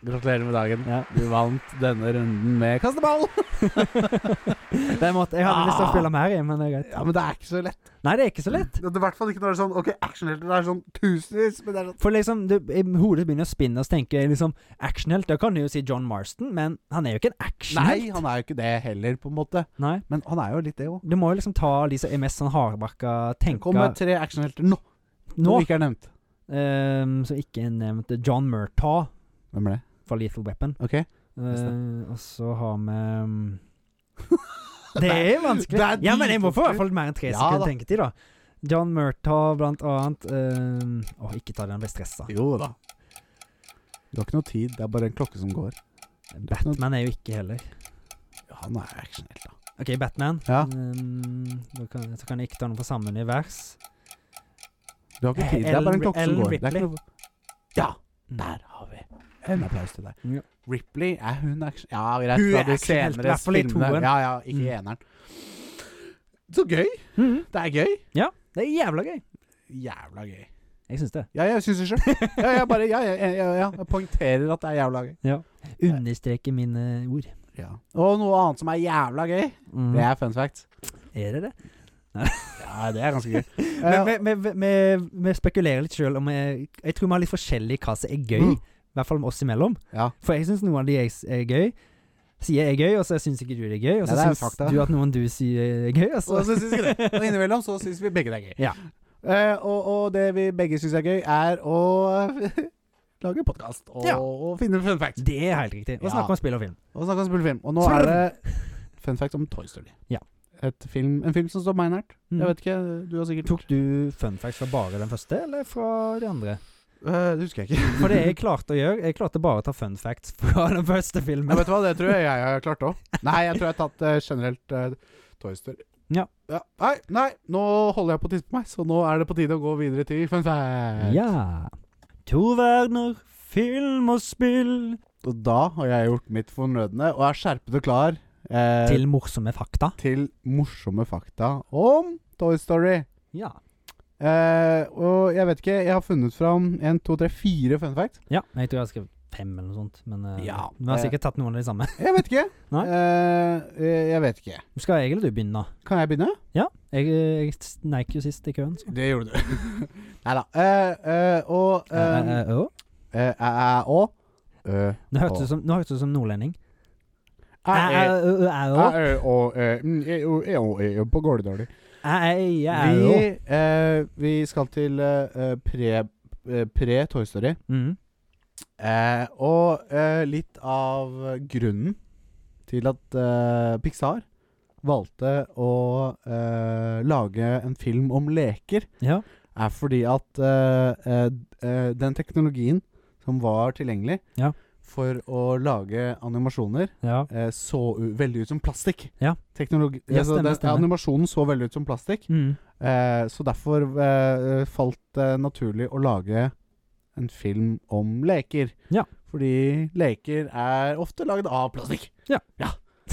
Speaker 2: Gratulerer med dagen.
Speaker 1: Ja.
Speaker 2: Du vant denne runden med kasteball.
Speaker 1: Det måtte, jeg hadde lyst til å spille mer i, men det er greit.
Speaker 2: [LAUGHS] Ja, Men det er ikke så lett.
Speaker 1: Nei, det er ikke så lett.
Speaker 2: Det er I hvert fall ikke når det er sånn Ok, actionhelter det er sånn tusenvis, men det er sånn
Speaker 1: For liksom, du, i hodet begynner å spinne, og så tenker jeg liksom Actionhelt, da kan du jo si John Marston, men han er jo ikke en
Speaker 2: Nei,
Speaker 1: actionhelt.
Speaker 2: han er jo ikke det heller, på en måte.
Speaker 1: Nei.
Speaker 2: Men han er jo litt det òg.
Speaker 1: Du må jo liksom ta de som er mest sånn hardbarka,
Speaker 2: Det
Speaker 1: tenke
Speaker 2: kommer tre actionhelter nå,
Speaker 1: nå,
Speaker 2: som ikke er nevnt.
Speaker 1: ehm, som ikke er nevnt. John Murtaugh
Speaker 2: Hvem er det?
Speaker 1: fra Lethal Weapon.
Speaker 2: Ok
Speaker 1: Eh, og så har vi ehm, [LAUGHS] Det er vanskelig.
Speaker 2: mm, det er
Speaker 1: ja, men jeg må få i
Speaker 2: dritvanskelig.
Speaker 1: hvert fall mer enn tre
Speaker 2: Ja da.
Speaker 1: sekunder tenketid, da. John Murtaugh, blant annet. ehm, Åh, ikke ta den, jeg blir stressa.
Speaker 2: Jo da. Du har ikke noe tid, det er bare en klokke som går.
Speaker 1: Batman er jo ikke heller.
Speaker 2: Ja, han er actionhelt, da.
Speaker 1: Ok, Batman. Eh,
Speaker 2: Ja.
Speaker 1: Um, da kan, så kan jeg ikke ta noe på samme univers.
Speaker 2: Du har ikke tid. Det er bare en
Speaker 1: Ellen-
Speaker 2: klokke som
Speaker 1: Ellen
Speaker 2: går. Det er ikke
Speaker 1: Ripley.
Speaker 2: noe... Ja, der har vi. En applaus til deg.
Speaker 1: Ja.
Speaker 2: Ripley, er hun action... Ja, greit.
Speaker 1: Hun
Speaker 2: fra
Speaker 1: er
Speaker 2: de
Speaker 1: actionhelten,
Speaker 2: senere
Speaker 1: i hvert fall i
Speaker 2: filmene.
Speaker 1: toen.
Speaker 2: Ja, ja, ikke i eneren. Så gøy.
Speaker 1: Mhm.
Speaker 2: Det er gøy.
Speaker 1: Det er jævla gøy.
Speaker 2: Jævla gøy.
Speaker 1: Jeg syns det.
Speaker 2: Ja, jeg syns det sjøl. [LAUGHS] Ja, jeg bare ja, ja, ja, ja, ja. Jeg poengterer at det er jævla gøy.
Speaker 1: Understreker mine ord.
Speaker 2: Ja. Og noe annet som er jævla gøy,
Speaker 1: Mm.
Speaker 2: det er fun fact.
Speaker 1: Er det det?
Speaker 2: Ja, det er ganske [LAUGHS] gøy. Eh,
Speaker 1: Men vi- vi- vi- vi spekulerer litt sjøl om jeg, jeg tror vi har litt forskjellig hva som er gøy.
Speaker 2: Mm.
Speaker 1: I hvert fall med oss imellom.
Speaker 2: Ja.
Speaker 1: For jeg syns noen av de jeg s- er gøy, sier er gøy, og så syns ikke du det er gøy. Og så
Speaker 2: Ja, det er
Speaker 1: syns
Speaker 2: fakta.
Speaker 1: du at noen du sier er gøy, og
Speaker 2: Og
Speaker 1: så
Speaker 2: så syns vi det. Og innimellom så syns vi begge det er gøy.
Speaker 1: Ja.
Speaker 2: Eh, og, og det vi begge syns er gøy, er å [LAUGHS] lage podkast og,
Speaker 1: Ja.
Speaker 2: og finne fun fact.
Speaker 1: Det er helt riktig. Og
Speaker 2: Ja.
Speaker 1: snakke om spill og film.
Speaker 2: Og snakke om spillefilm. Og nå er det fun fact om Toy Story.
Speaker 1: Ja.
Speaker 2: Et film, en film som står meg nært.
Speaker 1: Mm.
Speaker 2: [LAUGHS] Jeg vet ikke, du har sikkert
Speaker 1: Tok du Mm. fun facts fra bare den første, eller fra de andre?
Speaker 2: Eh, Det husker jeg ikke.
Speaker 1: For det jeg klarte å gjøre Jeg klarte bare å ta fun facts fra den første filmen.
Speaker 2: Men vet du hva, det tror jeg jeg har klart òg. Nei, jeg tror jeg har tatt eh, generelt eh, Toy Story.
Speaker 1: Ja.
Speaker 2: Nei, nei, nå holder jeg på å tisse på meg, så nå er det på tide å gå videre til fun fact.
Speaker 1: Ja. To verdener, film og spill
Speaker 2: Og da har jeg gjort mitt fornødne og er skjerpet og klar eh,
Speaker 1: Til morsomme fakta.
Speaker 2: til morsomme fakta om Toy Story.
Speaker 1: Ja.
Speaker 2: Eh, og jeg vet ikke, jeg har funnet fram en, to, tre, fire fun fact.
Speaker 1: ja. Jeg tror jeg har skrevet fem eller noe sånt, men eh,
Speaker 2: Ja.
Speaker 1: vi har
Speaker 2: Eh.
Speaker 1: sikkert tatt noen av de samme. [LAUGHS]
Speaker 2: Jeg vet ikke.
Speaker 1: Nei.
Speaker 2: Eh, eh, jeg vet ikke.
Speaker 1: Skal jeg eller du begynne? da?
Speaker 2: Kan jeg begynne?
Speaker 1: Jeg, eh, jeg sneik jo sist i køen. Så.
Speaker 2: Det gjorde [LAUGHS] du. Nei da. Eh, eh, og
Speaker 1: Eh, eh,
Speaker 2: eh,
Speaker 1: eh, å.
Speaker 2: eh, eh, og eh,
Speaker 1: Nå hørtes
Speaker 2: å.
Speaker 1: du som, nå hørtes du som nordlending.
Speaker 2: Eh, eh,
Speaker 1: Eh, eh, eh, eh, å.
Speaker 2: eh, eh, og, eh, mm, eh, og, eh, og, eh, På går det dårlig?
Speaker 1: Eh, eh, eh,
Speaker 2: Vi,
Speaker 1: å.
Speaker 2: eh, vi skal til eh, eh, pre, eh, pre Toy Story.
Speaker 1: Mm.
Speaker 2: Eh, og eh, litt av grunnen til at eh, Pixar valgte å eh, lage en film om leker,
Speaker 1: Ja.
Speaker 2: er fordi at eh, eh, eh, den teknologien som var tilgjengelig
Speaker 1: Ja.
Speaker 2: for å lage animasjoner,
Speaker 1: ja.
Speaker 2: eh, så u veldig ut som plastikk.
Speaker 1: Ja.
Speaker 2: Teknologi
Speaker 1: Ja,
Speaker 2: altså,
Speaker 1: stemmer,
Speaker 2: den,
Speaker 1: stemmer.
Speaker 2: Animasjonen så veldig ut som plastikk.
Speaker 1: Mm.
Speaker 2: [LAUGHS] Eh, så derfor eh, falt det naturlig å lage en film om leker.
Speaker 1: Ja.
Speaker 2: Fordi leker er ofte lagd av plastikk.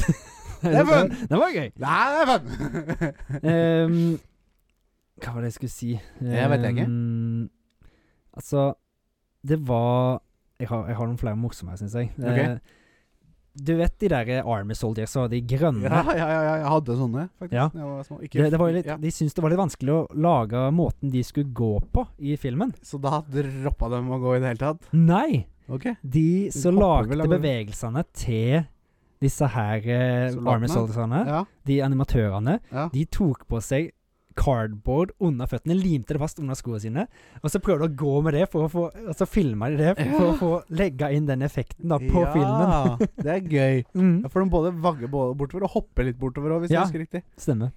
Speaker 2: er fun.
Speaker 1: den, den var gøy.
Speaker 2: Nei, det er [LAUGHS] fun!
Speaker 1: [LAUGHS] Ehm, hva var det jeg skulle si?
Speaker 2: Jeg vet ikke.
Speaker 1: Ehm, altså, det var Jeg har, jeg har noen flere morsomme her, syns jeg.
Speaker 2: Ok.
Speaker 1: Eh, du vet de der eh, Army Soldiers og de grønne?
Speaker 2: ja, ja, ja, ja, jeg hadde sånne, faktisk.
Speaker 1: Ja.
Speaker 2: da Jeg var små. Ikke,
Speaker 1: Det, det var jo litt,
Speaker 2: ja.
Speaker 1: De syntes det var litt vanskelig å lage måten de skulle gå på i filmen.
Speaker 2: Så da droppa dem å gå i det hele tatt?
Speaker 1: Nei!
Speaker 2: Ok.
Speaker 1: De som
Speaker 2: hopper vel
Speaker 1: lagde
Speaker 2: av-
Speaker 1: bevegelsene til disse her eh,
Speaker 2: Soldatene?
Speaker 1: Army Soldiersene,
Speaker 2: Ja.
Speaker 1: de animatørene,
Speaker 2: ja.
Speaker 1: De tok på seg cardboard under føttene, limte det fast under skoene sine, og så prøvde de å gå med det, for å få, og så filma de det for å få legge inn den effekten da på filmen. [LAUGHS]
Speaker 2: det er gøy. Ja,
Speaker 1: Mm,
Speaker 2: For de både vagger bo- bortover og hopper litt bortover òg, hvis
Speaker 1: Ja.
Speaker 2: jeg husker riktig.
Speaker 1: stemmer.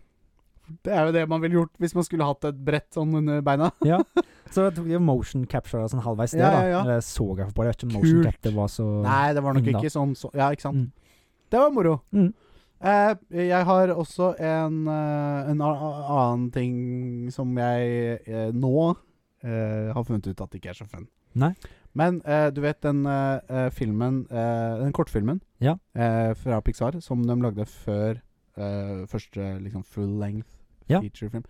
Speaker 2: Det er jo det man ville gjort hvis man skulle hatt et brett sånn under beina.
Speaker 1: Ja. Så tok de motion capture og sånn halvveis det,
Speaker 2: Ja,
Speaker 1: da.
Speaker 2: ja, ja.
Speaker 1: Eller så jeg på det. Jeg vet ikke om motion
Speaker 2: Kult.
Speaker 1: capture var så
Speaker 2: Nei, det var nok
Speaker 1: Enda.
Speaker 2: ikke sånn så, Ja, ikke sant?
Speaker 1: Mm.
Speaker 2: Det var moro.
Speaker 1: Mm.
Speaker 2: Eh, jeg har også en, eh, en a- a- annen ting som jeg eh, nå eh, har funnet ut at ikke er så fun.
Speaker 1: Nei.
Speaker 2: Men eh, du vet den eh, eh, filmen eh, Den kortfilmen
Speaker 1: Ja.
Speaker 2: eh, fra Pixar som de lagde før eh, første liksom, full length
Speaker 1: Ja.
Speaker 2: featurefilm.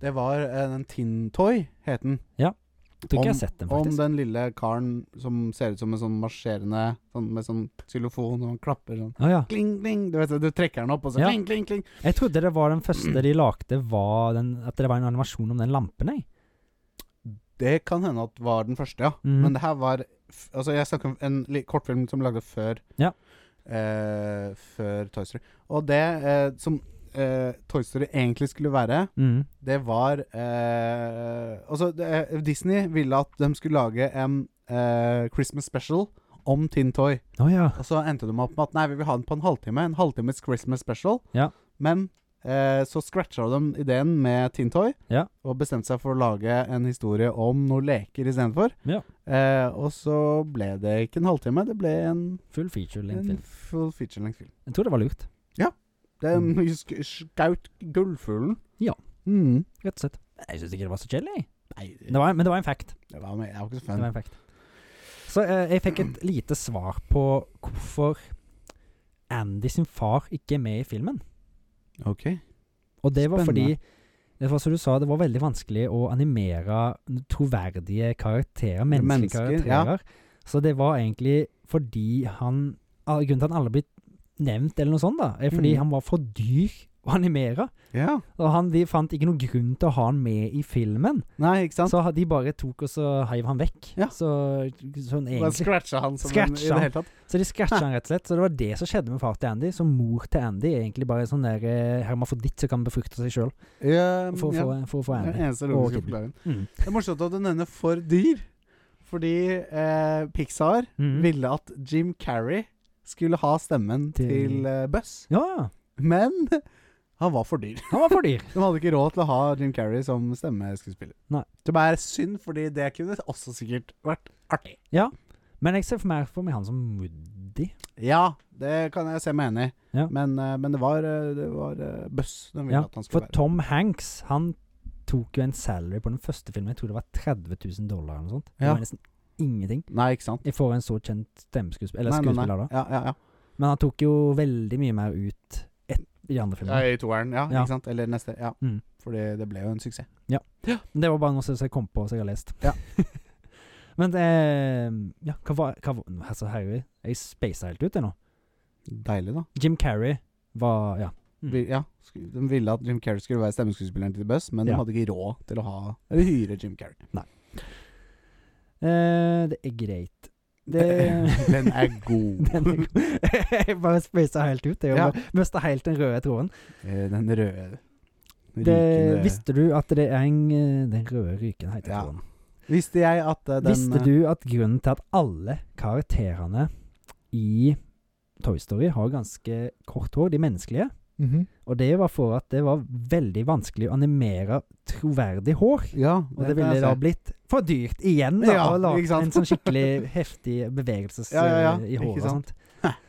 Speaker 2: Det var eh, den Tintoy, het den.
Speaker 1: jeg tror ikke jeg har
Speaker 2: om-
Speaker 1: sett den,
Speaker 2: Om
Speaker 1: faktisk.
Speaker 2: den lille karen som ser ut som en sånn marsjerende sånn, Med sånn xylofon og han klapper sånn
Speaker 1: Å ja.
Speaker 2: Kling, kling Du vet det, du trekker den opp og så
Speaker 1: Ja.
Speaker 2: kling, kling, kling
Speaker 1: Jeg trodde det var den første de lagde, var den, at det var en animasjon om den lampen, jeg.
Speaker 2: Det kan hende at var den første, ja
Speaker 1: Mhm.
Speaker 2: Men det her var f- Altså jeg snakker om en li- kortfilm som lagde før
Speaker 1: Ja.
Speaker 2: eh, Før Toy Story Og det eh, som eh, Toy Story egentlig skulle være
Speaker 1: Mm.
Speaker 2: Det var eh, Altså det, Disney ville at de skulle lage en eh, Christmas special om Tintoy
Speaker 1: Å ja.
Speaker 2: Og så endte de opp med at nei, vi vil ha den på en halvtime. En halvtimes Christmas special.
Speaker 1: Ja.
Speaker 2: Men eh, så scratcha de ideen med Tintoy,
Speaker 1: Ja.
Speaker 2: og bestemte seg for å lage en historie om noen leker istedenfor.
Speaker 1: Ja.
Speaker 2: Eh, og så ble det ikke en halvtime, det ble en,
Speaker 1: Full feature length
Speaker 2: en
Speaker 1: film.
Speaker 2: full feature-length film.
Speaker 1: Jeg tror det var lurt,
Speaker 2: Det sk- skaut gullfuglen.
Speaker 1: Mm. Ja.
Speaker 2: Mm.
Speaker 1: rett og slett. Jeg syns ikke det var så kjedelig, jeg.
Speaker 2: Nei,
Speaker 1: Det var, men det var en fact.
Speaker 2: det var, med, jeg var ikke så
Speaker 1: Det var
Speaker 2: fan.
Speaker 1: en fact. Så eh, jeg fikk et lite svar på hvorfor Andy sin far ikke er med i filmen.
Speaker 2: Ok.
Speaker 1: Og det var
Speaker 2: Spennende.
Speaker 1: fordi det var som du sa, det var veldig vanskelig å animere troverdige karakterer, menneskelige
Speaker 2: Mennesker, ja.
Speaker 1: karakterer. Så det var egentlig fordi han ah, Grunnen til at han aldri ble nevnt, eller noe sånt, da, er fordi
Speaker 2: Mhm.
Speaker 1: han var for dyr å animere.
Speaker 2: Ja.
Speaker 1: Og han, De fant ikke noen grunn til å ha han med i filmen,
Speaker 2: Nei, ikke sant?
Speaker 1: så ha- de bare tok og så heiv han vekk.
Speaker 2: Ja.
Speaker 1: Så, sånn
Speaker 2: Bare
Speaker 1: egentlig.
Speaker 2: scratcha han som en,
Speaker 1: Scratcha
Speaker 2: i det
Speaker 1: han.
Speaker 2: hele tatt.
Speaker 1: så de scratcha han rett og slett. Så det var det som skjedde med far til Andy. Så mor til Andy er egentlig bare en sånn der eh, hermafroditt som kan befrukte seg sjøl
Speaker 2: Ja,
Speaker 1: for, å
Speaker 2: Um, ja.
Speaker 1: få- for å få
Speaker 2: Det er
Speaker 1: Andy.
Speaker 2: den eneste
Speaker 1: Og
Speaker 2: logiske
Speaker 1: Kid.
Speaker 2: forklaringen.
Speaker 1: Mm.
Speaker 2: Det er morsomt at du nevner for dyr. Fordi eh, Pixar
Speaker 1: Mm.
Speaker 2: ville at Jim Carrey skulle ha stemmen
Speaker 1: Til-
Speaker 2: til, eh, Buzz,
Speaker 1: Ja,
Speaker 2: men [LAUGHS] han var for dyr.
Speaker 1: han var for dyr.
Speaker 2: De hadde ikke råd til å ha Jim Carrey som stemmeskuespiller.
Speaker 1: Nei.
Speaker 2: Det bare er synd, fordi det kunne også sikkert vært artig.
Speaker 1: Men jeg ser for meg, for meg han som Woody.
Speaker 2: Ja, det kan jeg se meg enig i,
Speaker 1: Ja.
Speaker 2: men, eh, men det var, eh, det var eh, Buzz de ville
Speaker 1: Ja,
Speaker 2: at han
Speaker 1: For
Speaker 2: skulle være.
Speaker 1: Tom Hanks, han tok jo en salary på den første filmen. Jeg tror det var 30 000 dollar eller noe sånt. Det
Speaker 2: Ja.
Speaker 1: var nesten ingenting.
Speaker 2: Nei, ikke sant?
Speaker 1: Jeg får en så kjent stemmeskuespiller, eller
Speaker 2: Nei, nei, nei.
Speaker 1: skuespiller, da.
Speaker 2: Ja, ja, ja.
Speaker 1: Men han tok jo veldig mye mer ut et, i de andre
Speaker 2: ja,
Speaker 1: filmene.
Speaker 2: I toeren, ja,
Speaker 1: Ja.
Speaker 2: Ikke sant? Eller neste. Ja.
Speaker 1: Mm.
Speaker 2: Fordi det ble jo en suksess.
Speaker 1: Men Det var bare noe som jeg kom på, som jeg har lest.
Speaker 2: Ja.
Speaker 1: [LAUGHS] Men det Ja, hva var hva, var- Altså, herregud, jeg spasa helt ut, jeg nå.
Speaker 2: Deilig, da.
Speaker 1: Jim Carrey var Ja.
Speaker 2: Vi, ja, sku- de ville at Jim Carrey skulle være stemmeskuespilleren til Buzz, men
Speaker 1: Ja.
Speaker 2: de hadde ikke råd til å ha Eller hyre Jim Carrey.
Speaker 1: Eh, det er greit. Det
Speaker 2: [LAUGHS] Den er
Speaker 1: [LAUGHS]
Speaker 2: god.
Speaker 1: Den er god. jeg bare spøysa helt ut. Jeg
Speaker 2: Ja.
Speaker 1: ja. Mista helt den røde tråden.
Speaker 2: Eh, Den røde den
Speaker 1: Det,
Speaker 2: rykende-
Speaker 1: visste du at det er en eh, Den røde ryken heter
Speaker 2: Ja,
Speaker 1: tråden.
Speaker 2: Visste jeg at eh, den
Speaker 1: visste du at grunnen til at alle karakterene i Toy Story har ganske kort hår, de menneskelige,
Speaker 2: eh,
Speaker 1: og det var for at det var veldig vanskelig å animere troverdig hår.
Speaker 2: Ja,
Speaker 1: Og det
Speaker 2: kan
Speaker 1: ville
Speaker 2: jeg
Speaker 1: da
Speaker 2: se.
Speaker 1: blitt for dyrt igjen, da,
Speaker 2: Ja,
Speaker 1: å lage
Speaker 2: ikke sant?
Speaker 1: en sånn skikkelig heftig bevegelse
Speaker 2: Ja, ja, ja,
Speaker 1: eh, i
Speaker 2: ikke
Speaker 1: håret og
Speaker 2: sant?
Speaker 1: sånt.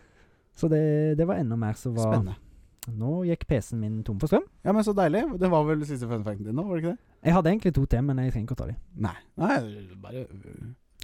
Speaker 1: Så det, det var enda mer som var
Speaker 2: Spennende.
Speaker 1: Nå gikk PC-en min tom for strøm.
Speaker 2: Ja, men så deilig. Det var vel siste fun facten din nå, var det ikke det?
Speaker 1: Jeg hadde egentlig to til, men jeg trenger ikke å ta dem.
Speaker 2: Nei. Nei, bare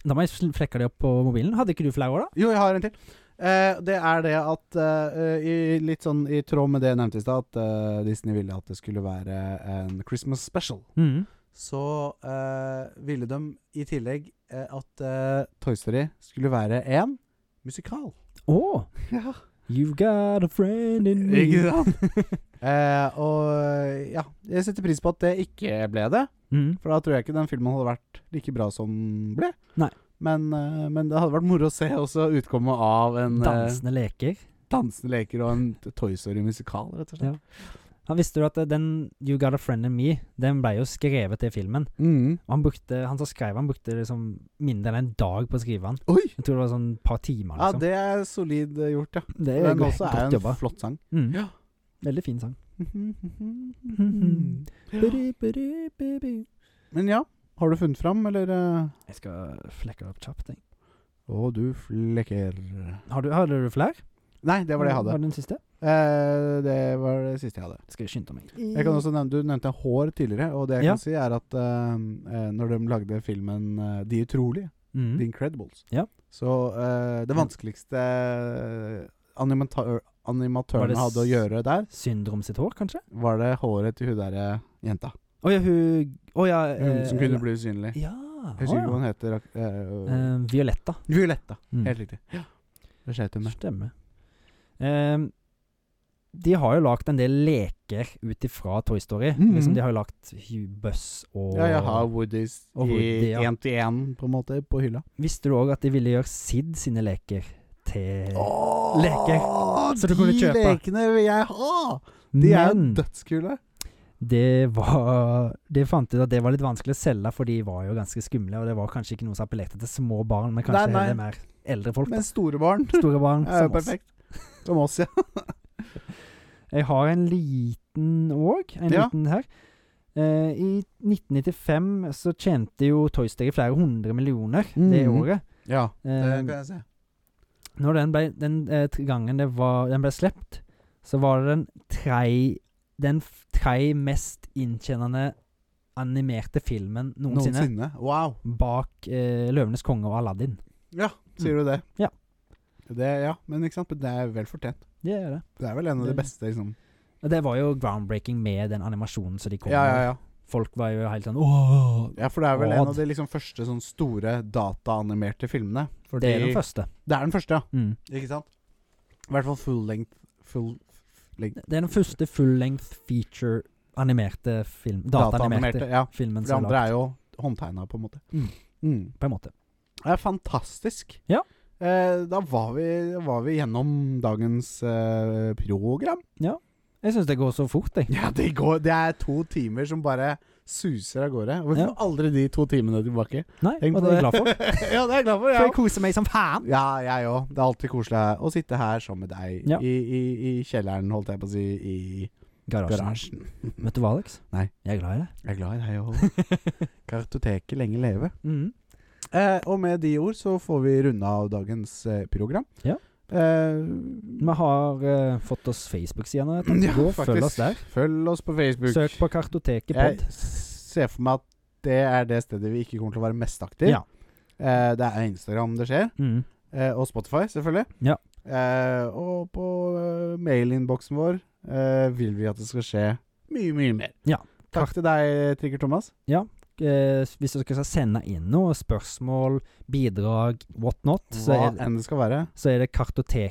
Speaker 1: Da må jeg sl- flekke dem opp på mobilen. Hadde ikke du flere år, da?
Speaker 2: Jo, jeg har en til. Eh, det er det at eh, i, Litt sånn i tråd med det jeg nevnte i stad, at eh, Disney ville at det skulle være en Christmas special.
Speaker 1: Mm.
Speaker 2: så eh, ville de i tillegg eh, at eh, Toy Story skulle være en musikal.
Speaker 1: Å!
Speaker 2: Ja,
Speaker 1: You've got a friend in me.
Speaker 2: ikke sant? [LAUGHS] Eh, og ja, jeg setter pris på at det ikke ble det,
Speaker 1: Mm.
Speaker 2: for da tror jeg ikke den filmen hadde vært like bra som den ble.
Speaker 1: Nei.
Speaker 2: Men, eh, men det hadde vært moro å se også utkommet av en eh,
Speaker 1: Dansende leker.
Speaker 2: dansende leker og en Toy Story-musikal, rett og slett.
Speaker 1: Ja. Han visste jo at eh, den You Got a Friend in Me, den ble jo skrevet til filmen.
Speaker 2: Mm.
Speaker 1: Og han brukte, han som skrev han brukte liksom mindre enn en dag på å skrive han.
Speaker 2: Oi!
Speaker 1: Jeg tror det var sånn et par timer,
Speaker 2: Ja,
Speaker 1: liksom.
Speaker 2: det er solid eh, gjort, ja.
Speaker 1: det, er
Speaker 2: Den
Speaker 1: jo
Speaker 2: også er
Speaker 1: godt
Speaker 2: en
Speaker 1: jobba.
Speaker 2: flott sang.
Speaker 1: Mm.
Speaker 2: Ja.
Speaker 1: Veldig fin [LAUGHS] sang. [LAUGHS]
Speaker 2: [LAUGHS] Ja.
Speaker 1: Bidi, bidi, bidi.
Speaker 2: Men ja, har du funnet fram, eller? eh?
Speaker 1: Jeg skal flekke det opp kjapt, jeg.
Speaker 2: Å, du flekker
Speaker 1: Har du, hadde du flere?
Speaker 2: Nei, det var det jeg hadde.
Speaker 1: Var det den siste?
Speaker 2: Eh, det var det siste jeg hadde.
Speaker 1: Skal jeg skynde meg.
Speaker 2: Jeg kan også nevne, Du nevnte hår tidligere, og det jeg
Speaker 1: Ja.
Speaker 2: kan si, er at eh, eh, når de lagde filmen eh, De utrolige,
Speaker 1: Mm.
Speaker 2: The Incredibles,
Speaker 1: Ja.
Speaker 2: så eh, det vanskeligste animata-
Speaker 1: Var det
Speaker 2: animatørene
Speaker 1: s-
Speaker 2: hadde å gjøre der,
Speaker 1: Syndrom sitt hår, kanskje?
Speaker 2: var det håret til hun derre jenta.
Speaker 1: Å ja, hun Å ja eh,
Speaker 2: Hun som kunne bli usynlig.
Speaker 1: Ja.
Speaker 2: Jeg husker ikke hva hun heter. ak- eh,
Speaker 1: Eh, Violetta.
Speaker 2: Violetta.
Speaker 1: Mm.
Speaker 2: Helt riktig. Ja. Det skjedde hun med.
Speaker 1: Stemmer. Ehm, de har jo lagd en del leker ut ifra Toy Story.
Speaker 2: Mhm.
Speaker 1: Liksom, de har jo lagd Hugh Buss og
Speaker 2: Ja, jeg har Woodies
Speaker 1: Og Woody,
Speaker 2: i
Speaker 1: ja.
Speaker 2: én til én, på en måte, på hylla.
Speaker 1: Visste du òg at de ville gjøre Sid sine leker til leker som du kunne kjøpe.
Speaker 2: De lekene vil jeg ha! De er jo
Speaker 1: Men
Speaker 2: dødskule.
Speaker 1: det var De fant ut at det var litt vanskelig å selge, for de var jo ganske skumle. Og det var kanskje ikke noe som appellerte til små barn, men kanskje
Speaker 2: Nei, nei.
Speaker 1: heller mer eldre folk.
Speaker 2: Men store barn
Speaker 1: Store barn
Speaker 2: er jo
Speaker 1: som oss.
Speaker 2: perfekt. Som oss,
Speaker 1: [LAUGHS]
Speaker 2: ja.
Speaker 1: Jeg har en liten òg. En
Speaker 2: Ja.
Speaker 1: liten her. Eh, I 1995 så tjente jo Toy Story flere hundre millioner det
Speaker 2: Mhm.
Speaker 1: året.
Speaker 2: Ja, det
Speaker 1: Eh,
Speaker 2: kan jeg se.
Speaker 1: når den, ble, den eh, t- gangen det var, den ble sluppet, så var det den tre Den f- tre mest inntjenende animerte filmen noensinne,
Speaker 2: Noensinne. Wow.
Speaker 1: bak eh, 'Løvenes konge' og 'Aladdin'.
Speaker 2: Ja, sier du det?
Speaker 1: Mm. Ja.
Speaker 2: Det, ja, men ikke sant? men Det er vel fortjent.
Speaker 1: Det er det.
Speaker 2: Det er vel en av de
Speaker 1: Det-
Speaker 2: beste, liksom.
Speaker 1: Og det var jo groundbreaking med den animasjonen som de kom
Speaker 2: Ja, ja,
Speaker 1: med.
Speaker 2: ja.
Speaker 1: Folk var jo helt sånn Åh!
Speaker 2: ja for det er vel
Speaker 1: Odd.
Speaker 2: en av de liksom første sånn store dataanimerte filmene. Fordi,
Speaker 1: Det er den første.
Speaker 2: Det er den første, ja.
Speaker 1: Mm.
Speaker 2: Ikke sant? I hvert fall full length full
Speaker 1: Det er den første full-length feature animerte film
Speaker 2: dataanimerte.
Speaker 1: Dataanimerte
Speaker 2: Ja.
Speaker 1: filmen
Speaker 2: For de
Speaker 1: som er
Speaker 2: andre
Speaker 1: lagd,
Speaker 2: er jo håndtegna, på en måte.
Speaker 1: Mm.
Speaker 2: Mm.
Speaker 1: på en måte.
Speaker 2: Det er fantastisk.
Speaker 1: Ja.
Speaker 2: Eh, da var vi, var vi gjennom dagens eh, program.
Speaker 1: Jeg syns det går så fort, jeg.
Speaker 2: Ja, det, går, det er to timer som bare suser av gårde. Og vi
Speaker 1: Ja.
Speaker 2: får aldri de to timene tilbake.
Speaker 1: Nei,
Speaker 2: Tenk
Speaker 1: og
Speaker 2: på
Speaker 1: det er jeg glad for.
Speaker 2: [LAUGHS] ja, det er jeg glad for.
Speaker 1: For jeg
Speaker 2: Ja.
Speaker 1: koser meg som faen.
Speaker 2: Ja, jeg òg. Det er alltid koselig å sitte her sammen med deg.
Speaker 1: Ja.
Speaker 2: I, i, I kjelleren, holdt jeg på å si. I
Speaker 1: Garasjen.
Speaker 2: garasjen.
Speaker 1: Vet du hva, Alex?
Speaker 2: Nei.
Speaker 1: Jeg er glad i det. [LAUGHS]
Speaker 2: Jeg er glad i deg òg. Kartoteket lenge leve.
Speaker 1: Mhm.
Speaker 2: Eh, og med de ord så får vi runde av dagens eh, program.
Speaker 1: Ja.
Speaker 2: Eh,
Speaker 1: Vi har eh, fått oss Facebook-sida nå. vet du.
Speaker 2: [CLEARS THROAT] Ja,
Speaker 1: Gå og
Speaker 2: faktisk.
Speaker 1: følg oss der.
Speaker 2: følg oss på Facebook.
Speaker 1: Søk på Kartoteket pod.
Speaker 2: Jeg ser for meg at det er det stedet vi ikke kommer til å være mest aktive.
Speaker 1: Ja.
Speaker 2: Eh, det er Instagram det skjer.
Speaker 1: Mm.
Speaker 2: Eh, og Spotify, selvfølgelig.
Speaker 1: Ja.
Speaker 2: Eh, og på eh, mailinnboksen vår eh, vil vi at det skal skje mye, mye mer.
Speaker 1: Ja.
Speaker 2: Takk til deg, Trigger Thomas.
Speaker 1: Eh, hvis dere skal sende inn noe spørsmål, bidrag, whatnot, så
Speaker 2: Hva
Speaker 1: er,
Speaker 2: enn det skal være.
Speaker 1: så er det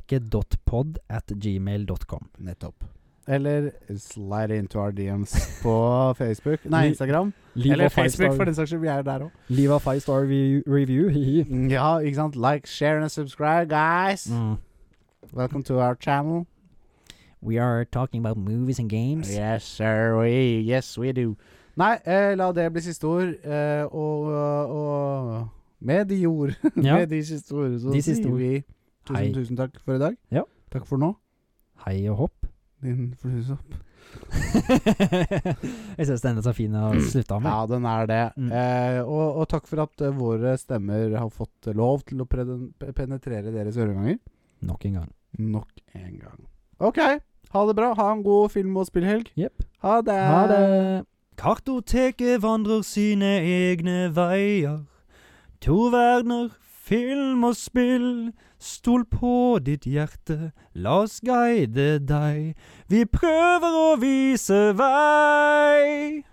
Speaker 1: kartoteket.pod at gmail.com.
Speaker 2: Nettopp. Eller slide into our DMs [LAUGHS] på Facebook. Nei,
Speaker 1: Vi-
Speaker 2: Instagram.
Speaker 1: Leave
Speaker 2: Eller
Speaker 1: a five
Speaker 2: Facebook,
Speaker 1: star-
Speaker 2: for den saks skyld. Vi er jo der òg.
Speaker 1: Leave a five star re- review. hihi.
Speaker 2: Mm, Ja, ikke sant. Like, share and subscribe, guys.
Speaker 1: Mm.
Speaker 2: Welcome to our channel.
Speaker 3: We are talking about movies and games.
Speaker 2: Yes, sir. We, yes, we do. Nei, eh, la det bli siste ord. Eh, og, og med de ord
Speaker 1: [LAUGHS]
Speaker 2: [LAUGHS]
Speaker 1: Ja.
Speaker 2: Med de siste ord, så
Speaker 1: De siste
Speaker 2: sier
Speaker 1: ord.
Speaker 2: vi tusen,
Speaker 1: Hei.
Speaker 2: tusen takk for i dag.
Speaker 1: Ja.
Speaker 2: Takk for nå,
Speaker 1: Hei og hopp. [LAUGHS]
Speaker 2: din fluesopp.
Speaker 1: jeg syns denne er så fin å slutte av med.
Speaker 2: Mm. Ja, den er det.
Speaker 1: Mm.
Speaker 2: Eh, og, og takk for at eh, våre stemmer har fått eh, lov til å preden- pe- penetrere deres øreganger.
Speaker 1: Nok en gang.
Speaker 2: Nok en gang. OK, ha det bra. Ha en god film- og spillhelg.
Speaker 1: Jepp.
Speaker 2: Ha det.
Speaker 1: Ha det. Kartoteket vandrer sine egne veier. To verdener, film og spill. Stol på ditt hjerte, la oss guide deg. Vi prøver å vise vei.